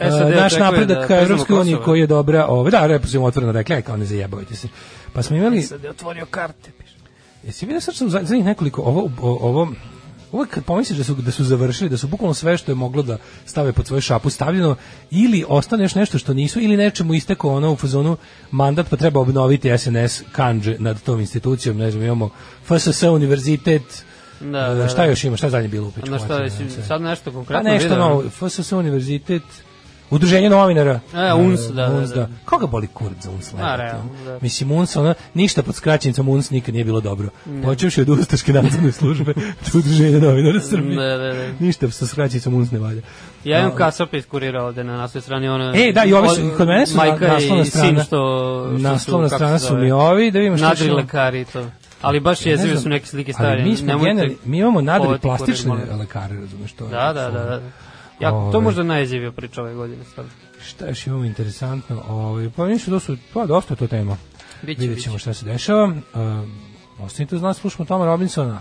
Speaker 1: E,
Speaker 2: SAD
Speaker 1: naš
Speaker 2: očekuje
Speaker 1: napredak
Speaker 2: da
Speaker 1: ka
Speaker 2: priznamo
Speaker 1: Evropskoj uniji
Speaker 2: Kosovo.
Speaker 1: koji je dobra, ove, da, repo su im otvoreno rekli, aj, kao ne zajebavajte se. Pa smo imali,
Speaker 2: E, Sad je otvorio karte, piše.
Speaker 1: jesi vidio sad što za, za njih nekoliko, ovo, o- ovo, uvek kad pomisliš da su, da su završili, da su bukvalno sve što je moglo da stave pod svoju šapu stavljeno, ili ostane još nešto što nisu, ili nečemu isteko ono u fazonu mandat pa treba obnoviti SNS kanđe nad tom institucijom, ne znam, imamo FSS univerzitet,
Speaker 2: Da, da,
Speaker 1: šta
Speaker 2: da.
Speaker 1: još ima, šta je zadnje bilo u pičku?
Speaker 2: Na šta,
Speaker 1: materinu,
Speaker 2: jesi
Speaker 1: ne znam sve.
Speaker 2: sad nešto
Speaker 1: Pa
Speaker 2: konkretno
Speaker 1: nešto
Speaker 2: video?
Speaker 1: novo, FSS univerzitet, Udruženje novinara.
Speaker 2: E, UNS, da, da,
Speaker 1: UNS,
Speaker 2: da.
Speaker 1: Koga boli kurac za UNS?
Speaker 2: A,
Speaker 1: lajbati,
Speaker 2: realno,
Speaker 1: ono?
Speaker 2: da.
Speaker 1: Mislim, UNS, ono, ništa pod skraćenicom UNS nikad nije bilo dobro. Počevši od Ustaške nadzorne
Speaker 2: (laughs)
Speaker 1: službe do Udruženja novinara Srbije.
Speaker 2: Da, da, da.
Speaker 1: Ništa sa skraćenicom UNS ne valja.
Speaker 2: Ja imam kasapis kurira ovde na naslovnoj strani ono.
Speaker 1: E, da, i ovi su-
Speaker 2: od-
Speaker 1: kod mene su na-
Speaker 2: majka i
Speaker 1: naslovna strana-
Speaker 2: sin što, što su,
Speaker 1: Naslovna
Speaker 2: kako
Speaker 1: strana
Speaker 2: se
Speaker 1: su
Speaker 2: zove,
Speaker 1: mi ovi, da vidimo što
Speaker 2: Nadri
Speaker 1: ćemo.
Speaker 2: lekari i to. ali baš
Speaker 1: Ja ne
Speaker 2: jezive
Speaker 1: znam,
Speaker 2: su neke slike
Speaker 1: Ali
Speaker 2: stare.
Speaker 1: mi, smo
Speaker 2: nemojte
Speaker 1: generali, mi imamo nadri
Speaker 2: kupovati
Speaker 1: plastične
Speaker 2: kurire, molim.
Speaker 1: lekare, razumeš to? je
Speaker 2: Da, da, da. da. Ja, to
Speaker 1: Ovaj.
Speaker 2: je možda najjezivija priča ove godine. Sad.
Speaker 1: Šta još imamo interesantno? Ovaj, pa mislim da su, pa dosta je to tema.
Speaker 2: Biće,
Speaker 1: Vidjet ćemo
Speaker 2: biće.
Speaker 1: šta se dešava. Um, ostanite uz nas, slušamo Toma Robinsona.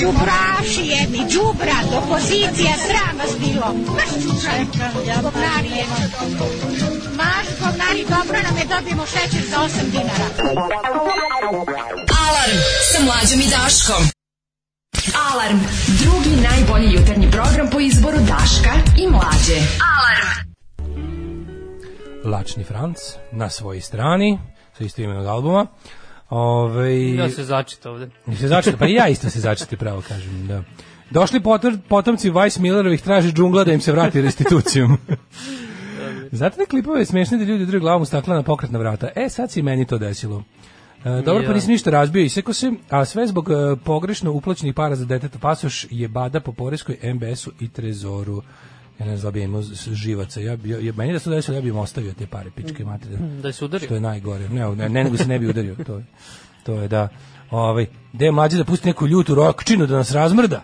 Speaker 4: Đubraši jedni, đubra, opozicija, sram vas bilo. Maš čučaj, govnari jedni. Maš govnari, dobro nam je, dobijemo šećer za 8 dinara.
Speaker 3: Alarm sa mlađom i Daškom. Alarm, drugi najbolji jutarnji program po izboru Daška i mlađe. Alarm.
Speaker 1: Lačni Franc, na svojoj strani, sa isto imenog albuma. Ovaj, Ove,
Speaker 2: Ja se začita ovde.
Speaker 1: I se začete, pa i ja isto se začete, pravo kažem, da. Došli potor, potomci Vice Millerovih traže džungla da im se vrati restitucijom. Znate da klipove smešne da ljudi drugog glavom stakla na pokretna vrata? E, sad si i meni to desilo. E, dobro,
Speaker 2: Ja.
Speaker 1: pa nisi ništa razbio, iseko se, a sve zbog e, pogrešno uplaćenih para za deteta pasoš je bada po poreskoj MBS-u i trezoru. Ja ne znam da bi ja imao s- živaca. Ja, bi- ja, ja- meni da se to desilo, ja bi im ostavio te pare, pičke materije.
Speaker 2: Da se udari.
Speaker 1: Što je najgore. Ne, ne, ne nego se ne bi udario. To je, to je da. Ovaj, gde je mlađe da pusti neku ljutu rokčinu da nas razmrda?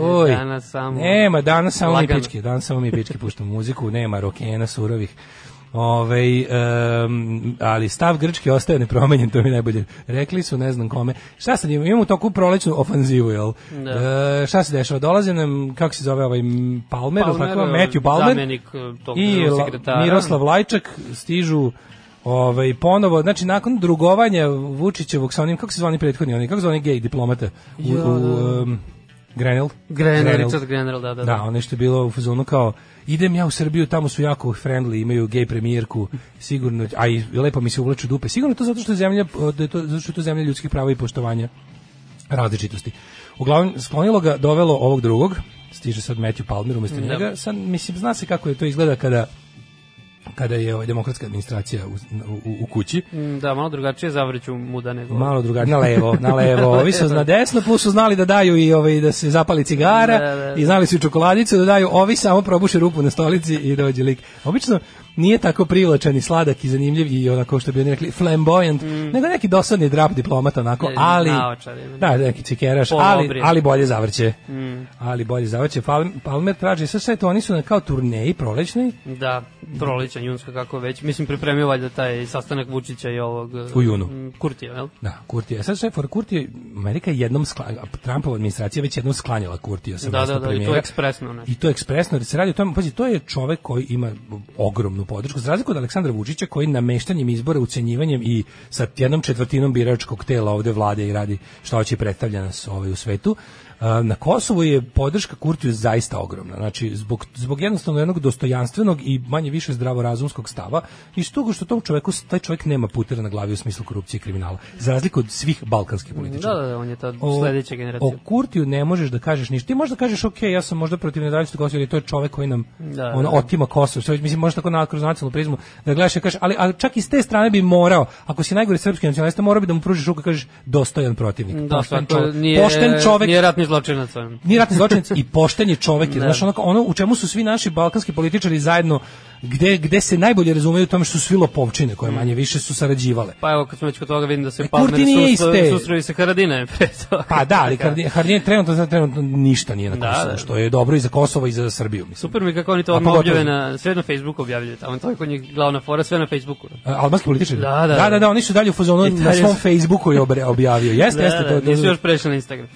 Speaker 1: Oj,
Speaker 2: danas samo-
Speaker 1: Nema, danas samo
Speaker 2: Lagano.
Speaker 1: mi pičke, danas samo mi pičke puštamo muziku, nema rokena surovih. Ove, um, ali stav Grčke ostaje nepromenjen, to mi je najbolje. Rekli su, ne znam kome. Šta sad imamo? Imamo toku prolećnu ofanzivu, jel?
Speaker 2: Da.
Speaker 1: E, šta se dešava? Dolaze nam, kako se zove ovaj m, Palmer, Palmer tako,
Speaker 2: e,
Speaker 1: Matthew Palmer
Speaker 2: Zamenik e, tog
Speaker 1: i
Speaker 2: državnog
Speaker 1: La-
Speaker 2: sekretara.
Speaker 1: Miroslav Lajčak stižu ovaj ponovo znači nakon drugovanja Vučićevog sa onim kako se zvani prethodni oni kako zvani gej diplomata u,
Speaker 2: Ja,
Speaker 1: u
Speaker 2: da.
Speaker 1: um, Grenell
Speaker 2: Grenell, Richard Grenell, da, da,
Speaker 1: da
Speaker 2: da.
Speaker 1: ono što je bilo u fazonu kao idem ja u Srbiju tamo su jako friendly imaju gej premijerku sigurno a i lepo mi se uvlaču dupe sigurno je to zato što je zemlja da je to zato što je to zemlja ljudskih prava i poštovanja različitosti. Uglavnom, sklonilo ga, dovelo ovog drugog, stiže sad Matthew Palmer umesto
Speaker 2: Da.
Speaker 1: njega, sad, mislim, zna se kako je to izgleda kada kada je ovaj, demokratska administracija u, u, u kući,
Speaker 2: Mm, Da, malo drugačije zavreću muda nego...
Speaker 1: malo drugačije, na levo, na levo,
Speaker 2: (laughs)
Speaker 1: ovi su na desno, plus su znali da daju i ovaj, da se zapali cigara,
Speaker 2: Da, da, da.
Speaker 1: i znali su i čokoladicu da daju, ovi samo probuše rupu na stolici i dođe lik. Obično nije tako privlačan i sladak i zanimljiv i onako što bi oni rekli flamboyant, nego neki dosadni drap diplomat onako,
Speaker 2: Mm. Ne, Mm.
Speaker 1: ali...
Speaker 2: naočar je.
Speaker 1: Da, neki cikeraš,
Speaker 2: Polo
Speaker 1: ali,
Speaker 2: obrijed.
Speaker 1: ali bolje zavrće. Ali bolje zavrće. Pal- Palmer traži, sve sve to, oni su na kao turneji prolećni
Speaker 2: Da, proleća, junska, kako već. Mislim, pripremio valjda taj sastanak Vučića i ovog... e,
Speaker 1: U junu.
Speaker 2: m, Kurtija, jel?
Speaker 1: Da, Kurtija. Sad sve for Kurtija, Amerika je jednom sklanjala, Trumpova administracija je već jednom sklanjala Kurtija sa
Speaker 2: Da,
Speaker 1: mesta
Speaker 2: da, da, i to
Speaker 1: premijera.
Speaker 2: ekspresno, ne.
Speaker 1: I to ekspresno, jer se radi o tome, pazi, to je čovek koji ima ogromnu podršku, za razliku od Aleksandra Vučića koji nameštanjem izbora, ucenjivanjem i sa jednom četvrtinom biračkog tela ovde vlade i radi šta hoće i predstavlja nas ovaj u svetu, A, na Kosovu je podrška Kurtiju zaista ogromna. Znači, zbog, zbog jednostavno jednog dostojanstvenog i manje više zdravorazumskog stava, iz toga što tom čoveku, taj čovek nema putera na glavi u smislu korupcije i kriminala, za razliku od svih balkanskih
Speaker 2: Da,
Speaker 1: političara.
Speaker 2: da, da, on je ta
Speaker 1: O-
Speaker 2: sledeća generacija.
Speaker 1: O Kurtiju ne možeš da kažeš ništa. Ti možeš da kažeš, ok, ja sam možda protiv nezavisnosti Kosova, ali to je čovek koji nam
Speaker 2: Da,
Speaker 1: ono,
Speaker 2: da.
Speaker 1: otima Kosovo. Što, mislim, možeš tako na, kroz nacionalnu prizmu da gledaš i kažeš, ali, ali čak i s te strane bi morao, ako si najgori srpski nacionalista, morao bi da mu pružiš ruku i kažeš dostojan protivnik.
Speaker 2: Da, svako,
Speaker 1: čovek,
Speaker 2: nije,
Speaker 1: pošten čovek,
Speaker 2: nije ratni zločinac. on.
Speaker 1: nije ratni zločinac i pošten je
Speaker 2: (laughs)
Speaker 1: čovek. Da. Znaš, ono, ono u čemu su svi naši balkanski političari zajedno, gde, gde se najbolje razumeju u tome što su svi lopovčine, koje manje više su sarađivale.
Speaker 2: Pa evo, kad smo već kod toga, vidim da se
Speaker 1: E,
Speaker 2: Palmer
Speaker 1: Kurti nije iste.
Speaker 2: susreo se Haradine (laughs) pre toga.
Speaker 1: Pa da,
Speaker 2: (laughs)
Speaker 1: ali Hardin, Hardin trenutno, sad trenutno ništa nije na
Speaker 2: Da,
Speaker 1: Kosovu,
Speaker 2: da.
Speaker 1: što je dobro i za Kosovo i za Srbiju. Mislim.
Speaker 2: Super mi je kako oni to
Speaker 1: A
Speaker 2: odmah
Speaker 1: pogotovo-
Speaker 2: objave na, sve na Facebooku objavljuju tamo, to je kod njih glavna fora, sve na Facebooku.
Speaker 1: A, Albanski političari?
Speaker 2: Da, da,
Speaker 1: da, da,
Speaker 2: da.
Speaker 1: da oni su dalje u fazonu
Speaker 2: I dalje
Speaker 1: na svom
Speaker 2: su-
Speaker 1: Facebooku je obre-
Speaker 2: (laughs)
Speaker 1: objavio. Jeste,
Speaker 2: Da,
Speaker 1: jeste, to,
Speaker 2: da,
Speaker 1: to-
Speaker 2: nisu još prešli na Instagram.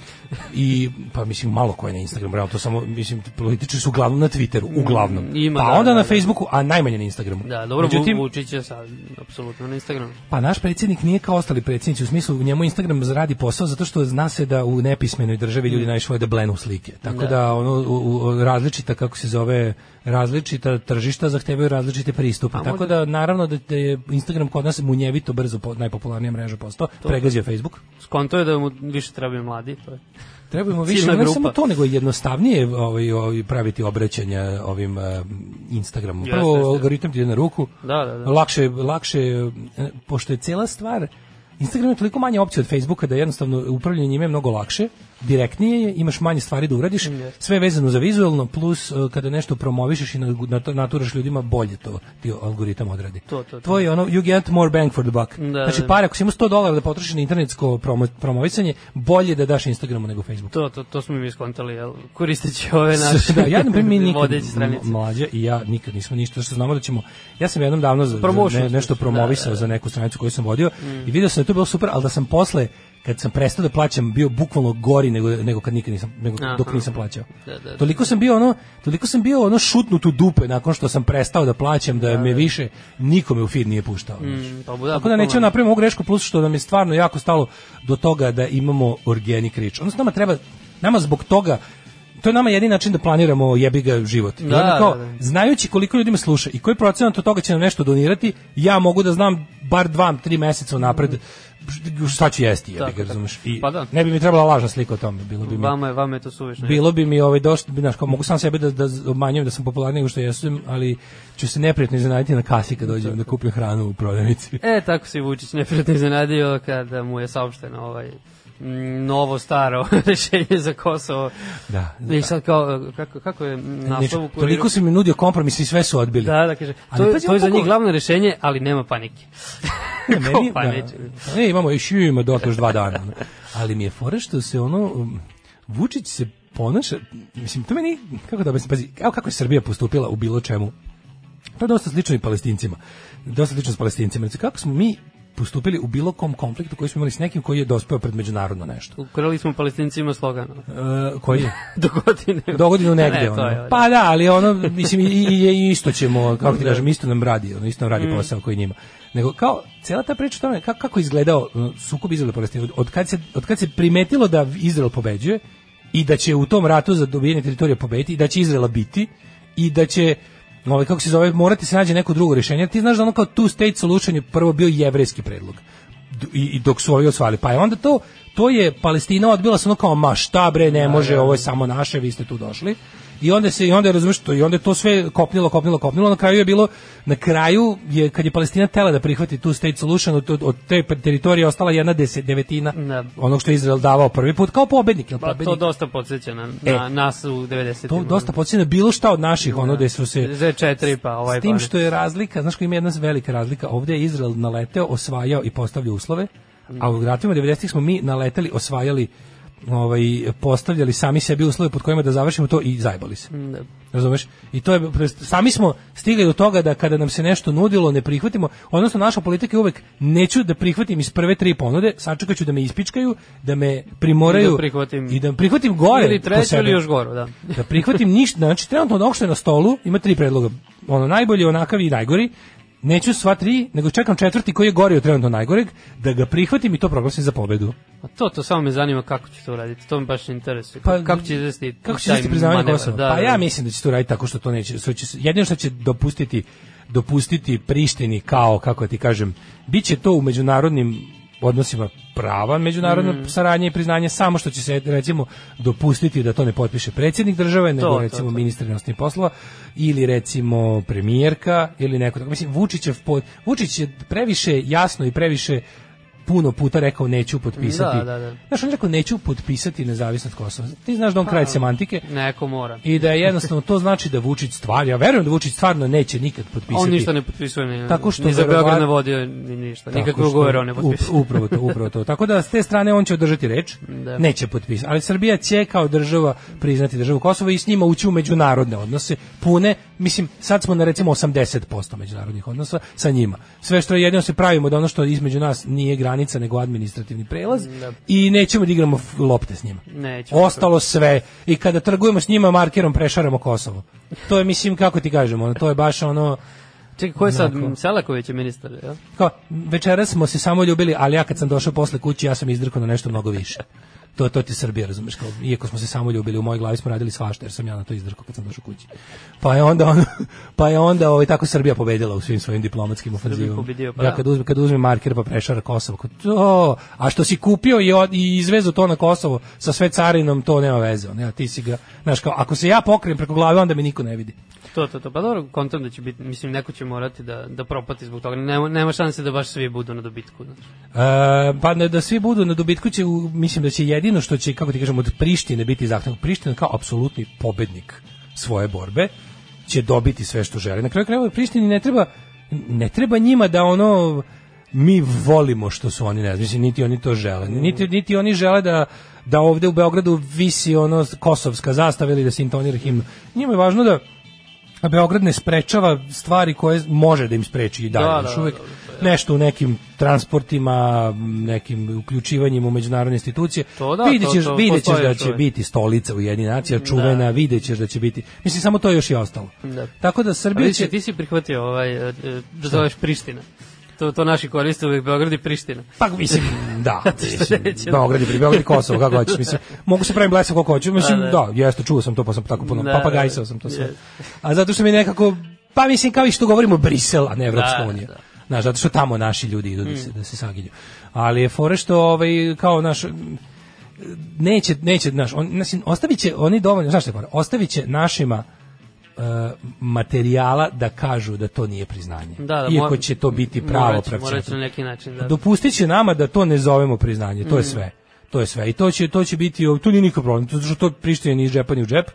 Speaker 1: i pa mislim malo ko je na Instagramu, realno to samo mislim političari su uglavnom na Twitteru, uglavnom.
Speaker 2: ima,
Speaker 1: pa
Speaker 2: da,
Speaker 1: onda
Speaker 2: da,
Speaker 1: na
Speaker 2: da.
Speaker 1: Facebooku, a najmanje na Instagramu.
Speaker 2: Da, dobro, Međutim,
Speaker 1: Međutim,
Speaker 2: Vučić je sad, apsolutno na Instagramu.
Speaker 1: Pa naš predsjednik nije kao ostali predsjednici, u smislu njemu Instagram radi posao zato što zna se da u nepismenoj državi ljudi najviše vole da blenu slike. Tako da, ono u, u, različita kako se zove različita tržišta zahtevaju različite pristupe. Tako da naravno da, da je Instagram kod nas munjevito brzo po, najpopularnija mreža postao, pregazio je Facebook.
Speaker 2: Skonto je da mu više trebaju mladi, to je.
Speaker 1: Trebamo više
Speaker 2: Ciljna
Speaker 1: ne
Speaker 2: grupa.
Speaker 1: samo to, nego jednostavnije ovaj, ovaj, praviti obraćanja ovim eh, Instagramom.
Speaker 2: Jeste,
Speaker 1: Prvo,
Speaker 2: jeste.
Speaker 1: algoritam ti ide na ruku,
Speaker 2: Da, da, da.
Speaker 1: lakše, lakše, eh, pošto je cela stvar Instagram je toliko manje opcija od Facebooka da jednostavno upravljanje njime je mnogo lakše, direktnije je, imaš manje stvari da uradiš,
Speaker 2: Mm,
Speaker 1: sve je vezano za vizuelno, plus e, kada nešto promovišeš i na- na- naturaš ljudima, bolje to ti algoritam odradi.
Speaker 2: To, to, to.
Speaker 1: Tvoj je ono, you get more bang for the buck.
Speaker 2: Da,
Speaker 1: znači,
Speaker 2: da.
Speaker 1: pare, ako si imao 100 dolara da potrošiš na internetsko promo, promovisanje, bolje da daš Instagramu nego Facebooku.
Speaker 2: To, to, to smo mi iskontali, jel? Koristeći
Speaker 1: (laughs)
Speaker 2: ove naše
Speaker 1: da, ja na primjer mi nikad
Speaker 2: vodeće stranice.
Speaker 1: m- mlađe i ja nikad nismo ništa što znamo da ćemo ja sam jednom davno za, za
Speaker 2: Promotion
Speaker 1: ne- nešto
Speaker 2: smo, da,
Speaker 1: promovisao
Speaker 2: da, Mm. da.
Speaker 1: za neku stranicu koju sam vodio i video sam da je to bilo super, ali da sam posle kad sam prestao da plaćam bio bukvalno gori nego nego kad nikad nisam nego
Speaker 2: Aha.
Speaker 1: dok nisam plaćao.
Speaker 2: Da, da, da.
Speaker 1: Toliko sam bio ono toliko sam bio ono šutnut u dupe nakon što sam prestao da plaćam da, me više nikome u feed nije puštao. znaš.
Speaker 2: Mm, pa bu- da,
Speaker 1: Tako da
Speaker 2: bukvalno.
Speaker 1: nećemo napravimo ovu grešku plus što nam je stvarno jako stalo do toga da imamo organic reach. Odnosno nama treba nama zbog toga to je nama jedini način da planiramo jebi ga život. I
Speaker 2: Da,
Speaker 1: onda kao,
Speaker 2: da, da.
Speaker 1: Znajući koliko ljudi me sluša i koji procenat od toga će nam nešto donirati, ja mogu da znam bar dva, tri meseca napred šta ću jesti, jebi
Speaker 2: Mhm. Tako,
Speaker 1: ga,
Speaker 2: tako.
Speaker 1: razumeš. I
Speaker 2: Pa da.
Speaker 1: ne bi mi trebala lažna slika o tome, bilo bi mi
Speaker 2: Vama je, vama je to suvišno.
Speaker 1: bilo bi mi ovaj došlo bi znaš, kao mogu sam sebe da da obmanjujem da sam popularniji nego što jesam, ali ću se neprijatno iznenaditi na kasi kad dođem da kupim hranu u prodavnici.
Speaker 2: E, tako se i Vučić neprijatno iznenadio kada mu je saopšteno ovaj m, novo staro (laughs) rešenje za Kosovo.
Speaker 1: Da.
Speaker 2: I sad kao, e, kako, kako je m,
Speaker 1: Znači,
Speaker 2: naslov u kuriru?
Speaker 1: toliko si mi nudio kompromis i sve su odbili.
Speaker 2: Da, da, kaže,
Speaker 1: Ali
Speaker 2: to, je-
Speaker 1: pazi,
Speaker 2: to je za
Speaker 1: kako-
Speaker 2: njih glavno rešenje, ali nema panike.
Speaker 1: Ne,
Speaker 2: (laughs)
Speaker 1: meni,
Speaker 2: pa
Speaker 1: da.
Speaker 2: neće.
Speaker 1: ne, imamo još ima dok još dva dana. ono. Ali mi je fora što se ono um, Vučić se ponaša, mislim to meni kako da objasnim, pazi, evo kako je Srbija postupila u bilo čemu. To je dosta slično i Palestincima. Dosta slično s Palestincima. Znači, kako smo mi postupili u bilo kom konfliktu koji smo imali s nekim koji je dospeo pred međunarodno nešto.
Speaker 2: Ukrali smo palestincima slogan.
Speaker 1: E, koji je?
Speaker 2: (laughs) Do godine.
Speaker 1: Do godinu negde.
Speaker 2: Ne, to
Speaker 1: ono.
Speaker 2: je, ono. Da.
Speaker 1: pa da, ali ono, mislim, i, i, i isto ćemo, kako ti kažem, isto nam radi, ono, isto nam
Speaker 2: Mm.
Speaker 1: radi posao koji njima. Nego, kao, cela ta priča o tome, kako, kako je izgledao uh, sukob Izraela i Palestine, od, od, kad se, od kad se primetilo da Izrael pobeđuje i da će u tom ratu za dobijanje teritorije pobediti i da će Izraela biti i da će ovaj, kako se zove, morati se nađe neko drugo rješenje. Jer Ti znaš da ono kao two state solution je prvo bio jevrejski predlog. D- I, i dok su ovi osvali. Pa je onda to, to je Palestina odbila se ono kao, ma šta bre,
Speaker 2: Da,
Speaker 1: ne može, ovo je samo naše, vi ste tu došli. I onda se i onda je, razumeš to i onda je to sve kopnilo, kopnilo, kopnilo, na kraju je bilo na kraju je kad je Palestina tela da prihvati tu state solution od, od- od te pa, teritorije je ostala jedna deset, devetina
Speaker 2: Da.
Speaker 1: onog što je Izrael davao prvi put kao pobednik, jel
Speaker 2: Pa to
Speaker 1: pobednik?
Speaker 2: dosta podsjeća na, na
Speaker 1: E.
Speaker 2: nas u 90.
Speaker 1: To dosta podsjeća na bilo šta od
Speaker 2: Da.
Speaker 1: naših, ono gde su se
Speaker 2: Z4 pa ovaj
Speaker 1: s tim
Speaker 2: pa-
Speaker 1: što je razlika, znaš koji ima jedna velika razlika, ovdje je Izrael naleteo, osvajao i postavljao uslove, a u ratovima 90-ih smo mi naleteli, osvajali, ovaj, postavljali sami sebi uslove pod kojima da završimo to i zajbali se.
Speaker 2: Da.
Speaker 1: Razumeš? I to je, sami smo stigli do toga da kada nam se nešto nudilo ne prihvatimo, odnosno naša politika je uvek neću da prihvatim iz prve tri ponude, sačekat ću da me ispičkaju, da me primoraju
Speaker 2: I da prihvatim-
Speaker 1: i da prihvatim gore
Speaker 2: Ili
Speaker 1: po
Speaker 2: treću
Speaker 1: sebe
Speaker 2: ili još goru, da.
Speaker 1: da prihvatim ništa, znači trenutno od onog što je na stolu ima tri predloga, ono najbolji, onakav i najgori, neću sva tri, nego čekam četvrti koji je gori od trenutno najgoreg, da ga prihvatim i to proglasim za pobedu.
Speaker 2: A Pa to, to samo me zanima kako će to uraditi, to me baš ne interesuje.
Speaker 1: Pa,
Speaker 2: kako će izvesti
Speaker 1: Kako će
Speaker 2: taj
Speaker 1: se priznavanje
Speaker 2: manevar?
Speaker 1: Kosova?
Speaker 2: Da,
Speaker 1: pa
Speaker 2: da,
Speaker 1: ja
Speaker 2: da.
Speaker 1: mislim da će to raditi tako što to neće, što će, se- jedino što će dopustiti dopustiti Prištini kao, kako ti kažem, bit će to u međunarodnim odnosima prava međunarodno
Speaker 2: Mm.
Speaker 1: saradnje i priznanje samo što će se recimo dopustiti da to ne potpiše predsjednik države nego
Speaker 2: to,
Speaker 1: recimo
Speaker 2: to.
Speaker 1: ministar inostranih poslova ili recimo premijerka ili neko tako mislim Vučićev pod, Vučić je previše jasno i previše puno puta rekao neću potpisati.
Speaker 2: Da, da, da.
Speaker 1: Znaš, on je rekao neću potpisati nezavisnost Kosova. Ti znaš da on
Speaker 2: Pa.
Speaker 1: kraj semantike
Speaker 2: Neko mora.
Speaker 1: i da je jednostavno to znači da Vučić stvarno, ja verujem da Vučić stvarno neće nikad potpisati.
Speaker 2: On ništa ne potpisuje, ni,
Speaker 1: Tako što
Speaker 2: ni za
Speaker 1: verovatno-
Speaker 2: Beograd ne vodio, ni ništa.
Speaker 1: Tako
Speaker 2: Nikakve
Speaker 1: što-
Speaker 2: ugovore Pa on ne
Speaker 1: up-
Speaker 2: potpisuje.
Speaker 1: (laughs) Upravo to, upravo to. Tako da s te strane on će održati reč,
Speaker 2: Da.
Speaker 1: neće potpisati. Ali Srbija će kao država priznati državu Kosovo i s njima ući u međunarodne odnose pune. Mislim, sad smo na recimo 80% međunarodnih odnosa sa njima. Sve što je jedino se pravimo da ono što između nas nije granica nego administrativni prelaz i nećemo da igramo f- lopte s njima.
Speaker 2: Nećemo.
Speaker 1: Ostalo sve. I kada trgujemo s njima markerom prešaramo Kosovo. To je mislim kako ti kažemo, ono, to je baš ono
Speaker 2: Čekaj, ko je sad? Selaković je ministar, jel?
Speaker 1: kao, večeras smo se samo ljubili, ali ja kad sam došao posle kući, ja sam izdrkao na nešto mnogo više. To, to ti Srbija, razumeš, kao, iako smo se samo ljubili, u mojoj glavi smo radili svašta, jer sam ja na to izdrkao kad sam došao kući. Pa je onda, ono, (laughs) pa je onda ovaj, tako Srbija pobedila u svim svojim diplomatskim ofenzivama.
Speaker 2: pobedio, pa
Speaker 1: ja
Speaker 2: da.
Speaker 1: kad uzme, kad uzme marker pa prešara Kosovo, kao, to, a što si kupio i, od, i izvezu to na Kosovo sa sve carinom, to nema veze. ono, Ja, ti si ga, znaš, kao, ako se ja pokrijem preko glave, onda me niko ne vidi.
Speaker 2: To, to, to. Pa dobro, kontam da će biti, mislim, neko će morati da, da propati zbog toga. Nema, nema šanse da baš svi budu na dobitku. Znači.
Speaker 1: E, pa ne, da svi budu na dobitku će, u- mislim da će jedino što će, kako ti kažem, od Prištine biti zahtevno. Priština kao apsolutni pobednik svoje borbe će dobiti sve što želi. Na kraju krajeva Prištini ne treba, ne treba njima da ono mi volimo što su oni, ne znam, mislim, niti oni to žele. Niti, niti oni žele da da ovde u Beogradu visi ono kosovska zastava ili da se intonira himna. Njima je važno da a Beograd ne sprečava stvari koje može da im spreči i dalje.
Speaker 2: Da,
Speaker 1: Da,
Speaker 2: da,
Speaker 1: da,
Speaker 2: da,
Speaker 1: uvek nešto u nekim transportima, nekim uključivanjima u međunarodne institucije.
Speaker 2: To da,
Speaker 1: vidjet
Speaker 2: to-
Speaker 1: ćeš,
Speaker 2: to
Speaker 1: vidjet ćeš
Speaker 2: postoji
Speaker 1: da
Speaker 2: još
Speaker 1: će
Speaker 2: uvek.
Speaker 1: biti stolica Ujedinjenih nacija, čuvena, da. vidjet ćeš da će biti. Mislim, samo to još i ostalo.
Speaker 2: Da.
Speaker 1: Tako da
Speaker 2: A
Speaker 1: Srbija
Speaker 2: vidiš,
Speaker 1: će...
Speaker 2: ti si prihvatio ovaj, e, e, da zoveš Priština. To, to naši koriste uvijek Beograd i Priština.
Speaker 1: Pa mislim,
Speaker 2: (laughs)
Speaker 1: da, mislim,
Speaker 2: neće.
Speaker 1: Beograd je pri Beograd i Kosovo, kako hoćeš, mislim, mogu se pravim blesav koliko hoću, mislim,
Speaker 2: Da,
Speaker 1: da,
Speaker 2: da.
Speaker 1: jeste, čuo sam to, pa sam tako puno,
Speaker 2: Da,
Speaker 1: papagajsao
Speaker 2: da,
Speaker 1: sam to sve.
Speaker 2: jeste.
Speaker 1: A zato što mi je nekako, pa mislim, kao i što govorimo Brisel, a ne Evropska
Speaker 2: Da,
Speaker 1: unija.
Speaker 2: da. Mm.
Speaker 1: Znaš, zato što tamo naši ljudi idu da se, da se saginju. Ali je fore što, ovaj, kao naš, neće, neće, znaš, on, znači, ostavit će, oni dovoljno, znaš što je fora, ostavit će našima e, materijala da kažu da to nije priznanje.
Speaker 2: Da, da,
Speaker 1: Iako
Speaker 2: mora-
Speaker 1: će to biti pravo
Speaker 2: morat će- morat će
Speaker 1: pravčetanje
Speaker 2: na neki način, da.
Speaker 1: dopustit će nama da to ne zovemo priznanje, to je sve. To je sve. I to će, to će biti, to nije nikakav problem, to, što to prištinje ni iz džepa ni u džep.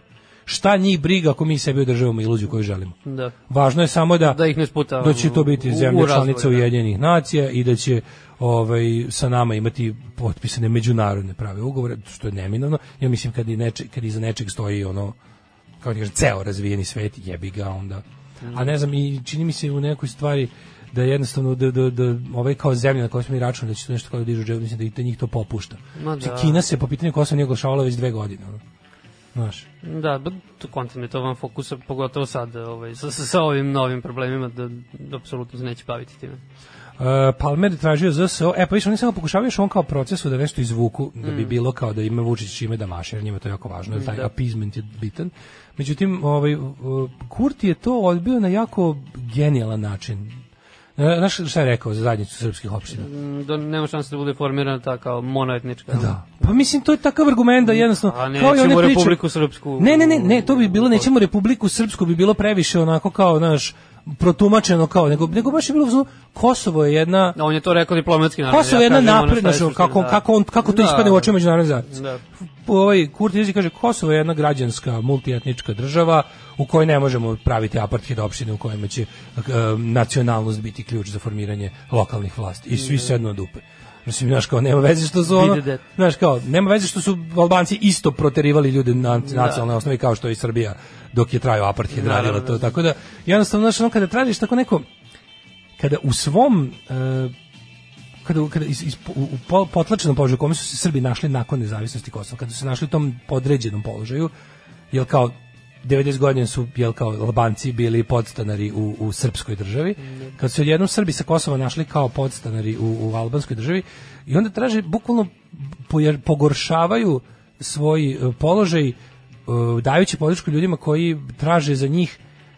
Speaker 1: Šta njih briga ako mi sebi održavamo iluziju koju želimo?
Speaker 2: Da.
Speaker 1: Važno je samo da,
Speaker 2: Da ih ne sputavamo
Speaker 1: da će to biti
Speaker 2: u-
Speaker 1: zemlje
Speaker 2: u razvoj,
Speaker 1: članice
Speaker 2: da.
Speaker 1: Ujedinjenih nacija i da će ovaj sa nama imati potpisane međunarodne prave ugovore što je neminovno ja mislim kad i neče, kad iza nečeg stoji ono kao ti kažem ceo razvijeni svet jebi ga onda a ne znam i čini mi se u nekoj stvari da jednostavno da, da, da ovaj kao zemlja na kojoj smo mi računali da će to nešto kao da dižu džep, mislim da i da njih to popušta.
Speaker 2: Ma
Speaker 1: Mislim,
Speaker 2: da.
Speaker 1: Kina se po pitanju Kosova nije oglašavala već dve godine. Ono. Znaš.
Speaker 2: Da, ba, to kontam je to van fokusa, pogotovo sad, ovaj, sa, sa, sa ovim novim problemima, da, da apsolutno se neće baviti time.
Speaker 1: Uh, Palmer je tražio ZSO, e pa više oni samo pokušavaju još on kao procesu da nešto izvuku, da bi bilo kao da ima Vučić čime da maše, jer njima je to jako važno, jer taj
Speaker 2: Mm. Da.
Speaker 1: appeasement je bitan. Međutim, ovaj, uh, Kurti je to odbio na jako genijalan način. E, Znaš šta je rekao za zajednicu srpskih opština?
Speaker 2: Mm, Da nema šanse da bude formirana ta kao monoetnička.
Speaker 1: Da. Pa mislim, to je takav argument da jednostavno...
Speaker 2: Mm. A ne,
Speaker 1: kao i one
Speaker 2: nećemo
Speaker 1: priče-
Speaker 2: Republiku Srpsku.
Speaker 1: Ne, ne, ne, ne, to bi bilo, nećemo Republiku Srpsku, bi bilo previše onako kao, naš, protumačeno kao, nego, nego baš je bilo, u fazonu, Kosovo je jedna...
Speaker 2: Da, on je to rekao diplomatski naravno.
Speaker 1: Kosovo je Pa jedna
Speaker 2: kažem ono
Speaker 1: napredna,
Speaker 2: šta je
Speaker 1: što, kako,
Speaker 2: suština, da.
Speaker 1: kako, on, kako to
Speaker 2: Da.
Speaker 1: ispadne u očima međunarodne zajednice.
Speaker 2: Da.
Speaker 1: Po- Ovaj Kurt Izzi kaže Kosovo je jedna građanska multietnička država u kojoj ne možemo praviti apartheid opštine u kojima će e, nacionalnost biti ključ za formiranje lokalnih vlasti i svi
Speaker 2: Da.
Speaker 1: sednu na dupe. Mislim, znaš, kao, nema veze što su ono,
Speaker 2: Vide det.
Speaker 1: znaš, kao, nema veze što su Albanci isto proterivali ljude na nacionalnoj osnovi kao što je i Srbija dok je trajao apartheid
Speaker 2: Da. Naravno,
Speaker 1: radila to, tako da, jednostavno, znaš, ono, kada tražiš tako neko, kada u svom e, kada, kada iz, iz, u, u po- potlačenom položaju u kome su se Srbi našli nakon nezavisnosti Kosova, kada su se našli u tom podređenom položaju, jel kao 90 godina su jel kao Albanci bili podstanari u, u srpskoj državi, kad su se odjednom Srbi sa Kosova našli kao podstanari u, u albanskoj državi i onda traže bukvalno pojer, pogoršavaju svoj e, položaj e, dajući podršku ljudima koji traže za njih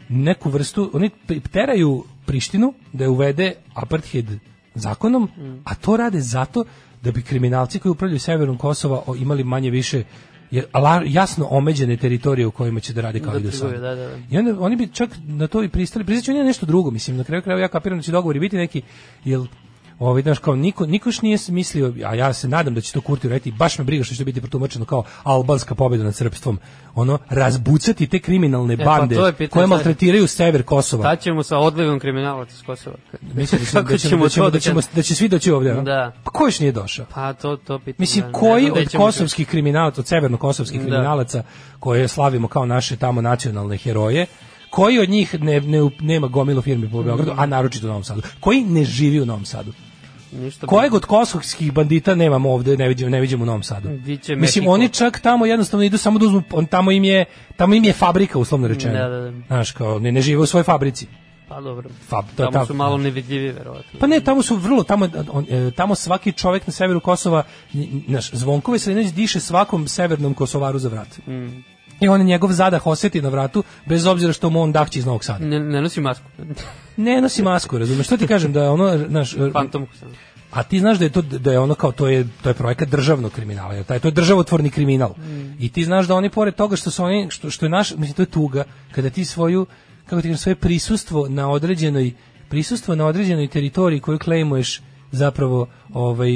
Speaker 1: neku vrstu, oni pri- teraju Prištinu da je uvede apartheid zakonom,
Speaker 2: Mm.
Speaker 1: a to rade zato da bi kriminalci koji upravljaju severom Kosova o- imali manje više je- la- jasno omeđene teritorije u kojima će da rade kao
Speaker 2: Da
Speaker 1: i do sada.
Speaker 2: trguju, da, da, da.
Speaker 1: I onda oni bi čak na to i pristali. Priznaću, nije nešto drugo, mislim, na kraju krajeva ja kapiram da će dogovori biti neki, jel Ovaj, znaš, kao niko, niko još nije mislio, a ja se nadam da će to Kurti uraditi, baš me briga što će to biti protumačeno kao albanska pobeda nad srpstvom. Ono, razbucati te kriminalne
Speaker 2: pa
Speaker 1: bande
Speaker 2: to je pitanje,
Speaker 1: koje
Speaker 2: znaš.
Speaker 1: maltretiraju sever Kosova.
Speaker 2: Šta ćemo sa odlivom kriminalaca iz Kosova?
Speaker 1: Mislim da ćemo,
Speaker 2: (laughs) Kako
Speaker 1: da ćemo, da ćemo, da ćemo, da će svi doći ovde. a?
Speaker 2: Da.
Speaker 1: Pa ko još nije došao?
Speaker 2: Pa to, to pitanje.
Speaker 1: Mislim,
Speaker 2: da, ne
Speaker 1: koji
Speaker 2: znam gde
Speaker 1: od
Speaker 2: ćemo čuti.
Speaker 1: kosovskih kriminalaca, od severno-kosovskih
Speaker 2: Da.
Speaker 1: kriminalaca, koje slavimo kao naše tamo nacionalne heroje, koji od njih ne, ne, nema gomilu firmi po Beogradu, a naročito u Novom Sadu? Koji ne živi u Novom Sadu?
Speaker 2: Ništa
Speaker 1: Kojeg od kosovskih bandita nemamo ovde, ne vidimo, ne vidimo u Novom Sadu?
Speaker 2: Biće
Speaker 1: Mislim,
Speaker 2: Mexico.
Speaker 1: oni čak tamo jednostavno idu samo da uzmu, on, tamo, im je, tamo im je fabrika, uslovno rečeno.
Speaker 2: Da, da, da.
Speaker 1: Znaš, kao, ne, ne žive u svojoj fabrici.
Speaker 2: Pa dobro.
Speaker 1: Fab, to,
Speaker 2: Tamo
Speaker 1: ta-
Speaker 2: su malo nevidljivi, verovatno.
Speaker 1: Pa ne, tamo su vrlo, tamo, on, e, tamo svaki čovek na severu Kosova, nj- nj- znaš, Zvonko Veselinović diše svakom severnom Kosovaru za vrat. Mm. I on njegov zadah oseti na vratu, bez obzira što mu on dahće iz Novog Sada.
Speaker 2: Ne, ne nosi masku. (laughs)
Speaker 1: Ne nosi masku, razumeš? Što ti kažem da ono, znaš, e,
Speaker 2: Fantomku sam.
Speaker 1: a ti znaš da je to da je ono kao to je to je projekat državnog kriminala, jer taj to je državotvorni
Speaker 2: Mm.
Speaker 1: kriminal. I ti znaš da oni pored toga što su oni što što je naš, mislim to je tuga kada ti svoju kako ti kažem, svoje prisustvo na određenoj prisustvo na određenoj teritoriji koju klejmuješ zapravo ovaj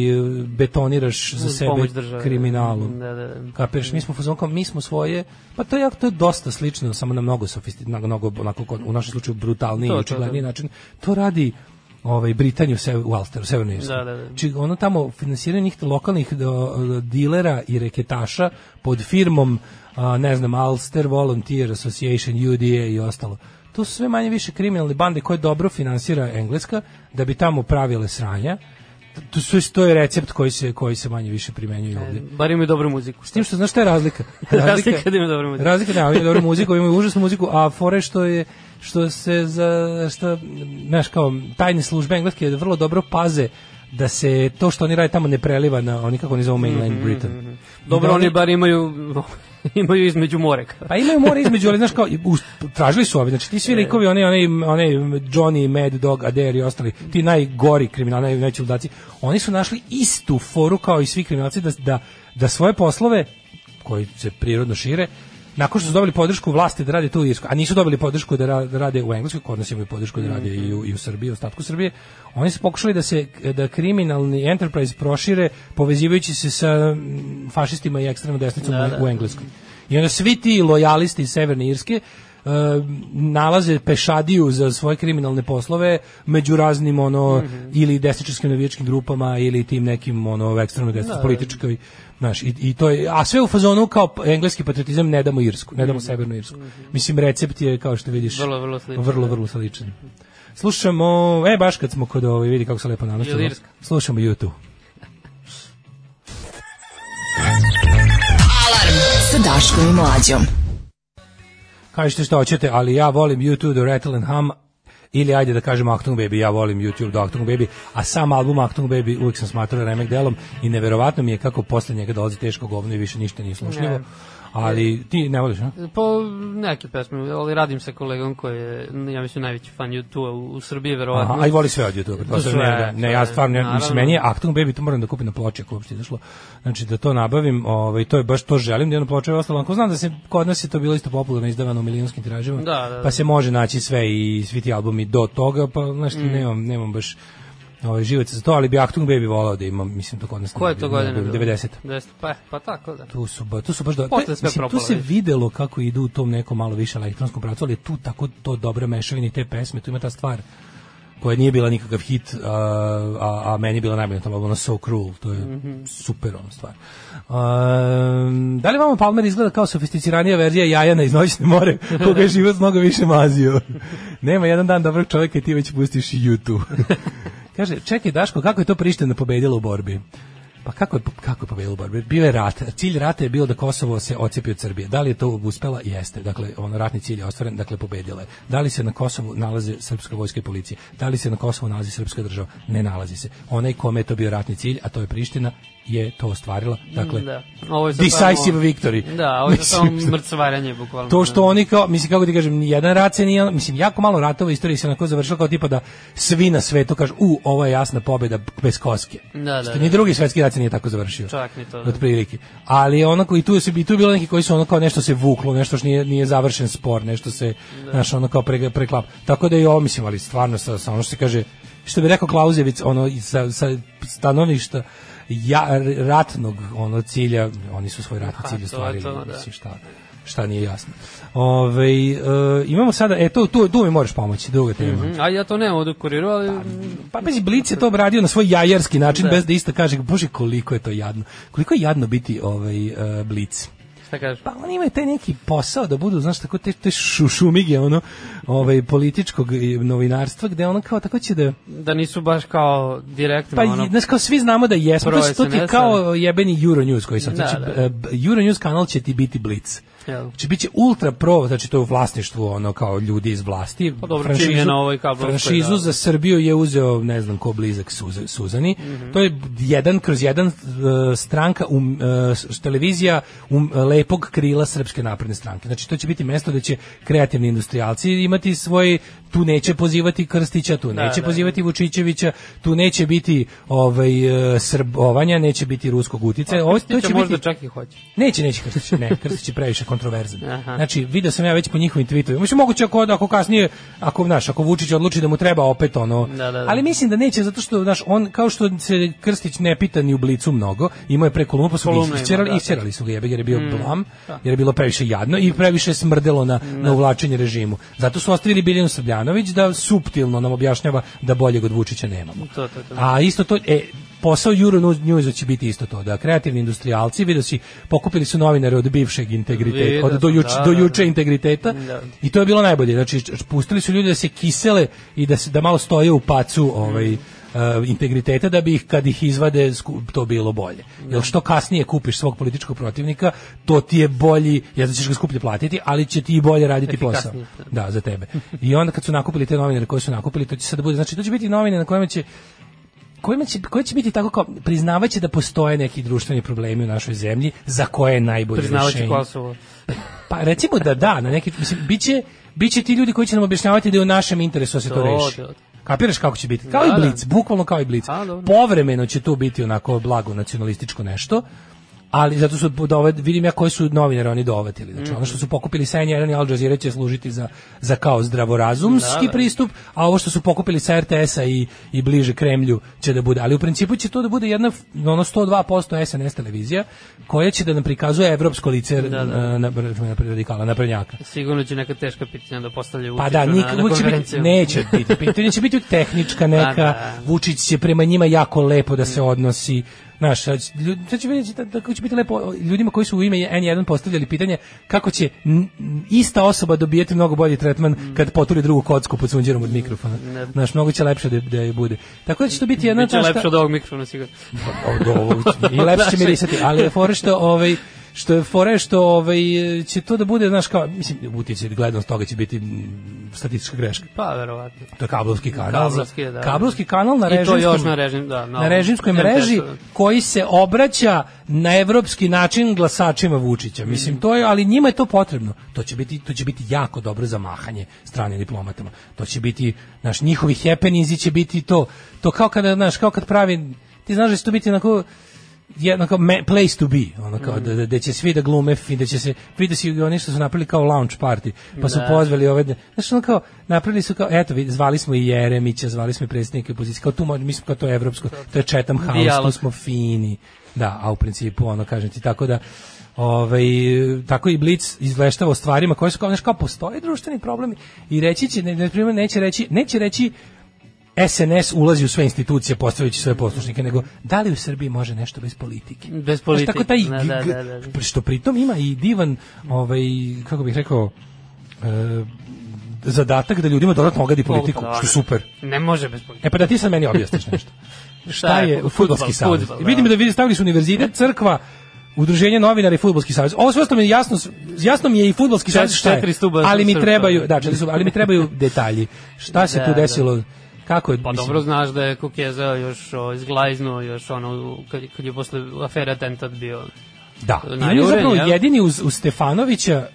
Speaker 1: betoniraš za
Speaker 2: Uz
Speaker 1: sebe
Speaker 2: pomoć države.
Speaker 1: kriminalom.
Speaker 2: Da, da, da.
Speaker 1: Kapiraš, mi smo fuzon kao, mi smo svoje, pa to je jako to je dosta slično, samo na mnogo sofisti, na mnogo onako kod- u našem slučaju brutalniji
Speaker 2: To,
Speaker 1: i
Speaker 2: to,
Speaker 1: očigledniji način. To radi ovaj Britaniju se u Alsteru, Severnoj Irskoj.
Speaker 2: Da, da, da.
Speaker 1: Znači ono tamo finansiranje njih lokalnih do, dilera i reketaša pod firmom a, ne znam Alster Volunteer Association UDA i ostalo. To su sve manje više kriminalne bande koje dobro finansira Engleska da bi tamo pravile sranja. To, to, su- to je recept koji se koji se manje više
Speaker 2: E,
Speaker 1: primenjuje ovdje.
Speaker 2: Bar imaju dobru muziku.
Speaker 1: S tim što znaš šta je razlika?
Speaker 2: (laughs) Razlika da ima dobru muziku.
Speaker 1: Razlika da, imaju dobru muziku, imaju užasnu muziku, a fore što je što se za što znaš kao tajne službe engleske vrlo dobro paze da se to što oni rade tamo ne preliva na oni kako oni zovu mainland Britain.
Speaker 2: Mhm, Dobro,
Speaker 1: Da
Speaker 2: oni bar imaju, (laughs) imaju između moreka.
Speaker 1: Pa imaju more između, ali znaš kao, i us- tražili su ovi, znači ti svi likovi, oni, oni, oni Johnny, Mad Dog, Adair i ostali, ti najgori kriminali, najveći ludaci, oni su našli istu foru kao i svi kriminalci da, da, da svoje poslove, koji se prirodno šire, nakon što su dobili podršku vlasti da rade tu u Irskoj, a nisu dobili podršku da, ra- da rade u Engleskoj, kod nas imaju podršku da rade i u, i u Srbiji, u ostatku Srbije, oni su pokušali da se da kriminalni enterprise prošire povezivajući se sa mm, fašistima i ekstremno desnicom u- u Engleskoj. I onda svi ti lojalisti iz Severne Irske e, nalaze pešadiju za svoje kriminalne poslove među raznim ono
Speaker 2: Mhm.
Speaker 1: ili desničarskim navijačkim grupama ili tim nekim ono ekstremno
Speaker 2: Da,
Speaker 1: desničarskoj političkoj znaš i, i to je a sve u fazonu kao p- engleski patriotizam ne damo Irsku ne damo Severnu Irsku mislim recept je kao što vidiš
Speaker 2: Mhm. Vrlo, vrlo sličan,
Speaker 1: vrlo,
Speaker 2: da.
Speaker 1: vrlo sličan slušamo e baš kad smo kod ovaj vidi kako se lepo nanošilo
Speaker 2: Jel Irska?
Speaker 1: slušamo YouTube
Speaker 3: Alarm sa Daškom i Mlađom.
Speaker 1: Kažete što hoćete, ali ja volim YouTube do Rattle and Hum ili ajde da kažem Achtung Baby, ja volim YouTube do Achtung Baby, a sam album Achtung Baby uvijek sam smatrao remek delom i neverovatno mi je kako posle njega dolazi teško govno i više ništa nije slušljivo.
Speaker 2: Ne.
Speaker 1: Ali ti ne voliš, a?
Speaker 2: Po Pa, neke pesme, ali radim sa kolegom koji je, ja mislim, najveći fan YouTube u, u Srbiji, verovatno.
Speaker 1: Aha, aj voli sve od YouTube.
Speaker 2: To sve, da,
Speaker 1: ne, ne, ja
Speaker 2: sve,
Speaker 1: stvarno, ja, mislim,
Speaker 2: naravno.
Speaker 1: meni je Achtung Baby, to moram da kupim na ploče ako uopšte izašlo. Znači da to nabavim, ovaj, to je baš to želim da je na ploče i ostalo. Ako znam da se kod nas je to bilo isto popularno izdavano u milionskim tiražima,
Speaker 2: Da, da, da.
Speaker 1: pa se može naći sve i svi ti albumi do toga, pa znaš,
Speaker 2: Mm.
Speaker 1: ti, nemam, nemam baš ovaj, živaca za to, ali bi Achtung Baby volao da imam, mislim, to kod nas.
Speaker 2: Koje je
Speaker 1: ne
Speaker 2: to
Speaker 1: bi- ne
Speaker 2: godine?
Speaker 1: bi-
Speaker 2: bilo?
Speaker 1: 90.
Speaker 2: 90. Pa, pa tako, da.
Speaker 1: Tu su, ba, tu su baš do...
Speaker 2: Posle sve
Speaker 1: mislim, tu
Speaker 2: propalo,
Speaker 1: se
Speaker 2: vidiš.
Speaker 1: videlo kako idu u tom nekom malo više elektronskom pravcu, ali je tu tako to dobra mešavina i te pesme, tu ima ta stvar koja nije bila nikakav hit, a, a, a meni je bila najbolja na tom albumu, ono So Cruel, to je
Speaker 2: Mhm.
Speaker 1: super ono stvar. Um, da li vama Palmer izgleda kao sofisticiranija verzija Jajana iz Noćne
Speaker 2: (laughs)
Speaker 1: more, koga je život mnogo više mazio? Nema jedan dan dobrog čovjeka i ti već pustiš YouTube.
Speaker 2: (laughs)
Speaker 1: Kaže, čekaj Daško, kako je to Priština pobedila u borbi? Pa kako je, kako je pobedila u borbi? Bio je rat. Cilj rata je bio da Kosovo se ocijepi od Srbije. Da li je to uspela? Jeste. Dakle, on ratni cilj je ostvaren, dakle pobedila je. Da li se na Kosovu nalaze srpska vojska i policija? Da li se na Kosovu nalazi srpska država? Ne nalazi se. Onaj kome je to bio ratni cilj, a to je Priština, je to ostvarila. Dakle,
Speaker 2: Da. Ovo je sad
Speaker 1: decisive
Speaker 2: samo-
Speaker 1: victory.
Speaker 2: Da, ovo je sad samo
Speaker 1: Mislim,
Speaker 2: mrcvaranje, bukvalno.
Speaker 1: to što oni kao, mislim kako ti kažem, ni jedan rat se nije, mislim jako malo ratova u istoriji se onako završilo kao tipa da svi na svetu kažu, u, ovo je jasna pobjeda bez koske.
Speaker 2: Da, da,
Speaker 1: Što
Speaker 2: da.
Speaker 1: ni drugi svetski rat se nije tako završio.
Speaker 2: Čak ni to, da.
Speaker 1: Otprilike. Ali onako i tu se i tu je bilo neki koji su ono kao nešto se vuklo, nešto što nije nije završen spor, nešto se
Speaker 2: Da.
Speaker 1: znaš ono kao pre, preklap. Tako da i ovo mislim, ali stvarno sa, sa ono što se kaže što bi rekao Klauzevic, ono i sa, sa stanovišta ja, ratnog ono cilja, oni su svoj ratni
Speaker 2: to
Speaker 1: cilj
Speaker 2: je
Speaker 1: ostvarili.
Speaker 2: to, da.
Speaker 1: mislim, šta, šta nije jasno. Ove, imamo sada, e, tu, tu, tu mi moraš pomoći, druga tema.
Speaker 2: Mm, A ja to nemam ovdje u kuriru, ali...
Speaker 1: Pa pazi, Blic je to obradio na svoj jajarski način, bez da isto kaže, bože, koliko je to jadno. Koliko je jadno biti ovaj, e, Blic.
Speaker 2: Šta kažeš?
Speaker 1: Pa oni imaju taj neki posao da budu, znaš, tako te, te šušumige, ono, ovaj, političkog i novinarstva, gde ono kao tako će da...
Speaker 2: Da nisu baš kao direktno,
Speaker 1: Pa,
Speaker 2: ono...
Speaker 1: znaš, kao svi znamo da jesmo, to,
Speaker 2: Pro
Speaker 1: je- to ti je
Speaker 2: SNS,
Speaker 1: kao jebeni Euronews koji sad,
Speaker 2: Da,
Speaker 1: znači,
Speaker 2: da.
Speaker 1: e, b- Euronews kanal će ti biti Blic.
Speaker 2: Jel?
Speaker 1: Znači biće ultra pro, znači to je u vlasništvu ono kao ljudi iz vlasti.
Speaker 2: Pa dobro, čim je na ovoj kablovskoj,
Speaker 1: franšizu
Speaker 2: da.
Speaker 1: za Srbiju je uzeo, ne znam ko blizak Suze- Suzani.
Speaker 2: Mhm.
Speaker 1: To je jedan kroz jedan e, stranka um, e, s- televizija um, lepe lepog krila Srpske napredne stranke. Znači to će biti mesto da će kreativni industrijalci imati svoj tu neće pozivati Krstića, tu neće
Speaker 2: da.
Speaker 1: pozivati Vučićevića, tu neće biti ovaj e, srbovanja, neće biti ruskog uticaja. Ovo to će
Speaker 2: možda
Speaker 1: biti
Speaker 2: čak i hoće.
Speaker 1: Neće, neće Krstić, ne, Krstić je previše kontroverzan.
Speaker 2: Aha.
Speaker 1: Znači, video sam ja već po njihovim tweetovima. Mislim, moguće ako, da, ako kasnije, ako, znaš, ako Vučić odluči da mu treba opet ono.
Speaker 2: Da, da, da.
Speaker 1: Ali mislim da neće, zato što, znaš, on, kao što se Krstić ne pita ni u blicu mnogo, imao je pre kolumnu, pa su ga
Speaker 2: Kolumna ima,
Speaker 1: iscerali,
Speaker 2: da.
Speaker 1: iscerali su ga jebe, jer je bio blam, jer je bilo previše jadno i previše smrdelo
Speaker 2: Da.
Speaker 1: na, na uvlačenje režimu. Zato su ostavili Biljanu Srbljanović da suptilno nam objašnjava da boljeg od Vučića nemamo.
Speaker 2: To, to, to.
Speaker 1: A isto to, e, posao Euro News će biti isto to, da kreativni industrijalci, vidio si, pokupili su novinare od bivšeg integriteta,
Speaker 2: Vidio
Speaker 1: od do,
Speaker 2: sam,
Speaker 1: juč,
Speaker 2: da,
Speaker 1: do
Speaker 2: da,
Speaker 1: juče
Speaker 2: da.
Speaker 1: integriteta
Speaker 2: Da.
Speaker 1: i to je bilo najbolje, znači č- pustili su ljude da se kisele i da, se, da malo stoje u pacu ovaj, e,
Speaker 2: Mm.
Speaker 1: integriteta da bi ih kad ih izvade sku- to bilo bolje.
Speaker 2: Da.
Speaker 1: Jer što kasnije kupiš svog političkog protivnika, to ti je bolji, jer ćeš ga skuplje platiti, ali će ti i bolje raditi posao.
Speaker 2: Efikasnije.
Speaker 1: Da, za tebe. I onda kad su nakupili te novinare koje su nakupili, to će sad da bude, znači to će biti novine na kojima će kojima će, koje će biti tako kao priznavaće da postoje neki društveni problemi u našoj zemlji za koje je najbolje
Speaker 2: Priznavajući
Speaker 1: rešenje.
Speaker 2: Kosovo.
Speaker 1: Pa recimo da da, na neki mislim biće biće ti ljudi koji će nam objašnjavati da je u našem interesu da se to,
Speaker 2: To,
Speaker 1: reši.
Speaker 2: to, to.
Speaker 1: Kapiraš kako će biti? Kao
Speaker 2: Da,
Speaker 1: i
Speaker 2: da.
Speaker 1: Blic, bukvalno kao i Blic.
Speaker 2: A, dobro.
Speaker 1: Povremeno će tu biti onako blago nacionalističko nešto, ali zato su doved, vidim ja koji su novinare oni dovatili. Znači ono što su pokupili sa N1 i Al Jazeera će služiti za, za kao zdravorazumski
Speaker 2: Da, da.
Speaker 1: pristup, a ovo što su pokupili sa RTS-a i, i bliže Kremlju će da bude. Ali u principu će to da bude jedna f- ono 102% SNS televizija koja će da nam prikazuje evropsko lice da, da. Na, na, radikala, naprednjaka.
Speaker 2: Sigurno će neka teška pitanja da postavlja
Speaker 1: Pa da, nik,
Speaker 2: nik,
Speaker 1: uvijek će biti, neće biti, Pa pitanje će biti tehnička neka,
Speaker 2: Pa (laughs) da.
Speaker 1: Vučić će prema njima jako lepo da se odnosi, znaš, sad će- ljudi, sad će vidjeti da, da kako će biti lepo ljudima koji su u ime N1 postavljali pitanje kako će n- n- ista osoba dobijeti mnogo bolji tretman
Speaker 2: Mm.
Speaker 1: kad poturi drugu kocku pod sunđerom od mikrofona. Znaš, mnogo će lepše da, da je bude. Tako da će to biti jedna...
Speaker 2: Biće
Speaker 1: znaš šta-
Speaker 2: lepše od ovog mikrofona sigurno.
Speaker 1: od ovog
Speaker 2: (laughs)
Speaker 1: i lepše će
Speaker 2: Znaš,
Speaker 1: mirisati, ali je fore što ovaj što je fore što ovaj će to da bude znaš kao mislim utjecaj gledanost toga će biti mm, statistička greška.
Speaker 2: Pa, verovatno.
Speaker 1: To je kablovski kanal. za-
Speaker 2: Kablovski je, da.
Speaker 1: kablovski kanal na
Speaker 2: I to
Speaker 1: režimskom.
Speaker 2: još na režim- da, na
Speaker 1: na,
Speaker 2: ovom
Speaker 1: režimskoj
Speaker 2: RTS-u.
Speaker 1: mreži koji se obraća na evropski način glasačima Vučića. Mislim to je, ali njima je to potrebno. To će biti to će biti jako dobro za mahanje stranim diplomatama. To će biti naš njihovi happeninzi će biti to to kao kada znaš kao kad pravi ti znaš da će to biti onako jedno kao me- place to be, ono kao da, da, da će svi da glume, fi- da će se, vidi si i oni što su napravili kao lounge party, pa su pozvali ove, znaš ono kao, napravili su kao, eto, vidi, zvali smo i Jeremića, zvali smo i predsjednike opozicije, kao tu, mo- mi smo kao to je evropsko, to je Chatham House, tu
Speaker 2: Dijalog.
Speaker 1: smo fini, da, a u principu, ono, kažem ti, tako da, Ovaj tako i Blic izveštava o stvarima koje su kao znaš, kao postoje društveni problemi i reći će ne, ne primjer, neće reći neće reći SNS ulazi u sve institucije postavljajući svoje poslušnike, nego da li u Srbiji može nešto bez politike?
Speaker 2: Bez
Speaker 1: Znaš,
Speaker 2: politike,
Speaker 1: tako taj,
Speaker 2: da, da,
Speaker 1: g-
Speaker 2: da, da, da.
Speaker 1: pri- Što pritom ima i divan, ovaj, kako bih rekao, e, zadatak da ljudima dodatno ogadi politiku,
Speaker 2: Mogu, pa da,
Speaker 1: što
Speaker 2: ne.
Speaker 1: super.
Speaker 2: Ne može bez politike.
Speaker 1: E pa da ti sad meni
Speaker 2: (laughs)
Speaker 1: objasniš nešto. Šta je
Speaker 2: fudbal,
Speaker 1: fudbalski savez?
Speaker 2: fudbal, da.
Speaker 1: Vidim da vidi stavili su univerzitet, crkva, udruženje novinara i fudbalski savez. Ovo sve ostalo mi je jasno, jasno mi je i fudbalski savez šta je.
Speaker 2: četiri stuba
Speaker 1: Ali mi
Speaker 2: srpstva.
Speaker 1: trebaju, da, četiri stuba, ali mi
Speaker 2: (laughs)
Speaker 1: trebaju detalji. Šta se
Speaker 2: Da,
Speaker 1: tu
Speaker 2: da.
Speaker 1: desilo? Kako je,
Speaker 2: Pa
Speaker 1: mislim,
Speaker 2: dobro znaš da je Kukeza još o, izglajznuo, još ono, kad, kad je posle afere atentat bio.
Speaker 1: Da. I
Speaker 2: Na
Speaker 1: on je
Speaker 2: Jurenju,
Speaker 1: zapravo
Speaker 2: jel?
Speaker 1: jedini uz, uz Stefanovića,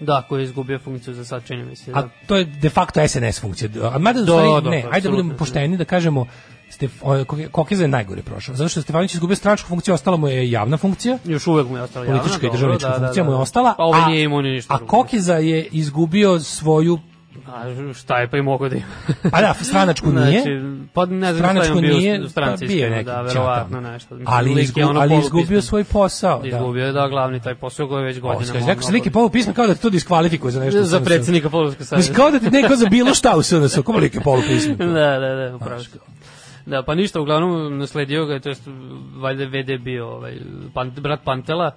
Speaker 2: Da, koji je izgubio funkciju za sad, čini mi se.
Speaker 1: a
Speaker 2: Da.
Speaker 1: to je de facto SNS funkcija. A mada u
Speaker 2: Da,
Speaker 1: stvari,
Speaker 2: da,
Speaker 1: ne, ajde da
Speaker 2: apsolutno,
Speaker 1: budemo
Speaker 2: da.
Speaker 1: pošteni da kažemo Stef, o, Koke- Kokeza je najgore prošao. Zato što je Stefanović izgubio stranačku funkciju, ostala mu je javna funkcija.
Speaker 2: Još uvek mu je ostala javna.
Speaker 1: politička i
Speaker 2: dobro,
Speaker 1: državnička
Speaker 2: da, da,
Speaker 1: funkcija
Speaker 2: da.
Speaker 1: mu je ostala.
Speaker 2: Pa ovaj nije imao ni ništa
Speaker 1: A
Speaker 2: drugo.
Speaker 1: Kokeza je izgubio svoju,
Speaker 2: A šta je pa i mogo da ima.
Speaker 1: pa da, stranačku nije,
Speaker 2: Znači, pa ne znam šta je
Speaker 1: Stranačko
Speaker 2: on bio
Speaker 1: nije,
Speaker 2: u stranci,
Speaker 1: pa bio je
Speaker 2: iskreno,
Speaker 1: neki
Speaker 2: da,
Speaker 1: ćata.
Speaker 2: verovatno nešto. Mislim,
Speaker 1: ali,
Speaker 2: lik je
Speaker 1: izgu,
Speaker 2: ono
Speaker 1: ali
Speaker 2: polupismen.
Speaker 1: izgubio svoj posao. Da.
Speaker 2: Izgubio je, da, glavni taj posao koji je već
Speaker 1: Ovo,
Speaker 2: godinama.
Speaker 1: skaži, rekao si
Speaker 2: ono-
Speaker 1: lik je polu pismen kao da te to diskvalifikuje za nešto.
Speaker 2: Za
Speaker 1: SNS.
Speaker 2: predsjednika Polovskog savjeza.
Speaker 1: Mislim, kao da ti neko za bilo šta u SNS-u, kao lik je polu pismen.
Speaker 2: (laughs) da, da, da, upravo. si. Da, pa ništa, uglavnom nasledio ga, je, to jest valjda VD bio ovaj, pan, brat Pantela.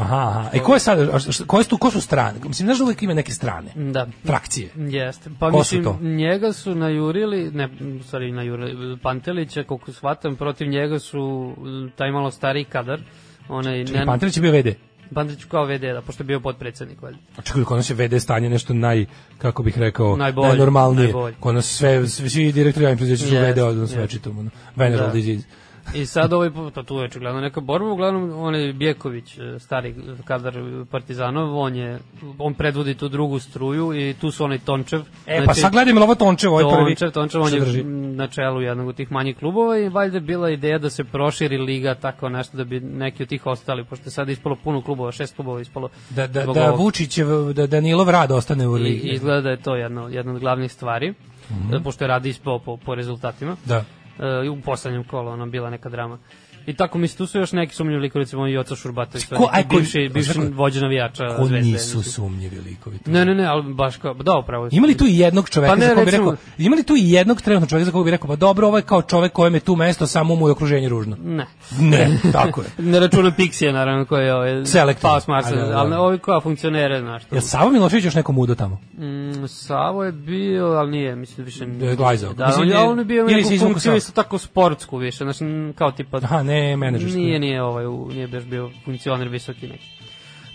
Speaker 1: Aha, aha. E ko je sad, a šta- koje su, tu- ko su strane? Mislim, znaš da uvijek ima neke strane,
Speaker 2: Da.
Speaker 1: frakcije.
Speaker 2: Jeste. Pa
Speaker 1: Ko su
Speaker 2: mislim,
Speaker 1: to?
Speaker 2: njega su najurili, ne, u stvari najurili, Pantelića, koliko shvatam, protiv njega su m, taj malo stariji kadar, onaj,
Speaker 1: Čekaj,
Speaker 2: ne,
Speaker 1: Pantelić je bio VD.
Speaker 2: Pantelić kao VD, da, pošto je bio potpredsednik, valjda.
Speaker 1: A Čekaj, kod nas je VD stanje nešto naj, kako bih rekao,
Speaker 2: Najbolje,
Speaker 1: najnormalnije.
Speaker 2: najbolje.
Speaker 1: Kod nas sve, svi, svi direktori javnih preduzeća su
Speaker 2: Jeste,
Speaker 1: VD odnosno
Speaker 2: jeste.
Speaker 1: večitom, ono, veneral
Speaker 2: Da.
Speaker 1: disease.
Speaker 2: I sad ovaj put, pa tu je očigledno neka borba, uglavnom on je Bjeković, e, stari kadar Partizanov, on je, on predvodi tu drugu struju i tu su onaj Tončev. Znači,
Speaker 1: E, pa sad gledajmo ovo Tončevo, ovaj prvi.
Speaker 2: Tončev, Tončev, on
Speaker 1: Šta
Speaker 2: je
Speaker 1: drži?
Speaker 2: m, na čelu jednog od tih manjih klubova i valjda je bila ideja da se proširi liga, tako nešto, da bi neki od tih ostali, pošto je sad ispalo puno klubova, šest klubova je ispalo.
Speaker 1: Da, da,
Speaker 2: zbog
Speaker 1: da
Speaker 2: ovog.
Speaker 1: Vučićev, da Danilov rad ostane u
Speaker 2: I,
Speaker 1: ligi.
Speaker 2: izgleda da je to jedna, jedna od glavnih stvari, mm
Speaker 1: Mhm.
Speaker 2: -hmm. pošto je radi ispao po, po rezultatima.
Speaker 1: Da.
Speaker 2: E, u poslednjem kolu, ono, bila neka drama. I tako, mislim, tu su još neki sumnjivi likovi, recimo i Oca Šurbatović,
Speaker 1: Ko- aj, ko-
Speaker 2: bivši, bivši
Speaker 1: čekaj.
Speaker 2: vođa navijača
Speaker 1: Ko
Speaker 2: Zvezde.
Speaker 1: nisu sumnjivi likovi. to
Speaker 2: Ne, ne, ne, ali baš kao, da, upravo.
Speaker 1: Ima li tu i jednog čoveka
Speaker 2: Pa ne,
Speaker 1: za koga bi
Speaker 2: recimo-
Speaker 1: rekao, ima li tu i jednog trenutno čoveka za koga bi rekao, pa dobro, ovo je kao čovek kojem je tu mesto, samo mu je okruženje ružno.
Speaker 2: Ne. (laughs)
Speaker 1: Ne, tako je.
Speaker 2: Ne računam Pixija, naravno, koji je ovaj,
Speaker 1: Selektor.
Speaker 2: Pas Marsa,
Speaker 1: A, da, da.
Speaker 2: ali ne, ovi koja funkcionere, znaš. To.
Speaker 1: Jel Savo Milošević još neko mudo tamo?
Speaker 2: Mm, Savo je bio, ali nije, mislim, više...
Speaker 1: Da, Glajzov.
Speaker 2: Da,
Speaker 1: Mislim,
Speaker 2: on, je,
Speaker 1: je-
Speaker 2: on je bio
Speaker 1: ili
Speaker 2: neku
Speaker 1: se izvukao
Speaker 2: funkciju
Speaker 1: sam.
Speaker 2: isto tako sportsku više, znaš, n- kao tipa...
Speaker 1: Aha, ne, menadžerski.
Speaker 2: Nije, nije, ovaj, u- nije baš bio funkcioner visoki neki.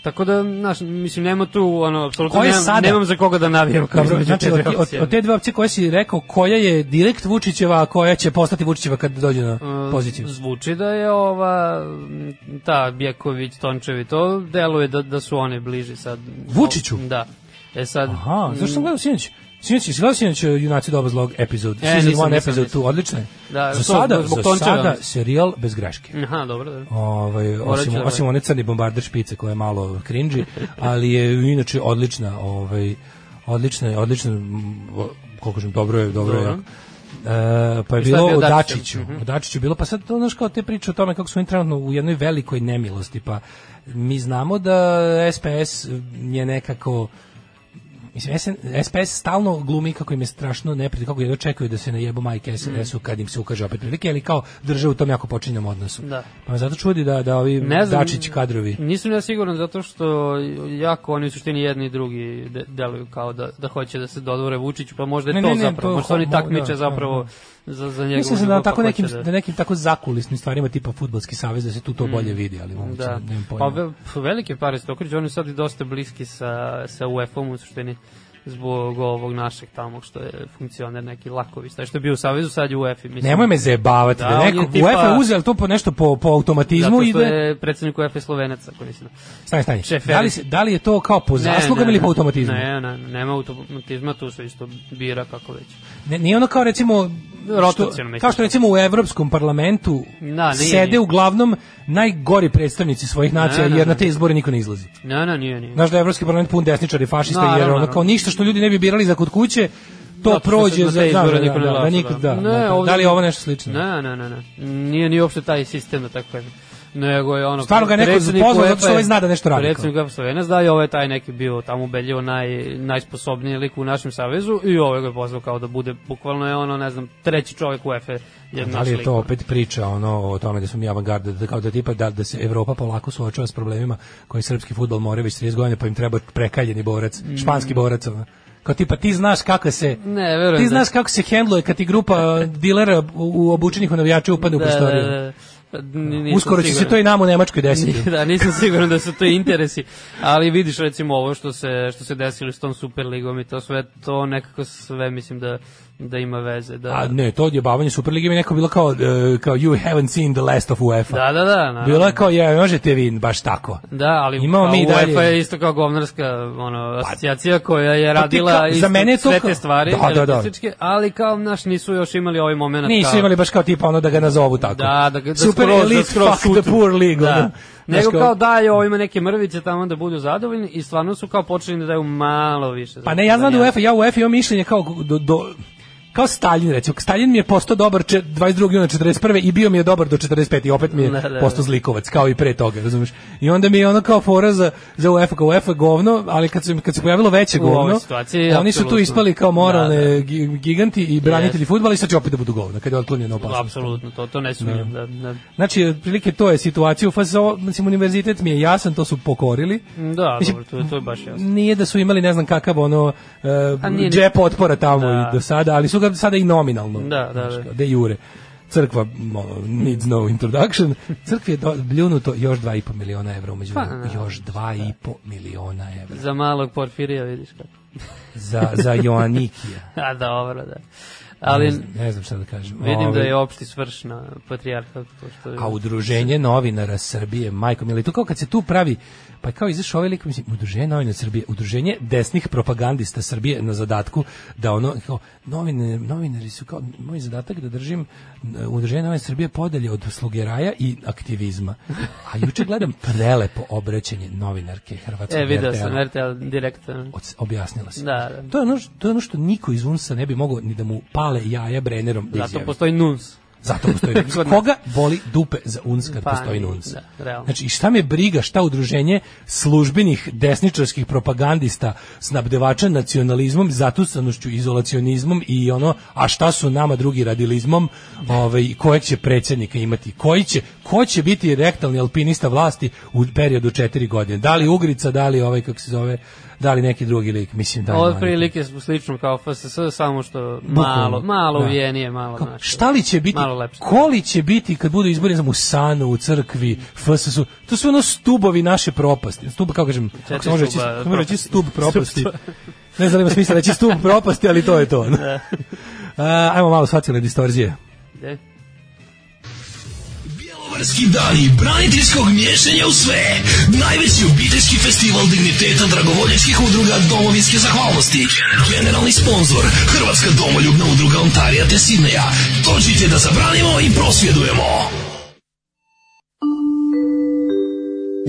Speaker 2: Tako da, znaš, mislim, nema tu, ono, apsolutno
Speaker 1: Ko je
Speaker 2: nemam,
Speaker 1: sada?
Speaker 2: nemam za koga da navijam. kao
Speaker 1: Dobro,
Speaker 2: između
Speaker 1: znači,
Speaker 2: te
Speaker 1: od,
Speaker 2: dve
Speaker 1: od,
Speaker 2: opcije.
Speaker 1: od te dve opcije koje si rekao, koja je direkt Vučićeva, a koja će postati Vučićeva kad dođe na
Speaker 2: Uh,
Speaker 1: poziciju?
Speaker 2: Zvuči da je ova, m, ta Bjeković, Tončevi, to deluje da, da su one bliži sad.
Speaker 1: Vučiću?
Speaker 2: Da. E sad...
Speaker 1: Aha, zašto sam gledao sinoć? Sinoć, jesi gledao sinoć uh, Junaci doba zlog epizod?
Speaker 2: E,
Speaker 1: season
Speaker 2: nisam,
Speaker 1: 1
Speaker 2: nisam,
Speaker 1: epizod
Speaker 2: nisam.
Speaker 1: 2, odlično je.
Speaker 2: Da,
Speaker 1: za
Speaker 2: to,
Speaker 1: sada,
Speaker 2: zbog
Speaker 1: za
Speaker 2: Tončeva,
Speaker 1: sada
Speaker 2: mislim.
Speaker 1: serijal bez greške.
Speaker 2: Aha, dobro, da. dobro.
Speaker 1: Ovaj
Speaker 2: Morat ću
Speaker 1: osim
Speaker 2: da
Speaker 1: osim
Speaker 2: gledam.
Speaker 1: one crni bombarder špice koja je malo krinđi, ali je inače odlična, ovaj odlična, je, odlična mm, o- koliko kažem dobro je, dobro je.
Speaker 2: Dobro.
Speaker 1: E, pa je
Speaker 2: I šta
Speaker 1: bilo
Speaker 2: je bio Mhm.
Speaker 1: u
Speaker 2: Dačićev?
Speaker 1: Dačiću. U Dačiću je bilo, pa sad to znaš kao te priče o tome kako su oni trenutno u jednoj velikoj nemilosti, pa mi znamo da SPS je nekako Mislim, SN, SPS stalno glumi kako im je strašno neprijatno, kako jedno čekaju da se najebu majke
Speaker 2: Mm.
Speaker 1: SNS-u kad im se ukaže opet prilike, ali kao drže u tom jako počinjom odnosu.
Speaker 2: Da.
Speaker 1: Pa me zato čudi da, da ovi
Speaker 2: Ne znam-
Speaker 1: Dačić kadrovi.
Speaker 2: Nisam ja siguran zato što jako oni u suštini jedni i drugi de, deluju kao da, da hoće da se dodvore Vučiću, pa možda je
Speaker 1: Ne,
Speaker 2: to
Speaker 1: ne, ne,
Speaker 2: zapravo,
Speaker 1: to-
Speaker 2: možda se oni
Speaker 1: mo-
Speaker 2: takmiče
Speaker 1: da,
Speaker 2: zapravo
Speaker 1: da,
Speaker 2: za, za njegovu
Speaker 1: Mislim se da na tako
Speaker 2: tako
Speaker 1: nekim, da... nekim tako zakulisnim stvarima tipa futbalski savez da se tu to bolje vidi, ali moguće, da.
Speaker 2: Mm. Da,
Speaker 1: nemam pojma.
Speaker 2: pa ve, pf, velike pare se okriđu, oni su sad i dosta bliski sa, sa UEFA-om u suštini zbog ovog našeg tamo što je funkcioner neki Laković, taj što je bio u Savezu, sad je u UEFA. Mislim,
Speaker 1: Nemoj me zajebavati,
Speaker 2: Da,
Speaker 1: da, da
Speaker 2: on je
Speaker 1: neko,
Speaker 2: tipa-
Speaker 1: tipa... UEFA je uzeo to po nešto po, po automatizmu
Speaker 2: Zato
Speaker 1: i
Speaker 2: što
Speaker 1: da...
Speaker 2: je predsednik UEFA Slovenac, ako nisi.
Speaker 1: Stani, stani.
Speaker 2: šef
Speaker 1: Da li, se, da li je to kao po zaslugama ili po automatizmu? Ne.
Speaker 2: Ne, ne, nema automatizma, tu se isto bira kako već.
Speaker 1: ne nije ono kao recimo... Što,
Speaker 2: Rotaciono, mislim.
Speaker 1: kao što recimo u Evropskom parlamentu
Speaker 2: Da, nije,
Speaker 1: sede
Speaker 2: nije.
Speaker 1: uglavnom najgori predstavnici svojih nacija,
Speaker 2: Ne, ne,
Speaker 1: jer na
Speaker 2: ne.
Speaker 1: te izbore niko ne izlazi.
Speaker 2: Ne, ne, nije, nije.
Speaker 1: Znaš da je Evropski parlament pun desničari, fašista,
Speaker 2: Naravno,
Speaker 1: jer ono
Speaker 2: naravno.
Speaker 1: kao ništa što ljudi ne bi birali za kod kuće, to
Speaker 2: Zato što se
Speaker 1: prođe
Speaker 2: na
Speaker 1: za
Speaker 2: te
Speaker 1: da,
Speaker 2: izbore
Speaker 1: da,
Speaker 2: niko ne
Speaker 1: da, da,
Speaker 2: glasa,
Speaker 1: niko, da,
Speaker 2: da. Ne,
Speaker 1: da,
Speaker 2: ovdje-
Speaker 1: da li je ovo nešto slično?
Speaker 2: Ne, ne, ne, ne. Nije ni uopšte taj sistem, da tako kažem. Nego je ono...
Speaker 1: Stvarno ga je neko
Speaker 2: predsednik
Speaker 1: pozvao
Speaker 2: UEFA
Speaker 1: zato što ovaj zna da nešto radi,
Speaker 2: Predsednik UEFA Slovenac, da, i ovo je taj neki bio tamo ubedljivo naj, najsposobniji lik u našem savezu i ovo ga je pozvao kao da bude, bukvalno je ono, ne znam, treći čovjek UEFA je
Speaker 1: Da
Speaker 2: naš
Speaker 1: li je
Speaker 2: lik.
Speaker 1: to opet priča ono o tome da smo mi avangarda, da kao da tipa da, da se Evropa polako suočava s problemima koji srpski fudbal more već 30 godina, pa im treba prekaljeni borac,
Speaker 2: Mm.
Speaker 1: španski borac, ono. Kao tipa ti znaš kako se
Speaker 2: Ne, verujem
Speaker 1: Ti
Speaker 2: da-
Speaker 1: znaš kako se hendluje kad ti
Speaker 2: (laughs)
Speaker 1: grupa dilera u, u obučenih u navijača upadne u
Speaker 2: da,
Speaker 1: prostoriju.
Speaker 2: da, da. Ni- nisam
Speaker 1: Uskoro će se
Speaker 2: siguran.
Speaker 1: to i nama u Nemačkoj desiti.
Speaker 2: (laughs) da, nisam siguran da su to interesi, ali vidiš recimo ovo što se što se desilo s tom Superligom i to sve to nekako sve mislim da da ima veze, da.
Speaker 1: A ne, to odjebavanje Superlige mi je neko bilo kao, e, kao you haven't seen the last of UEFA.
Speaker 2: da, da, da. Na,
Speaker 1: Bilo je kao, ja, možete vi baš tako.
Speaker 2: Da, ali
Speaker 1: Imamo
Speaker 2: kao
Speaker 1: mi i dalje- Pa-
Speaker 2: UEFA je isto kao govnarska ono, asocijacija koja je radila
Speaker 1: kao- za
Speaker 2: isto
Speaker 1: mene je to
Speaker 2: sve
Speaker 1: kao-
Speaker 2: te stvari
Speaker 1: Da, da, da.
Speaker 2: elitističke, ali kao, naš, nisu još imali ovaj moment.
Speaker 1: Nisu
Speaker 2: kao,
Speaker 1: imali baš kao tipa ono da ga nazovu tako.
Speaker 2: Da, da, ga- da
Speaker 1: Super
Speaker 2: skroz,
Speaker 1: elite
Speaker 2: da skroz
Speaker 1: fuck the
Speaker 2: šutu.
Speaker 1: poor league. ono.
Speaker 2: Da.
Speaker 1: Znaš
Speaker 2: Nego kao daju ovima neke mrvice tamo da budu zadovoljni i stvarno su kao počeli da daju malo više.
Speaker 1: Pa ne, ja znam da UEFA, ja u UEFA imam mišljenje kao do, do kao Stalin recimo, Stalin mi je postao dobar če- 22. juna 41. i bio mi je dobar do 45. i opet mi je
Speaker 2: Da, da, da.
Speaker 1: postao zlikovac, kao i pre toga, razumeš? I onda mi je ono kao fora za, za UEFA, kao UEFA je govno, ali kad se, kad se pojavilo veće
Speaker 2: U ovoj
Speaker 1: govno,
Speaker 2: situaciji,
Speaker 1: oni su tu
Speaker 2: apsolutno.
Speaker 1: ispali kao moralne
Speaker 2: Da,
Speaker 1: gi- giganti i branitelji yes. futbala i sad će opet da budu govno, kad je otklonjena opasnost.
Speaker 2: Apsolutno, to, to ne sumnjam. Da, da,
Speaker 1: Znači, otprilike to je situacija u FSO, mislim, univerzitet mi je jasan, to su pokorili.
Speaker 2: Da, (laughs)
Speaker 1: Mislim,
Speaker 2: dobro, to, to je baš jasno.
Speaker 1: Nije da su imali ne znam kakav ono e,
Speaker 2: A nije ni-
Speaker 1: džep otpora tamo
Speaker 2: Da.
Speaker 1: da. i do sada, ali su ga sada i nominalno.
Speaker 2: Da, da,
Speaker 1: znaš,
Speaker 2: da.
Speaker 1: De jure. Crkva m, ono, needs no introduction. Crkvi je do, bljunuto još 2,5 miliona evra umeđu.
Speaker 2: Pa, da.
Speaker 1: još 2,5 miliona evra.
Speaker 2: Za malog Porfirija vidiš kako. (laughs)
Speaker 1: Za, za Joannikija.
Speaker 2: A dobro, da. (laughs) ali
Speaker 1: ne znam šta da kažem.
Speaker 2: vidim da
Speaker 1: Ovaj,
Speaker 2: je opšti svrš na patrijarha. Pošto je,
Speaker 1: A udruženje novinara Srbije, majko mili, to kao kad se tu pravi, pa kao izašao ovaj lik, mislim, udruženje novinara Srbije, udruženje desnih propagandista Srbije na zadatku da ono, kao, novine, novinari su kao, moj zadatak da držim e, udruženje novinara Srbije podelje od slugeraja i aktivizma. A juče gledam prelepo obraćanje novinarke Hrvatske.
Speaker 2: e, video sam RTL direkt.
Speaker 1: objasnila se.
Speaker 2: Da, da.
Speaker 1: To je, ono, š- to je ono što niko iz UNS-a ne bi mogao ni da mu pale jaja Brennerom da
Speaker 2: Zato
Speaker 1: izjavi.
Speaker 2: postoji NUNS.
Speaker 1: Zato
Speaker 2: (laughs)
Speaker 1: postoji NUNS.
Speaker 2: Kod nas.
Speaker 1: Koga boli dupe za UNS kad
Speaker 2: Pa,
Speaker 1: postoji NUNS?
Speaker 2: da, realno.
Speaker 1: znači, i šta me briga, šta udruženje službenih desničarskih propagandista, snabdevača nacionalizmom, zatusanošću, izolacionizmom i ono, a šta su nama drugi radilizmom, ovaj, kojeg će predsjednika imati, koji će, ko će biti rektalni alpinista vlasti u periodu četiri godine, da li Ugrica, da li ovaj, kako se zove, da li neki drugi lik, mislim da
Speaker 2: Ovo prilike smo slično kao FSS, samo što malo, malo
Speaker 1: da.
Speaker 2: uvijenije, malo.
Speaker 1: Kao,
Speaker 2: znači,
Speaker 1: šta li će biti,
Speaker 2: Malo lepše.
Speaker 1: koli će biti kad budu izbori, ne znam, u Sanu, u crkvi, FSS-u, to su ono stubovi naše propasti, stub, kako kažem, ako se može reći,
Speaker 2: stuba
Speaker 1: kako može reći
Speaker 2: propasti.
Speaker 1: stub propasti, ne znam da li ima smisla reći stub propasti, ali to je to.
Speaker 2: Da.
Speaker 1: A, ajmo malo socijalne distorzije.
Speaker 2: e,
Speaker 5: Bjelovarski dani braniteljskog miješanja u sve. Najveći obiteljski festival digniteta dragovoljačkih udruga domovinske zahvalnosti. Generalni sponsor Hrvatska domoljubna udruga Ontarija te Sidneja. Dođite da zabranimo i prosvjedujemo.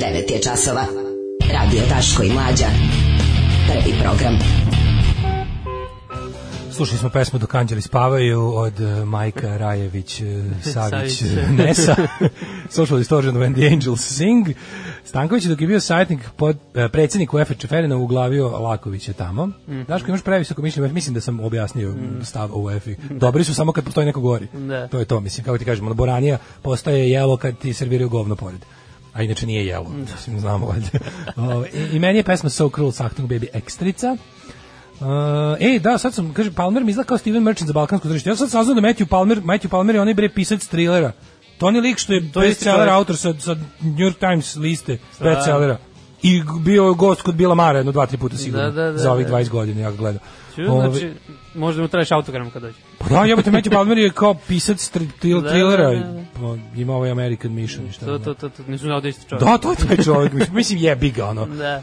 Speaker 3: 9 je časova. Radio Daško i Mlađa. Prvi program.
Speaker 1: Slušali smo pesmu Dok anđeli spavaju od eh, Majka Rajević eh, Savić
Speaker 2: (laughs) Savić.
Speaker 1: eh,
Speaker 2: (laughs)
Speaker 1: Nesa Social Distortion When the Angels Sing Stanković je dok je bio savjetnik pod, eh, predsjednik UEFA Čeferina uglavio Lakovića tamo
Speaker 2: Mhm.
Speaker 1: Daško imaš previsoko mišljenje mislim da sam objasnio stav o UEFA dobri su samo kad postoji neko gori
Speaker 2: Da.
Speaker 1: to je to mislim kako ti kažemo ono, boranija postaje jelo kad ti serviraju govno pored a inače nije jelo,
Speaker 2: Mhm.
Speaker 1: mislim, znamo
Speaker 2: (laughs)
Speaker 1: valjda. Ovaj, I, I meni je pesma So Cruel Sachtung Baby ekstrica. Uh, e, da, sad sam, kaže, Palmer mi izgleda kao Steven Merchant za balkansko tržište. Ja sam saznao da Matthew Palmer, Matthew Palmer je onaj bre pisac trilera. To on je lik što je bestseller
Speaker 2: čovjek.
Speaker 1: autor sa, sa New York Times liste bestsellera. I g- bio je gost kod Bila Mara jedno, dva, tri puta sigurno.
Speaker 2: Da, da, da,
Speaker 1: za ovih
Speaker 2: da.
Speaker 1: 20 godina ja ga gledam.
Speaker 2: ću,
Speaker 1: Ovaj,
Speaker 2: znači, možda mu tražiš autogram kad dođe.
Speaker 1: pa da, jebote, Matthew Palmer je kao pisac tri, tri,
Speaker 2: Da,
Speaker 1: trilera.
Speaker 2: da, da, da.
Speaker 1: Pa, Ima ovaj American Mission i šta.
Speaker 2: To,
Speaker 1: znam.
Speaker 2: to, to, to, nisu znao da isti čovjek.
Speaker 1: Da, to je taj čovjek. mislim, Mislim, jebi ga, ono.
Speaker 2: Da.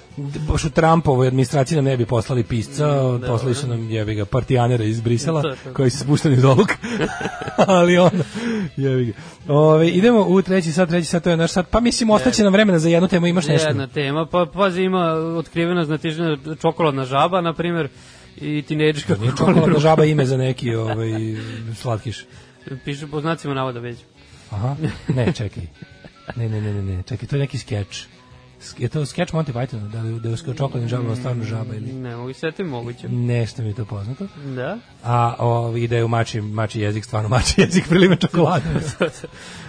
Speaker 1: Baš u Trumpovoj administraciji nam ne bi poslali pisca, poslali su nam jebi ga partijanera iz Brisela,
Speaker 2: To je to.
Speaker 1: koji su spušteni iz
Speaker 2: (laughs)
Speaker 1: ovog. Ali ono, jebi ga. Ove, idemo u treći sat, treći sat, to je naš sat. Pa mislim, ostaće nam vremena za jednu temu, imaš nešto?
Speaker 2: Jedna tema, pa pazi ima otkrivena znatižna čokoladna žaba, na primjer, i tinejdžka
Speaker 1: Nije čokoladna žaba ime za neki ovaj, slatkiš.
Speaker 2: Piše po znacima navoda već.
Speaker 1: Aha, ne, čekaj. Ne, ne, ne, ne, ne, čekaj, to je neki skeč. Sk- Je to skeč Monty Pythona, da li da je čokoladna žaba stvarno žaba ili...
Speaker 2: Ne mogu se setiti, moguće.
Speaker 1: Nešto mi je to poznato.
Speaker 2: Da.
Speaker 1: A o, ide u mači, mači jezik, stvarno mači (laughs) jezik priliva čokoladu.
Speaker 2: E,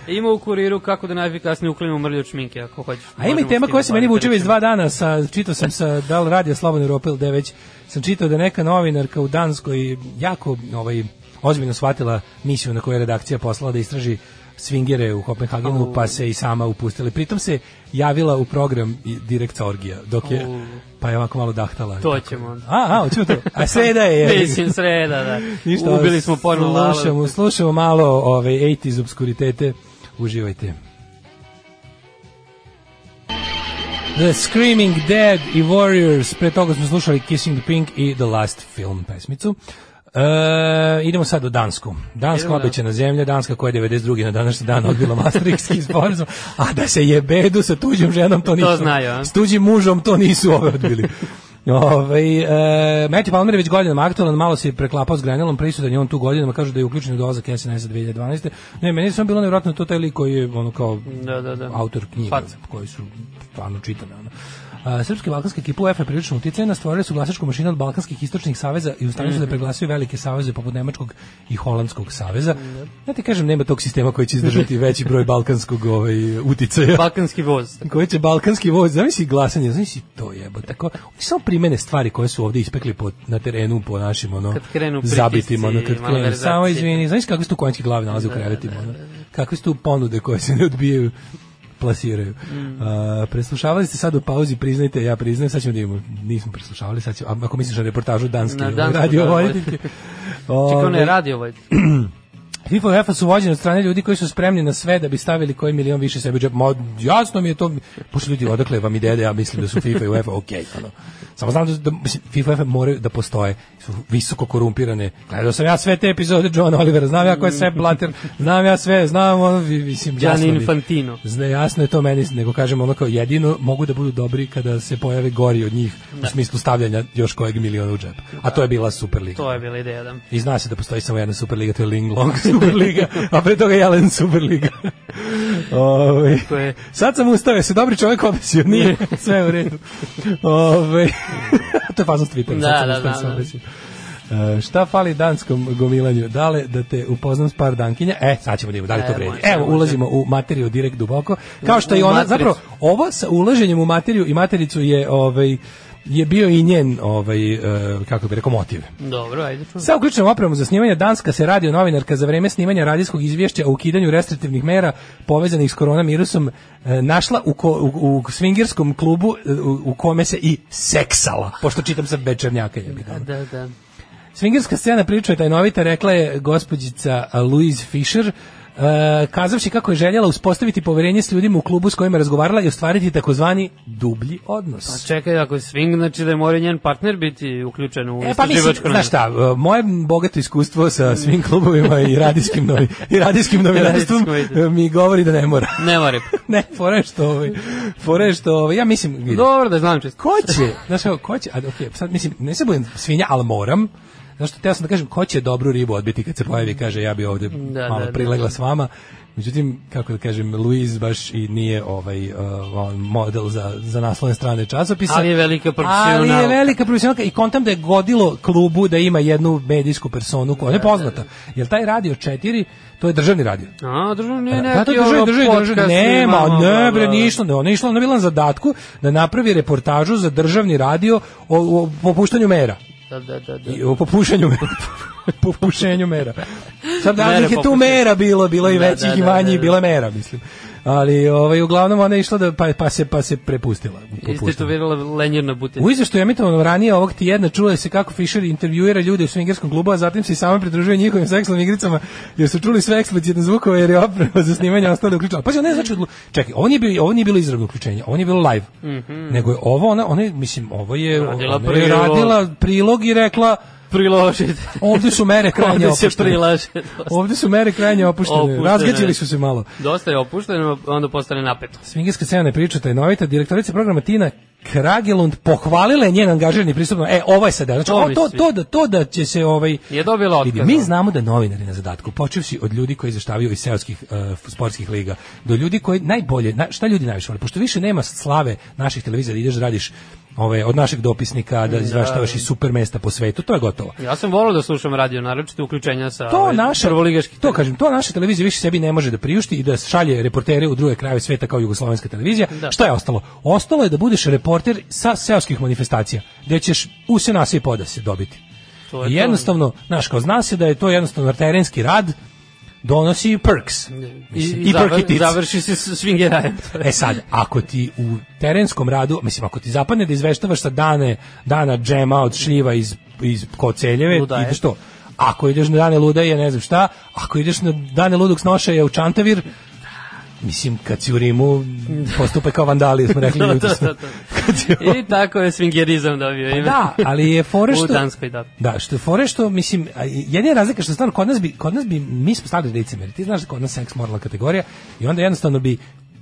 Speaker 2: Ima u kuriru kako da najefikasnije uklinimo mrlju od šminke, ako hoćeš.
Speaker 1: A ima i
Speaker 2: Možemo
Speaker 1: tema
Speaker 2: s da
Speaker 1: koja
Speaker 2: time
Speaker 1: se meni vuče već
Speaker 2: baviti.
Speaker 1: dva dana, sa, čitao sam sa, da li radio Slobodna Europa ili da je već, sam čitao da je neka novinarka u Danskoj jako ovaj, ozbiljno shvatila misiju na koju je redakcija poslala da istraži svingere u Kopenhagenu, pa se i sama upustila. Pritom se javila u program i direkt sa Orgija, dok je,
Speaker 2: Au.
Speaker 1: pa je ovako malo dahtala.
Speaker 2: To ćemo onda.
Speaker 1: (laughs) A, a, hoćemo to.
Speaker 2: (laughs)
Speaker 1: A sreda je. jebi ga.
Speaker 2: Mislim, sreda, da.
Speaker 1: (laughs) Ništa, ovaj,
Speaker 2: Ubili smo porno lalu.
Speaker 1: Slušamo, slušamo malo ove 80s obskuritete. Uživajte. The Screaming Dead i Warriors. Pre toga smo slušali Kissing the Pink i The Last Film pesmicu. E, idemo sad u Dansku. Danska
Speaker 2: Idemo da. u
Speaker 1: obećana zemlja, Danska koja je 92. na današnji dan odbila Maastrichtski sporazum, a da se jebedu sa tuđom ženom, to nisu.
Speaker 2: znaju, a?
Speaker 1: S tuđim mužom to nisu ove odbili. Ove, e, Matthew Palmer je već godinama aktualan, malo se je preklapao s Grenelom, prisutan je on tu godinama, kažu da je uključen u dolazak SNS-a 2012. Ne, meni je samo bilo nevjerojatno to taj lik koji je ono kao
Speaker 2: Da, da, da.
Speaker 1: autor knjiga
Speaker 2: Faca.
Speaker 1: koji su stvarno čitane. Ono. A, srpske balkanske ekipe UEFA je prilično uticajna, stvorili su glasačku mašinu od balkanskih istočnih saveza i u stanju su da preglasaju velike saveze poput Nemačkog i Holandskog saveza. Ja ti kažem, nema tog sistema koji će izdržati veći broj balkanskog ovaj, uticaja
Speaker 2: Balkanski voz. Znači,
Speaker 1: koji će balkanski voz, zamisli glasanje, zamisli to jebo, tako, oni samo primene stvari koje su ovdje ispekli po, na terenu po našim, ono,
Speaker 2: Kad krenu pritisci,
Speaker 1: zabitim, ono, kad krenu,
Speaker 2: malverzacije. Da,
Speaker 1: samo izvini, znaš kakve su tu konjski glave nalaze u krevetima, ono, kakve su tu ponude koje se ne odbijaju, plasiraju.
Speaker 2: Mm.
Speaker 1: A, preslušavali ste sad u pauzi, priznajte, ja priznajem, sad ćemo da imamo, nismo preslušavali, sad ćemo, a, ako misliš na reportažu danski,
Speaker 2: Na
Speaker 1: na
Speaker 2: dansku,
Speaker 1: radio
Speaker 2: da,
Speaker 1: voditeljke.
Speaker 2: Čekaj, on
Speaker 1: Ovaj,
Speaker 2: je radio ovaj.
Speaker 1: FIFA i UEFA su vođeni od strane ljudi koji su spremni na sve da bi stavili koji milion više sebi u džep. Ma, jasno mi je to. Pošto ljudi, odakle vam ideja da ja mislim da su FIFA i UEFA okej. ono. Samo znam da, da mislim, FIFA i UEFA moraju da postoje. Su visoko korumpirane. Gledao sam ja sve te epizode John Olivera, znam ja ko je sve Blatter, znam ja sve, znam ono, vi- mislim,
Speaker 2: Gianni
Speaker 1: jasno mi.
Speaker 2: Infantino.
Speaker 1: Zna, jasno je to meni, nego kažem ono kao jedino mogu da budu dobri kada se pojave gori od njih u smislu stavljanja još kojeg miliona u džep. A to je bila Superliga.
Speaker 2: To je bila ideja, da.
Speaker 1: I zna se da postoji samo jedna Superliga, to je Ling Long (laughs) Superliga, a pre toga Jelen Superliga. (laughs) Ove,
Speaker 2: To je-
Speaker 1: sad sam ustao, jesi dobri čovjek obesio? Nije, (laughs) sve u redu. Ove, (laughs) to je faznost Twittera,
Speaker 2: Da,
Speaker 1: sad sam
Speaker 2: da,
Speaker 1: ustao,
Speaker 2: da,
Speaker 1: sam
Speaker 2: da.
Speaker 1: obesio. E, šta fali danskom gomilanju? Dale, da te upoznam s par dankinja? E, sad ćemo da vidimo da li to
Speaker 2: E,
Speaker 1: vredi.
Speaker 2: može,
Speaker 1: Evo,
Speaker 2: može.
Speaker 1: ulazimo u materiju direkt duboko. Kao što i
Speaker 2: U
Speaker 1: ona,
Speaker 2: matricu.
Speaker 1: zapravo, ovo sa ulaženjem u materiju i matericu je, ovaj, je bio i njen, ovaj, e, kako bih rekao, motiv.
Speaker 2: Dobro, ajde čujem.
Speaker 1: Sa uključenom opremom za snimanje Danska se radio novinarka za vreme snimanja radijskog izvješća o ukidanju restriktivnih mera povezanih s koronavirusom e, našla u, ko, u, u swingerskom klubu e, u, u kome se i seksala. Pošto čitam sa večernjaka je
Speaker 2: Da, da.
Speaker 1: Svingerska scena priča je tajnovita, rekla je gospođica Louise Fisher, Uh, kazavši kako je željela uspostaviti poverenje s ljudima u klubu s kojima je razgovarala i ostvariti takozvani dublji odnos.
Speaker 2: A čekaj, ako je swing, znači da je mora i njen partner biti uključen u
Speaker 1: E, pa mislim,
Speaker 2: istraživačko
Speaker 1: znaš šta, e, moje bogato iskustvo sa svim klubovima i radijskim, novi, i radijskim novinarstvom
Speaker 2: Radijskom,
Speaker 1: e, mi govori da ne mora. (laughs)
Speaker 2: Ne mora.
Speaker 1: ne, fore što ovaj, fore što ovaj, ja mislim, vidi,
Speaker 2: Dobro, da znam čest.
Speaker 1: ko će, (laughs) znaš kako, ko će, a, okay, sad mislim, ne se budem svinja, ali moram, znaš što, teo sam da kažem, ko će dobru ribu odbiti kad se pojavi i kaže, ja bi ovde
Speaker 2: Da,
Speaker 1: malo
Speaker 2: da,
Speaker 1: prilegla
Speaker 2: da.
Speaker 1: s vama, Međutim, kako da kažem, Luiz baš i nije ovaj uh, on model za, za naslovne strane časopisa.
Speaker 2: Ali je velika
Speaker 1: Ali je
Speaker 2: profesionalka.
Speaker 1: velika profesionalka i kontam da je godilo klubu da ima jednu medijsku personu koja
Speaker 2: Da,
Speaker 1: je poznata. Jer taj radio 4, to je državni radio.
Speaker 2: A, državno nije neki
Speaker 1: Da, to je državi,
Speaker 2: ono
Speaker 1: državi,
Speaker 2: podcast da.
Speaker 1: državi.
Speaker 2: snimamo,
Speaker 1: Nema,
Speaker 2: bla,
Speaker 1: ne
Speaker 2: bla,
Speaker 1: bre,
Speaker 2: bla.
Speaker 1: nije išlo, ne, ona je išla, ona je bila na zadatku da napravi reportažu za državni radio o, o popuštanju mera.
Speaker 2: Da, da, da, da.
Speaker 1: I o popušenju mera. (laughs) popušenju mera. Sad
Speaker 2: Mere
Speaker 1: raznih je tu
Speaker 2: popušenje.
Speaker 1: mera bilo, bilo i
Speaker 2: Da,
Speaker 1: većih
Speaker 2: da,
Speaker 1: i
Speaker 2: da,
Speaker 1: manjih,
Speaker 2: da, da.
Speaker 1: bila je mera, mislim. Ali ovaj uglavnom ona je išla da pa, pa se pa se prepustila. popuštanju.
Speaker 2: Istituvirala lenjerna butelja.
Speaker 1: U izveštaju emitovanom ranije ovog tjedna čuje se kako Fisher intervjuira ljude u swingerskom klubu, a zatim se i sama pridružuje njihovim seksualnim igricama, jer su čuli sve eksplicitne zvukove jer je oprema za snimanje ostala uključena. Pazi, ona je znači odlu... čekaj, ovo nije bilo ovo nije bilo izravno uključenje, ovo nije bilo live. Nego je ovo ona, ona je, mislim, ovo je
Speaker 2: Mhm. Radila
Speaker 1: ona je
Speaker 2: prilog.
Speaker 1: radila prilog i rekla
Speaker 2: priložite.
Speaker 1: ovde su
Speaker 2: (laughs)
Speaker 1: mere krajnje
Speaker 2: Ovde se
Speaker 1: opuštene.
Speaker 2: prilaže. dosta.
Speaker 1: Ovde su mere krajnje opuštene.
Speaker 2: Opuštene.
Speaker 1: (laughs) Razgađili su se malo.
Speaker 2: Dosta je opušteno, onda postane napeto.
Speaker 1: Svingerska scena je priča tajnovita, direktorica programa Tina Kragelund pohvalila je njen angažirani pristup. E, ovo je sada. Znači,
Speaker 2: To
Speaker 1: o,
Speaker 2: mi
Speaker 1: to,
Speaker 2: sviđa.
Speaker 1: to, da, to da će se ovaj...
Speaker 2: Je dobila otkaz.
Speaker 1: Vidi, mi znamo da novinari na zadatku, počevši od ljudi koji izveštavaju iz seoskih uh, sportskih liga, do ljudi koji najbolje, na, šta ljudi najviše vole, pošto više nema slave naših televizija da ideš da radiš ove, od našeg dopisnika, da izveštavaš iz super mesta po svetu, to je gotovo.
Speaker 2: Ja sam volao da slušam radio, naročito uključenja sa
Speaker 1: To
Speaker 2: ovaj,
Speaker 1: naša
Speaker 2: prvoligaški.
Speaker 1: To kažem, to naša televizija više sebi ne može da priušti i da šalje reportere u druge krajeve sveta kao jugoslovenska televizija.
Speaker 2: Da.
Speaker 1: Šta je ostalo? Ostalo je da budeš reporter sa seoskih manifestacija, gde ćeš u se nas i poda se dobiti.
Speaker 2: To je
Speaker 1: I
Speaker 2: to.
Speaker 1: jednostavno, znaš, kao zna se da je to jednostavno terenski rad donosi perks.
Speaker 2: I,
Speaker 1: Mislim,
Speaker 2: i,
Speaker 1: perky
Speaker 2: završi,
Speaker 1: tips.
Speaker 2: završi se s
Speaker 1: (laughs)
Speaker 2: svingerajem.
Speaker 1: E sad, ako ti u terenskom radu, mislim, ako ti zapadne da izveštavaš sa dane, dana džema od šljiva iz, iz koceljeve,
Speaker 2: Ludaje.
Speaker 1: ideš to. Ako ideš na dane ludaje, ne znam šta, ako ideš na dane ludog snošaja u Čantavir, mislim, kad si u Rimu, postupe kao vandali, smo rekli.
Speaker 2: (laughs) Da, da,
Speaker 1: jutros.
Speaker 2: da, da.
Speaker 1: Kad si u-
Speaker 2: I tako je swingerizam dobio ime.
Speaker 1: Da, ali je fore što...
Speaker 2: (laughs) U Danskoj, da.
Speaker 1: Da, što je fore što, mislim, a, jedina razlika što stvarno kod nas bi, kod nas bi, mi smo stali licemeri, ti znaš da kod nas seks moralna kategorija i onda jednostavno bi,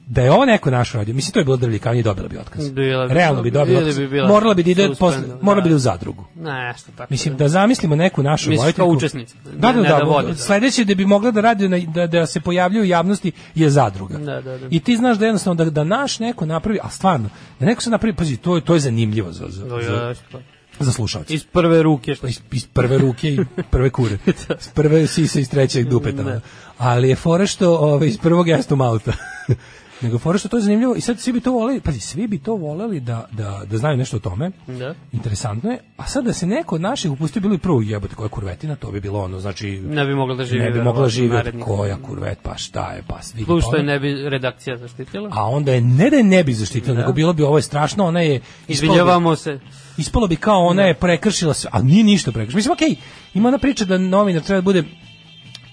Speaker 1: da je ovo neko naš radio, mislim, to je bilo drvljikanje i dobila bi otkaz.
Speaker 2: Bila bi-
Speaker 1: Realno bi dobila
Speaker 2: ili
Speaker 1: otkaz.
Speaker 2: bi bila
Speaker 1: morala bi da ide,
Speaker 2: suspendovana,
Speaker 1: posle, morala
Speaker 2: da.
Speaker 1: bi da u zadrugu.
Speaker 2: Ne, što tako.
Speaker 1: Mislim da zamislimo neku našu
Speaker 2: Misliš
Speaker 1: vojtiku.
Speaker 2: kao učesnicu,
Speaker 1: Da,
Speaker 2: ne-
Speaker 1: da,
Speaker 2: ne
Speaker 1: da.
Speaker 2: da vodi, da.
Speaker 1: Sledeće da bi mogla da radi na, da, da se pojavljuje u javnosti je zadruga.
Speaker 2: Da, da, da.
Speaker 1: I ti znaš da jednostavno da, da naš neko napravi, a stvarno, da neko se napravi, pazi, to je to je zanimljivo za za,
Speaker 2: Da,
Speaker 1: za,
Speaker 2: ja, što-
Speaker 1: za slušaoce.
Speaker 2: Iz prve ruke što
Speaker 1: Pa iz, iz prve ruke i prve
Speaker 2: (laughs)
Speaker 1: kure.
Speaker 2: Da.
Speaker 1: Iz prve sise iz trećeg dupeta.
Speaker 2: Ne.
Speaker 1: ovaj, Ali je fora što ove, iz prvog jeste malta. (laughs) Nego fora što to je zanimljivo i sad svi bi to voleli, pazi, svi bi to voleli da, da, da znaju nešto o tome.
Speaker 2: Da.
Speaker 1: Interesantno je. A sad da se neko od naših upustio bilo i prvo jebote koja kurvetina, to bi bilo ono, znači
Speaker 2: Ne bi mogla da živi,
Speaker 1: Ne bi mogla
Speaker 2: verovatno,
Speaker 1: živjeti
Speaker 2: narednih.
Speaker 1: koja kurvet, pa šta je, pa svi.
Speaker 2: Plus što
Speaker 1: pa
Speaker 2: je
Speaker 1: ono-
Speaker 2: ne bi redakcija zaštitila.
Speaker 1: A onda je ne da je ne bi zaštitila, nego bilo bi ovo je strašno, ona je da- ispala bi-
Speaker 2: Izvinjavamo se.
Speaker 1: ispalo bi kao ona je
Speaker 2: Da.
Speaker 1: prekršila sve, a nije ništa prekršila. Mislim, okej, ima ona priča da novinar treba da bude,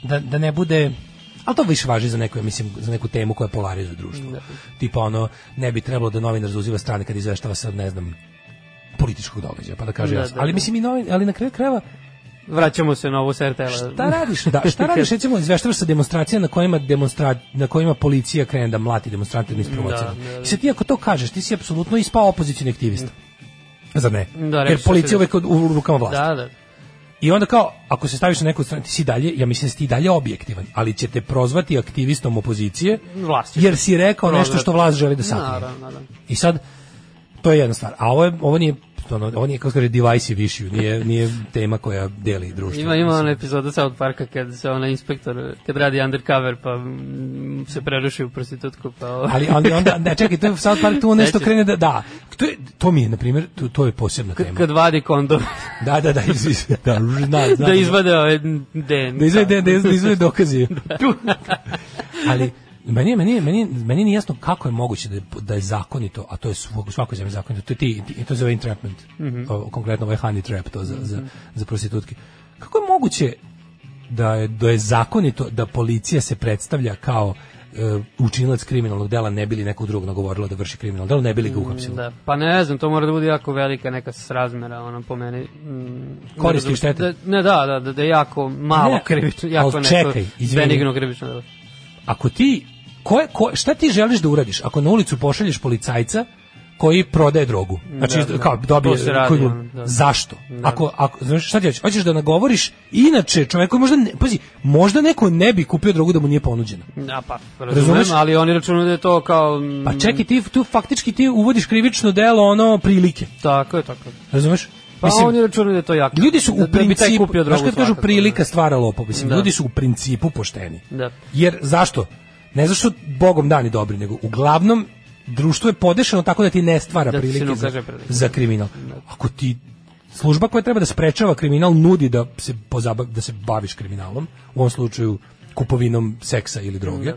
Speaker 1: da, da ne bude, ali to više važi za neku, ja mislim, za neku temu koja polarizuje društvo.
Speaker 2: Da.
Speaker 1: Tipa ono, ne bi trebalo da novinar zauziva strane kad izveštava sa, ne znam, političkog događaja, pa da kaže
Speaker 2: Da,
Speaker 1: jasno.
Speaker 2: da,
Speaker 1: ali
Speaker 2: da.
Speaker 1: mislim i novin, ali na kraju krajeva
Speaker 2: Vraćamo se na ovu sertela.
Speaker 1: šta radiš? Da,
Speaker 2: (laughs)
Speaker 1: šta radiš recimo izveštavaš sa demonstracija na kojima demonstra na kojima policija krene da mlati demonstrante na isprovocira.
Speaker 2: Da, da, da.
Speaker 1: I sad ti ako to kažeš, ti si apsolutno ispao opozicioni aktivista. Zar ne?
Speaker 2: Da, rekao
Speaker 1: Jer
Speaker 2: sam
Speaker 1: policija
Speaker 2: se-
Speaker 1: uvek u u rukama vlasti.
Speaker 2: Da, da.
Speaker 1: I onda kao, ako se staviš na neku stranu, ti si dalje, ja mislim da si ti dalje objektivan, ali će te prozvati aktivistom opozicije,
Speaker 2: Vlast će
Speaker 1: jer si rekao nešto što vlast želi da sakrije.
Speaker 2: Naravno, naravno.
Speaker 1: I sad, to je jedna stvar. A ovo, je, ovo nije, ono, ovo nije, kako se kaže, divisive issue, nije, nije tema koja deli društvo.
Speaker 2: Ima, ima ona epizoda South Parka kad se ona inspektor, kad radi undercover pa mm, se preruši u prostitutku pa... ovo-
Speaker 1: ali ali onda ne čekaj to je sad par tu nešto
Speaker 2: Sećam.
Speaker 1: krene da da to je, to mi je na primjer to, to je posebna tema
Speaker 2: kad vadi kondom
Speaker 1: (laughs) da da da iz, (laughs) iz, da, da, da,
Speaker 2: da izvade ove DNK.
Speaker 1: da izvede da izvede, da izvede dokaze.
Speaker 2: Da.
Speaker 1: Ali meni je- meni je- meni je- meni nije jasno kako je moguće da je, da je zakonito, a to je svog- u svakoj zemlji zakonito. To je ti, ti to se zove entrapment. o, konkretno ovaj honey trap to za za za prostitutke. Kako je moguće da je, da je zakonito da policija se predstavlja kao e, učinilac kriminalnog dela ne bili nekog drugog nagovorila da vrši kriminalno delo ne bili ga uhapsila.
Speaker 2: Da, pa ne znam, to mora da bude jako velika neka srazmera, ono po meni. Mm,
Speaker 1: Koristi
Speaker 2: ne,
Speaker 1: i štete.
Speaker 2: Da, ne, da, da, da, da je jako malo
Speaker 1: Ne,
Speaker 2: krivično,
Speaker 1: ali
Speaker 2: jako nešto
Speaker 1: čekaj, izvini.
Speaker 2: benigno krivično da. delo.
Speaker 1: ako ti ko, ko, šta ti želiš da uradiš ako na ulicu pošalješ policajca koji prodaje drogu. Znači
Speaker 2: Da, da.
Speaker 1: kao dobije
Speaker 2: To se radi,
Speaker 1: koju-
Speaker 2: ono, da.
Speaker 1: zašto? Ako ako znaš šta ti hoćeš? Hoćeš da nagovoriš inače čovjek koji možda ne, pazi, možda neko ne bi kupio drogu da mu nije ponuđena.
Speaker 2: Da, pa, razumem,
Speaker 1: Razumeš?
Speaker 2: ali oni računaju da je to kao... mm,
Speaker 1: Pa čekaj ti tu faktički ti uvodiš krivično delo ono prilike.
Speaker 2: Tako je, tako je.
Speaker 1: Razumeš?
Speaker 2: Pa oni računaju da je to jako.
Speaker 1: ljudi su
Speaker 2: da,
Speaker 1: u
Speaker 2: da bi taj
Speaker 1: principu,
Speaker 2: kupio
Speaker 1: znaš
Speaker 2: drogu
Speaker 1: kad kažu
Speaker 2: svakako,
Speaker 1: prilika stvara lopov, mislim,
Speaker 2: Da.
Speaker 1: ljudi su u principu pošteni.
Speaker 2: Da.
Speaker 1: Jer zašto? Ne zašto bogom dani dobri, nego uglavnom društvo je podešeno tako da ti ne stvara
Speaker 2: Da ti se
Speaker 1: prilike
Speaker 2: ne
Speaker 1: za,
Speaker 2: ukaže prilike. Da.
Speaker 1: za kriminal. Ako ti služba koja treba da sprečava kriminal nudi da se pozaba, da se baviš kriminalom, u ovom slučaju kupovinom seksa ili
Speaker 2: Da.
Speaker 1: droge.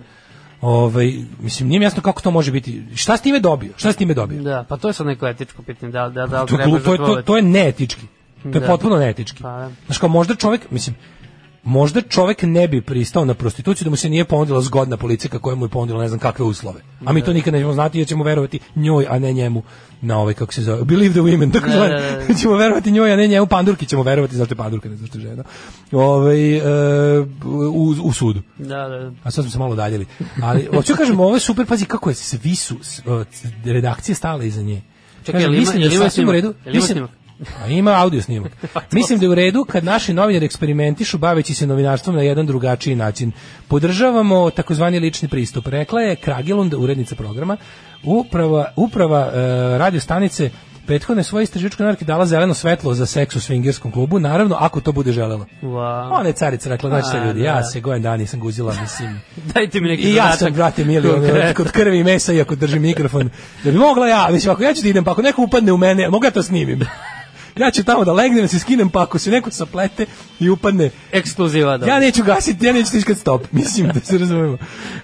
Speaker 1: Ovaj mislim nije mi jasno kako to može biti. Šta si time dobio? Šta si time dobio?
Speaker 2: Da. da, pa to je sad neko etičko pitanje, da, da, da,
Speaker 1: to, je glu- to, je, to, to je neetički. To je
Speaker 2: Da.
Speaker 1: potpuno neetički.
Speaker 2: Pa da.
Speaker 1: Znaš kao možda čovjek, mislim, možda čovjek ne bi pristao na prostituciju da mu se nije ponudila zgodna policija koja mu je ponudila ne znam kakve uslove. A
Speaker 2: Da.
Speaker 1: mi to nikad nećemo znati jer ćemo verovati njoj, a ne njemu na ovaj, kako se zove, believe the women, tako
Speaker 2: Da,
Speaker 1: zvane.
Speaker 2: da, da.
Speaker 1: (laughs) ćemo verovati njoj, a ne njemu, pandurki ćemo verovati, zato je pandurka, ne zato što je žena. Ovaj, e, u, u sudu.
Speaker 2: Da, da, da.
Speaker 1: A sad smo se malo daljili. Ali, hoću da kažem, ovo je super, pazi kako je, svi su, s- o, c- redakcije stale iza nje. da
Speaker 2: Čekaj, jel ima- jel ima
Speaker 1: sasvim
Speaker 2: snimak?
Speaker 1: u redu.
Speaker 2: Jel ima
Speaker 1: mislim-
Speaker 2: snimak? Pa
Speaker 1: A ima audio
Speaker 2: (laughs)
Speaker 1: snimak. Mislim da je u redu kad naši novinari eksperimentišu baveći se novinarstvom na jedan drugačiji način. Podržavamo takozvani lični pristup. Rekla je Kragelund, urednica programa, uprava, uprava e, radio stanice prethodne svoje istraživačke novinarke dala zeleno svetlo za seks u swingerskom klubu, naravno ako to bude želela.
Speaker 2: Wow.
Speaker 1: Ona je carica rekla, znači se
Speaker 2: A,
Speaker 1: ljudi,
Speaker 2: da.
Speaker 1: ja se gojem dan nisam guzila,
Speaker 2: (laughs)
Speaker 1: mislim.
Speaker 2: Dajte mi neki
Speaker 1: I ja
Speaker 2: zadatak.
Speaker 1: sam, brate, mili, ono, znači, kod krvi i mesa, iako držim mikrofon. Da bi mogla ja, mislim, ako ja ću da idem, pa ako neko upadne u mene, mogu ja to
Speaker 2: (laughs)
Speaker 1: snimim. Ja ću tamo da legnem, da se skinem, pa ako se neko saplete i upadne,
Speaker 2: Ekskluziva, da.
Speaker 1: ja neću gasiti, ja neću stiskati stop, (laughs) mislim da se razumemo.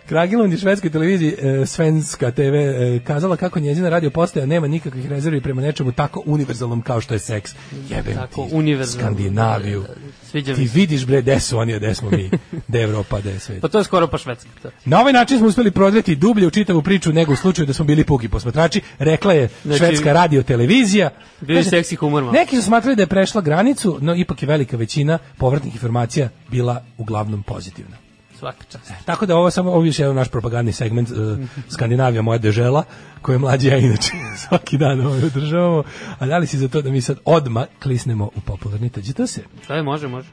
Speaker 1: Kragiland je švedskoj televiziji e, Svenska TV e, kazala kako njezina radio postaja nema nikakvih rezervi prema nečemu tako univerzalnom kao što je seks. Jebem
Speaker 2: Tako,
Speaker 1: ti
Speaker 2: univerzalno.
Speaker 1: Skandinaviju.
Speaker 2: Da, da, da. Sviđa mi
Speaker 1: Ti
Speaker 2: se.
Speaker 1: vidiš bre, gde su oni, a gde smo mi, gde Evropa, gde je svet.
Speaker 2: Pa to je skoro pa švedska. To.
Speaker 1: Na ovaj način smo uspeli prodreti dublje u čitavu priču nego u slučaju da smo bili puki posmatrači, rekla je
Speaker 2: Znači,
Speaker 1: švedska radio televizija.
Speaker 2: bio je seksi humor malo.
Speaker 1: Neki su smatrali da je prešla granicu, no ipak je velika većina povratnih informacija bila uglavnom pozitivna.
Speaker 2: Svaka čast.
Speaker 1: Tako da ovo je samo ovo je još jedan naš propagandni segment eh, Skandinavija moja dežela koje mlađi ja inače (laughs) svaki dan ovo održavamo. A da li si za to da mi sad odma klisnemo u popularni tađi to se?
Speaker 2: Šta je, može, može.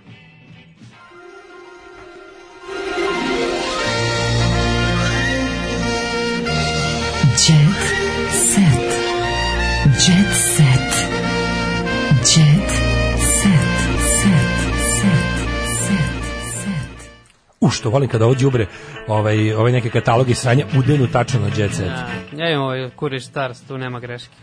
Speaker 3: Jet set. Jet set. Jet set. Set. Set. Set. Set.
Speaker 1: u što volim kada ovo đubre, ovaj ovaj neke kataloge sranja udenu tačno na jet set.
Speaker 2: Ja imam ovaj Courier Stars, tu nema greške.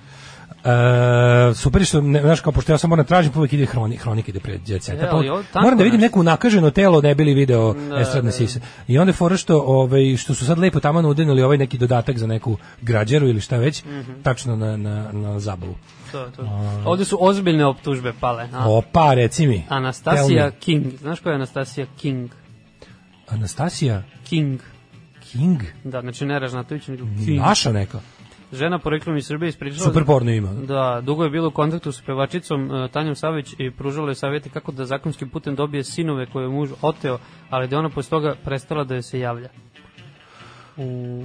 Speaker 1: E, super je što ne, znaš kao pošto ja samo moram tražim pa uvek ide hroni, hronik ide pred đeceta.
Speaker 2: E, ali ovo tanko
Speaker 1: moram da vidim
Speaker 2: nešto.
Speaker 1: neko nakaženo telo ne bili video da, estradne
Speaker 2: da.
Speaker 1: sise. I onda je fora što ovaj što su sad lepo tamo nudili ovaj neki dodatak za neku građaru ili šta već,
Speaker 2: Mhm.
Speaker 1: tačno na na na zabavu.
Speaker 2: To, to. Ovde su ozbiljne optužbe pale. A,
Speaker 1: Opa, reci mi.
Speaker 2: Anastasija
Speaker 1: Tell me.
Speaker 2: King. Znaš ko je Anastasija King?
Speaker 1: Anastasija
Speaker 2: King.
Speaker 1: King.
Speaker 2: Da, znači ne Ražnatović, nego King. Da,
Speaker 1: Naša neka.
Speaker 2: Žena porijeklom iz Srbije ispričala...
Speaker 1: Super porno ima.
Speaker 2: Da, dugo je bila u kontaktu sa pevačicom e, Tanjom Savić i pružala je savjete kako da zakonskim putem dobije sinove koje je muž oteo, ali da je ona posle toga prestala da joj se javlja. U...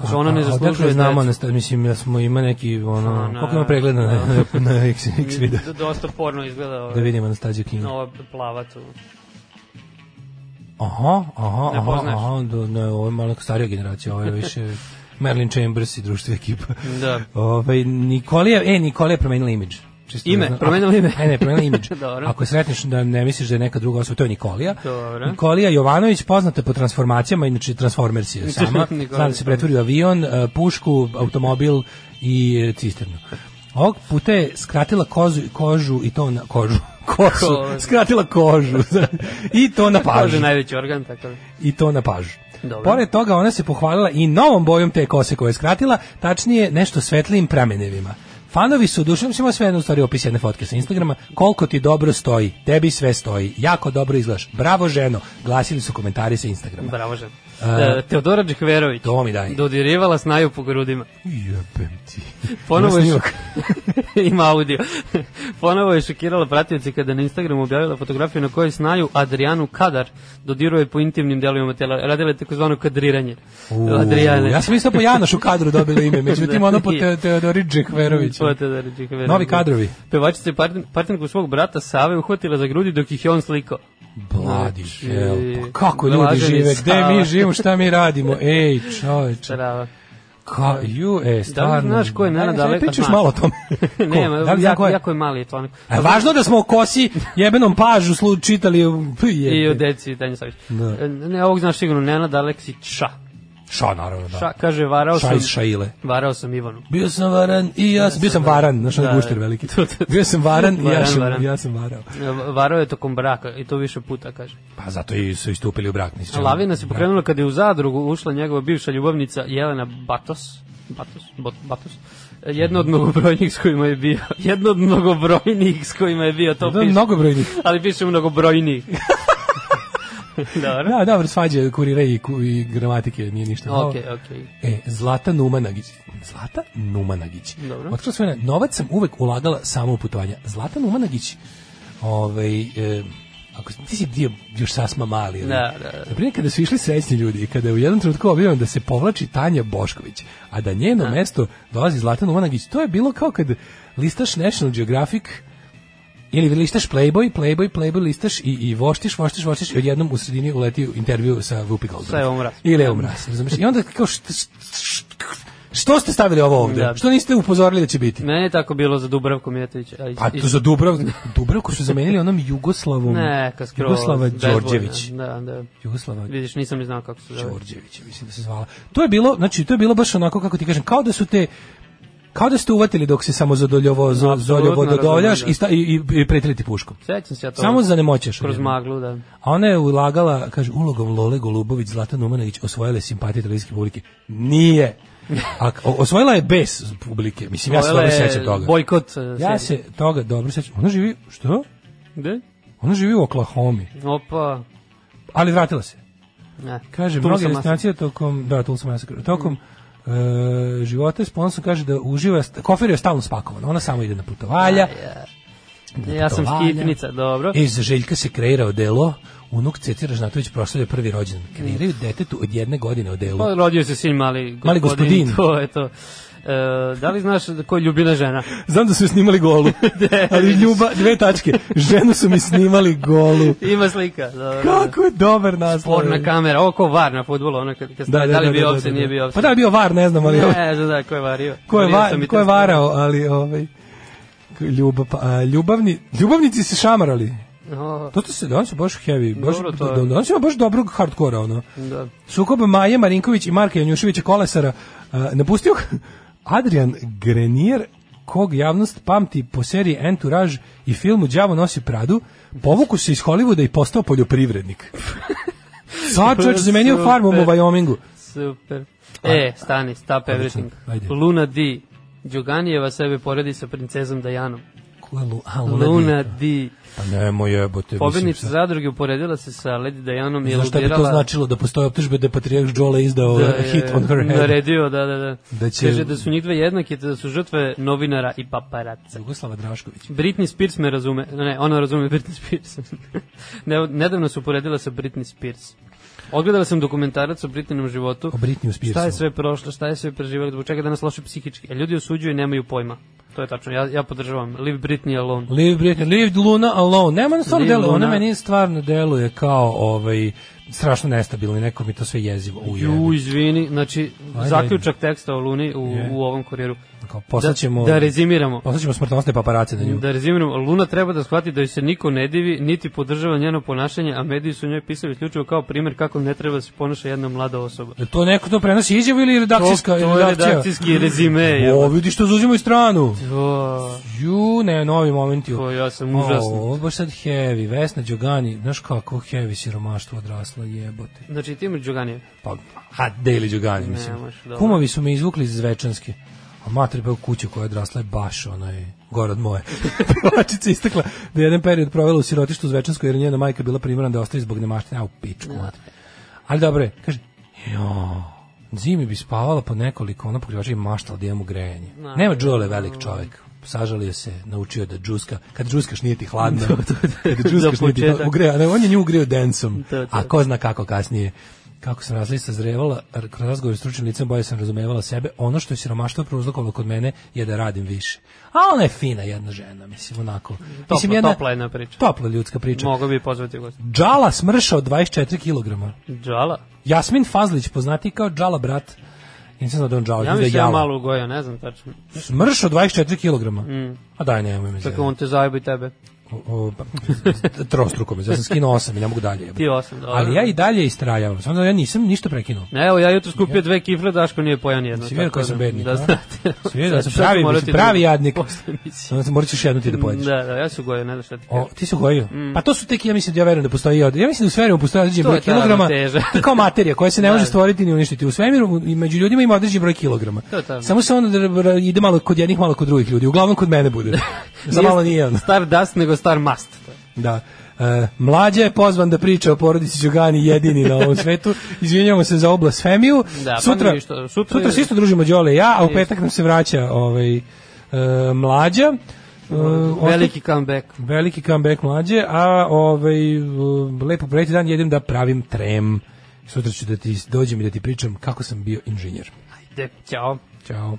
Speaker 2: Kaže, ona ne
Speaker 1: A, a odakle
Speaker 2: zaslužuje
Speaker 1: znamo,
Speaker 2: decu.
Speaker 1: Anastasija, mislim, da smo ima neki, ono,
Speaker 2: A, na-
Speaker 1: koliko ima pregleda
Speaker 2: Da.
Speaker 1: na, na, na X, X video.
Speaker 2: Mm, D- Dosta porno izgleda
Speaker 1: Da
Speaker 2: ovaj,
Speaker 1: vidim Anastasiju King.
Speaker 2: ova plava tu.
Speaker 1: Aha, aha,
Speaker 2: Ne
Speaker 1: aha,
Speaker 2: poznaješ?
Speaker 1: aha, do, ne, ovo je malo starija generacija, ovo je više Merlin Chambers i društva ekipa.
Speaker 2: Da.
Speaker 1: Ove, Nikolija, e, Nikolija je promenila imidž. Čisto
Speaker 2: Ime,
Speaker 1: da znam.
Speaker 2: promenila ime.
Speaker 1: E, ne, promenila imidž.
Speaker 2: (laughs) Dobro.
Speaker 1: Ako sretneš da ne misliš da je neka druga osoba, to je Nikolija.
Speaker 2: Dobro.
Speaker 1: Nikolija Jovanović poznata po transformacijama, inače Transformers je
Speaker 2: (laughs)
Speaker 1: sama.
Speaker 2: Nikolija.
Speaker 1: Zna da se pretvori u avion, e, pušku, automobil i e, cisternu. Ovog puta je skratila kozu, kožu i to na kožu. (laughs) Kosu,
Speaker 2: Kožu.
Speaker 1: skratila kožu (laughs) i to na
Speaker 2: Kaže
Speaker 1: pažu
Speaker 2: najveći organ, tako da.
Speaker 1: i to na pažu.
Speaker 2: Dobro.
Speaker 1: Pored toga ona se pohvalila i novom bojom te kose koju je skratila, tačnije nešto svetlijim pramenevima. Fanovi su dušom svima sve jedno u stvari opis jedne fotke sa Instagrama. Koliko ti dobro stoji, tebi sve stoji, jako dobro izgledaš, bravo ženo, glasili su komentari sa Instagrama.
Speaker 2: Bravo, žena. E, Teodora Đekverović.
Speaker 1: To mi daj.
Speaker 2: Dodirivala snaju po grudima.
Speaker 1: Jebem
Speaker 2: (laughs)
Speaker 1: ti.
Speaker 2: Ponovo
Speaker 1: Ima
Speaker 2: je
Speaker 1: snimak.
Speaker 2: (laughs) ima audio. Ponovo je šokirala pratioci kada je na Instagramu objavila fotografiju na kojoj snaju Adrianu Kadar dodiruje po intimnim delovima tela. Radila je takozvano kadriranje.
Speaker 1: U,
Speaker 2: Adriane.
Speaker 1: Ja sam mislio po Janošu kadru dobili ime, međutim
Speaker 2: Da,
Speaker 1: ono po
Speaker 2: nije.
Speaker 1: Te- Teodori Džekverović.
Speaker 2: To da je Teodora Đekverović.
Speaker 1: da Novi kadrovi.
Speaker 2: Pevačica je partn- partnerku svog brata Save uhvatila za grudi dok ih je on slikao.
Speaker 1: Bladi
Speaker 2: Znači,
Speaker 1: hell, pa kako ljudi
Speaker 2: blaženi
Speaker 1: žive, gde
Speaker 2: Sava.
Speaker 1: mi živimo, šta mi radimo, ej čoveče.
Speaker 2: (laughs) Trava.
Speaker 1: Ka, ju, e, stvarno.
Speaker 2: Da znaš ko je Nenad
Speaker 1: Ajde, sad
Speaker 2: Aleksa?
Speaker 1: Pričaš
Speaker 2: Znam.
Speaker 1: malo o tome. Ko?
Speaker 2: (laughs) Nema,
Speaker 1: Da li znam
Speaker 2: jako,
Speaker 1: ko je?
Speaker 2: jako je mali je to onako.
Speaker 1: A važno da smo o kosi jebenom pažu slu čitali u- p- jebe.
Speaker 2: I o deci Danja Savić.
Speaker 1: Da.
Speaker 2: E, Ne, ovog znaš sigurno, Nenad Aleksića.
Speaker 1: Ša, naravno, da.
Speaker 2: Ša, kaže, varao
Speaker 1: Ša
Speaker 2: sam,
Speaker 1: iz Šaile.
Speaker 2: varao sam Ivanu.
Speaker 1: Bio sam varan i ja sam, bio sam varan, znaš onaj
Speaker 2: Da,
Speaker 1: gušter
Speaker 2: da.
Speaker 1: veliki.
Speaker 2: (laughs) To, to, to.
Speaker 1: Bio sam varan i ja
Speaker 2: Varan,
Speaker 1: sam,
Speaker 2: varan.
Speaker 1: ja sam varao.
Speaker 2: Varao je tokom braka i to više puta kaže.
Speaker 1: Pa zato i su istupili u brak, mislim.
Speaker 2: Lavina se pokrenula kada je u zadrugu ušla njegova bivša ljubavnica Jelena Batos. Batos? Bot, Batos? Jedno od mnogobrojnih s kojima je bio. (laughs) Jedno od mnogobrojnih s kojima je bio, to
Speaker 1: Da,
Speaker 2: piše.
Speaker 1: mnogobrojni.
Speaker 2: Ali piše mnogobrojnih. Dobro.
Speaker 1: Da, (laughs) dobro, svađa kurira i, ku- i gramatike, nije ništa. novo.
Speaker 2: Ok, ok.
Speaker 1: E, Zlata Numanagić. Zlata Numanagić.
Speaker 2: Dobro.
Speaker 1: Otkrila svoje, novac sam uvek ulagala samo u putovanja. Zlata Numanagić, ovaj, e, ako si- ti si bio još sasma mali, ali,
Speaker 2: Da, da, da.
Speaker 1: Naprimjer, kada su išli srećni ljudi i kada je u jednom trenutku objavljeno da se povlači Tanja Bošković, a da njeno mesto dolazi Zlata Numanagić, to je bilo kao kad listaš National Geographic ili listaš Playboy, Playboy, Playboy listaš i, i voštiš, voštiš, voštiš i odjednom u sredini uleti intervju sa Vupi Goldberg.
Speaker 2: Sa Evom Ras.
Speaker 1: Ili Evom Ras, razumeš? I onda kao što, što ste stavili ovo ovde?
Speaker 2: Da.
Speaker 1: Što niste upozorili da će biti?
Speaker 2: Meni je tako bilo za Dubravku Mijatović. a iz-
Speaker 1: Pa to za Dubrav, Dubravku su zamenili onom Jugoslavom.
Speaker 2: Neka skroz.
Speaker 1: Jugoslava
Speaker 2: bezbojna.
Speaker 1: Đorđević.
Speaker 2: Da, da.
Speaker 1: Jugoslava
Speaker 2: Vidiš, nisam ni znao kako se zove.
Speaker 1: Đorđević, mislim da se zvala. To je bilo, znači to je bilo baš onako kako ti kažem, kao da su te kao da ste uvatili dok se samo zadoljovo zo,
Speaker 2: Apsolutno
Speaker 1: zoljovo dodoljaš
Speaker 2: razumem, da.
Speaker 1: i, sta, i, i, i pretreti puškom.
Speaker 2: Sećam se ja to.
Speaker 1: Samo za nemoćeš.
Speaker 2: Kroz maglu, da.
Speaker 1: A ona je ulagala, kaže, ulogom Lole Golubović, Zlatan Umanović osvojile simpatije televizijske publike. Nije. A, o- osvojila je bes publike. Mislim, ja se
Speaker 2: Ovo
Speaker 1: dobro
Speaker 2: je
Speaker 1: sećam toga.
Speaker 2: Bojkot. e,
Speaker 1: Ja
Speaker 2: serije.
Speaker 1: se toga dobro sećam. Ona živi, što?
Speaker 2: Gde?
Speaker 1: Ona živi u Oklahomi.
Speaker 2: Opa.
Speaker 1: Ali vratila se.
Speaker 2: Ne.
Speaker 1: Kaže,
Speaker 2: Tu
Speaker 1: mnoge
Speaker 2: sam
Speaker 1: destinacije tokom, da, tu sam masakr, tokom e, života s ponosom kaže da uživa, st- kofer je stalno spakovan, ona samo ide na putovalja,
Speaker 2: Ja, ja sam
Speaker 1: putovanja. E,
Speaker 2: skitnica, dobro.
Speaker 1: iz Željka se kreira odelo, unuk Cetir Ražnatović proslavlja prvi rođendan. Kreiraju detetu od jedne godine odelo.
Speaker 2: Pa, rodio se sin mali,
Speaker 1: Mali gospodin.
Speaker 2: (laughs) To je to. E, da li znaš da ko je ljubina žena?
Speaker 1: Znam da su joj snimali (laughs) golu, ali ljuba, dve tačke, ženu su mi snimali golu.
Speaker 2: Ima slika. Dobro.
Speaker 1: Kako je dobar naslov.
Speaker 2: Porna kamera, ovo ko var na fudbalu, ono kad, kad da, li bio opse, nije bio
Speaker 1: Pa
Speaker 2: opse.
Speaker 1: da li je bio var, ne znam, ali... ovo-
Speaker 2: Ne, da, da, ko je vario.
Speaker 1: ko je,
Speaker 2: Vidio
Speaker 1: va,
Speaker 2: sam i
Speaker 1: ko je
Speaker 2: te stvari.
Speaker 1: varao, ali ovaj ljubav, pa, a, ljubavni, ljubavnici se šamarali.
Speaker 2: O,
Speaker 1: To se danas je baš heavy, baš da,
Speaker 2: Dobro, to je.
Speaker 1: danas ima baš dobrog hardkora ono.
Speaker 2: da.
Speaker 1: Sukob Maje Marinković i Marka Janjuševića Kolesara a, napustio ga Adrian Grenier kog javnost pamti po seriji Entourage i filmu Đavo nosi Pradu, povuku se iz Hollywooda i postao
Speaker 2: (laughs)
Speaker 1: poljoprivrednik. Sad čovječ zamenio farmom u
Speaker 2: Super.
Speaker 1: Vajomingu.
Speaker 2: Super.
Speaker 1: Pa da.
Speaker 2: E, stani, stop everything.
Speaker 1: ajde.
Speaker 2: Luna D. Đoganijeva sebe poredi sa princezom Dajanom.
Speaker 1: Ko je Lu- a,
Speaker 2: Luna
Speaker 1: Luna D?
Speaker 2: D.
Speaker 1: Pa nemoj jebote. mislim,
Speaker 2: Pobednica
Speaker 1: sad.
Speaker 2: zadruge uporedila se sa Lady Dajanom i
Speaker 1: Znaš šta bi to
Speaker 2: aludirala
Speaker 1: značilo da postoje optužbe da je Patriarh Džole izdao
Speaker 2: da je
Speaker 1: (laughs) hit on her head?
Speaker 2: naredio, da, da, da.
Speaker 1: Da će-
Speaker 2: Kaže da su njih dve jednake, te da su žrtve novinara i paparaca.
Speaker 1: Jugoslava Drašković.
Speaker 2: Britney Spears me razume, ne, ona razume Britney Spears. (laughs) ne, nedavno se uporedila sa Britney Spears. Odgledala sam dokumentarac o Britninom životu.
Speaker 1: O Britney Spearsu.
Speaker 2: Šta je sve prošlo, šta je sve preživjela, zbog čega je danas loše psihički. A ljudi osuđuju i nemaju pojma. To je tačno, ja, ja podržavam. Leave Britney alone.
Speaker 1: Leave Britney, leave Luna alone. Nema ona stvarno
Speaker 2: Leave
Speaker 1: deluje, ona
Speaker 2: Luna.
Speaker 1: meni stvarno deluje kao ovaj strašno nestabilni, neko mi to sve jezivo
Speaker 2: Ju,
Speaker 1: ujebe.
Speaker 2: izvini, znači,
Speaker 1: Ajde,
Speaker 2: zaključak teksta o Luni u,
Speaker 1: Je.
Speaker 2: u ovom kuriru.
Speaker 1: Kao
Speaker 2: Da,
Speaker 1: poslaćemo
Speaker 2: da rezimiramo.
Speaker 1: poslaćemo smrtonosne paparace na nju.
Speaker 2: Da rezimiramo, Luna treba da shvati da joj se niko ne divi, niti podržava njeno ponašanje, a mediji su njoj pisali isključivo kao primjer kako ne treba da se ponaša jedna mlada osoba.
Speaker 1: Jel Da to neko to prenosi izjavu ili redakcijska
Speaker 2: to, to je
Speaker 1: redakcija?
Speaker 2: redakcijski rezime.
Speaker 1: O,
Speaker 2: jebote.
Speaker 1: vidi što zauzimaju stranu.
Speaker 2: O,
Speaker 1: Ju, ne, novi momenti.
Speaker 2: Da. to ja sam užasno.
Speaker 1: O, ovo je baš sad heavy, Vesna Đogani, znaš kako heavy siromaštvo odraslo, jebote.
Speaker 2: Znači, ti imaš Đoganije.
Speaker 1: Pa, ha, Daily Đugani, mislim.
Speaker 2: Ne, može, dobro.
Speaker 1: Kumovi su me izvukli iz Zvečanske. A mater pa u kuću koja je odrasla je baš onaj gore od moje. (laughs) Pevačica je istakla da je jedan period provela u sirotištu u Zvečanskoj jer je njena majka bila primorana da ostaje zbog nemaštine. A u pičku
Speaker 2: Da.
Speaker 1: mater. Ali dobro je, kaže, jo, zimi bi spavala po nekoliko ona pokrivača i maštala da imamo grejanje. Nema džule velik čovjek. Sažalio se, naučio da džuska. Kad džuskaš nije ti
Speaker 2: Da,
Speaker 1: hladno. Kad džuskaš
Speaker 2: Za
Speaker 1: nije ti hladno.
Speaker 2: početak.
Speaker 1: Ugreo- ne, on je nju ugreo densom.
Speaker 2: To, to.
Speaker 1: A ko zna kako kasnije kako sam razli sazrevala, r- kroz razgovor s stručnim licem bolje sam razumevala sebe, ono što je siromaštvo prouzrokovalo kod mene je da radim više. A ona je fina jedna žena, mislim, onako.
Speaker 2: Topla,
Speaker 1: mislim,
Speaker 2: topla jedna priča.
Speaker 1: Topla ljudska priča.
Speaker 2: Mogu bi pozvati gost.
Speaker 1: Džala smrša od 24 kg.
Speaker 2: Džala?
Speaker 1: Jasmin Fazlić, poznati kao Džala brat. Nisam znao da je on Džala,
Speaker 2: Ja
Speaker 1: mislim da je
Speaker 2: mislim da ja
Speaker 1: Jala.
Speaker 2: malo ugojao, ne znam tačno.
Speaker 1: Smrš od 24 kg. A daj, nemoj me
Speaker 2: Mm. Tako
Speaker 1: zjebati.
Speaker 2: on te zajeba i tebe.
Speaker 1: O, o, pa, trostruko me, ja sam skinuo 8 i ne mogu dalje. jebote.
Speaker 2: Ti osam, dobro.
Speaker 1: Ali ja i dalje istrajavam, samo da ja nisam ništa prekinuo.
Speaker 2: Ne, evo, ja jutro skupio dve kifle, Daško nije pojao nijedno.
Speaker 1: Si vidio koji sam bednik, a?
Speaker 2: Da znate.
Speaker 1: Si vidio da sam
Speaker 2: Sad ću
Speaker 1: pravi,
Speaker 2: morati
Speaker 1: mislim, pravi jadnik.
Speaker 2: Posle emisije.
Speaker 1: Onda se morat ćeš jednu ti da pojedeš.
Speaker 2: Da, da, ja se ugojio, ne da šta ti kažem.
Speaker 1: O, ti se ugojio. Pa to su tek, ja mislim da ja verujem da postoji. i od- Ja mislim da u svemiru postoji određen
Speaker 2: To
Speaker 1: broj
Speaker 2: je ta
Speaker 1: kilograma.
Speaker 2: ravnoteža.
Speaker 1: To je kao materija koja se ne može
Speaker 2: Da.
Speaker 1: stvoriti ni uništiti. U svemiru i među ljudima ima određen broj kilograma.
Speaker 2: To je ta-
Speaker 1: Samo se onda dr- dr- ide malo kod jednih, malo kod drugih ljudi. Uglavnom kod mene
Speaker 2: (laughs)
Speaker 1: bude. Za malo nije ono.
Speaker 2: Star dust, nego star must.
Speaker 1: Da. E, mlađa je pozvan da priča o porodici Đugani jedini na ovom svetu. Izvinjavamo se za oblasfemiju.
Speaker 2: Da, pa
Speaker 1: sutra,
Speaker 2: ništa, sutra
Speaker 1: sutra,
Speaker 2: je-
Speaker 1: se isto družimo Đole i ja, a u
Speaker 2: Jeste.
Speaker 1: petak nam se vraća ovaj, e, mlađa. E,
Speaker 2: Veliki comeback.
Speaker 1: Veliki comeback mlađe, a ovaj uh, lepo preti dan jedem da pravim trem. Sutra ću da ti dođem i da ti pričam kako sam bio inženjer.
Speaker 2: Ajde, ćao.
Speaker 1: Ćao.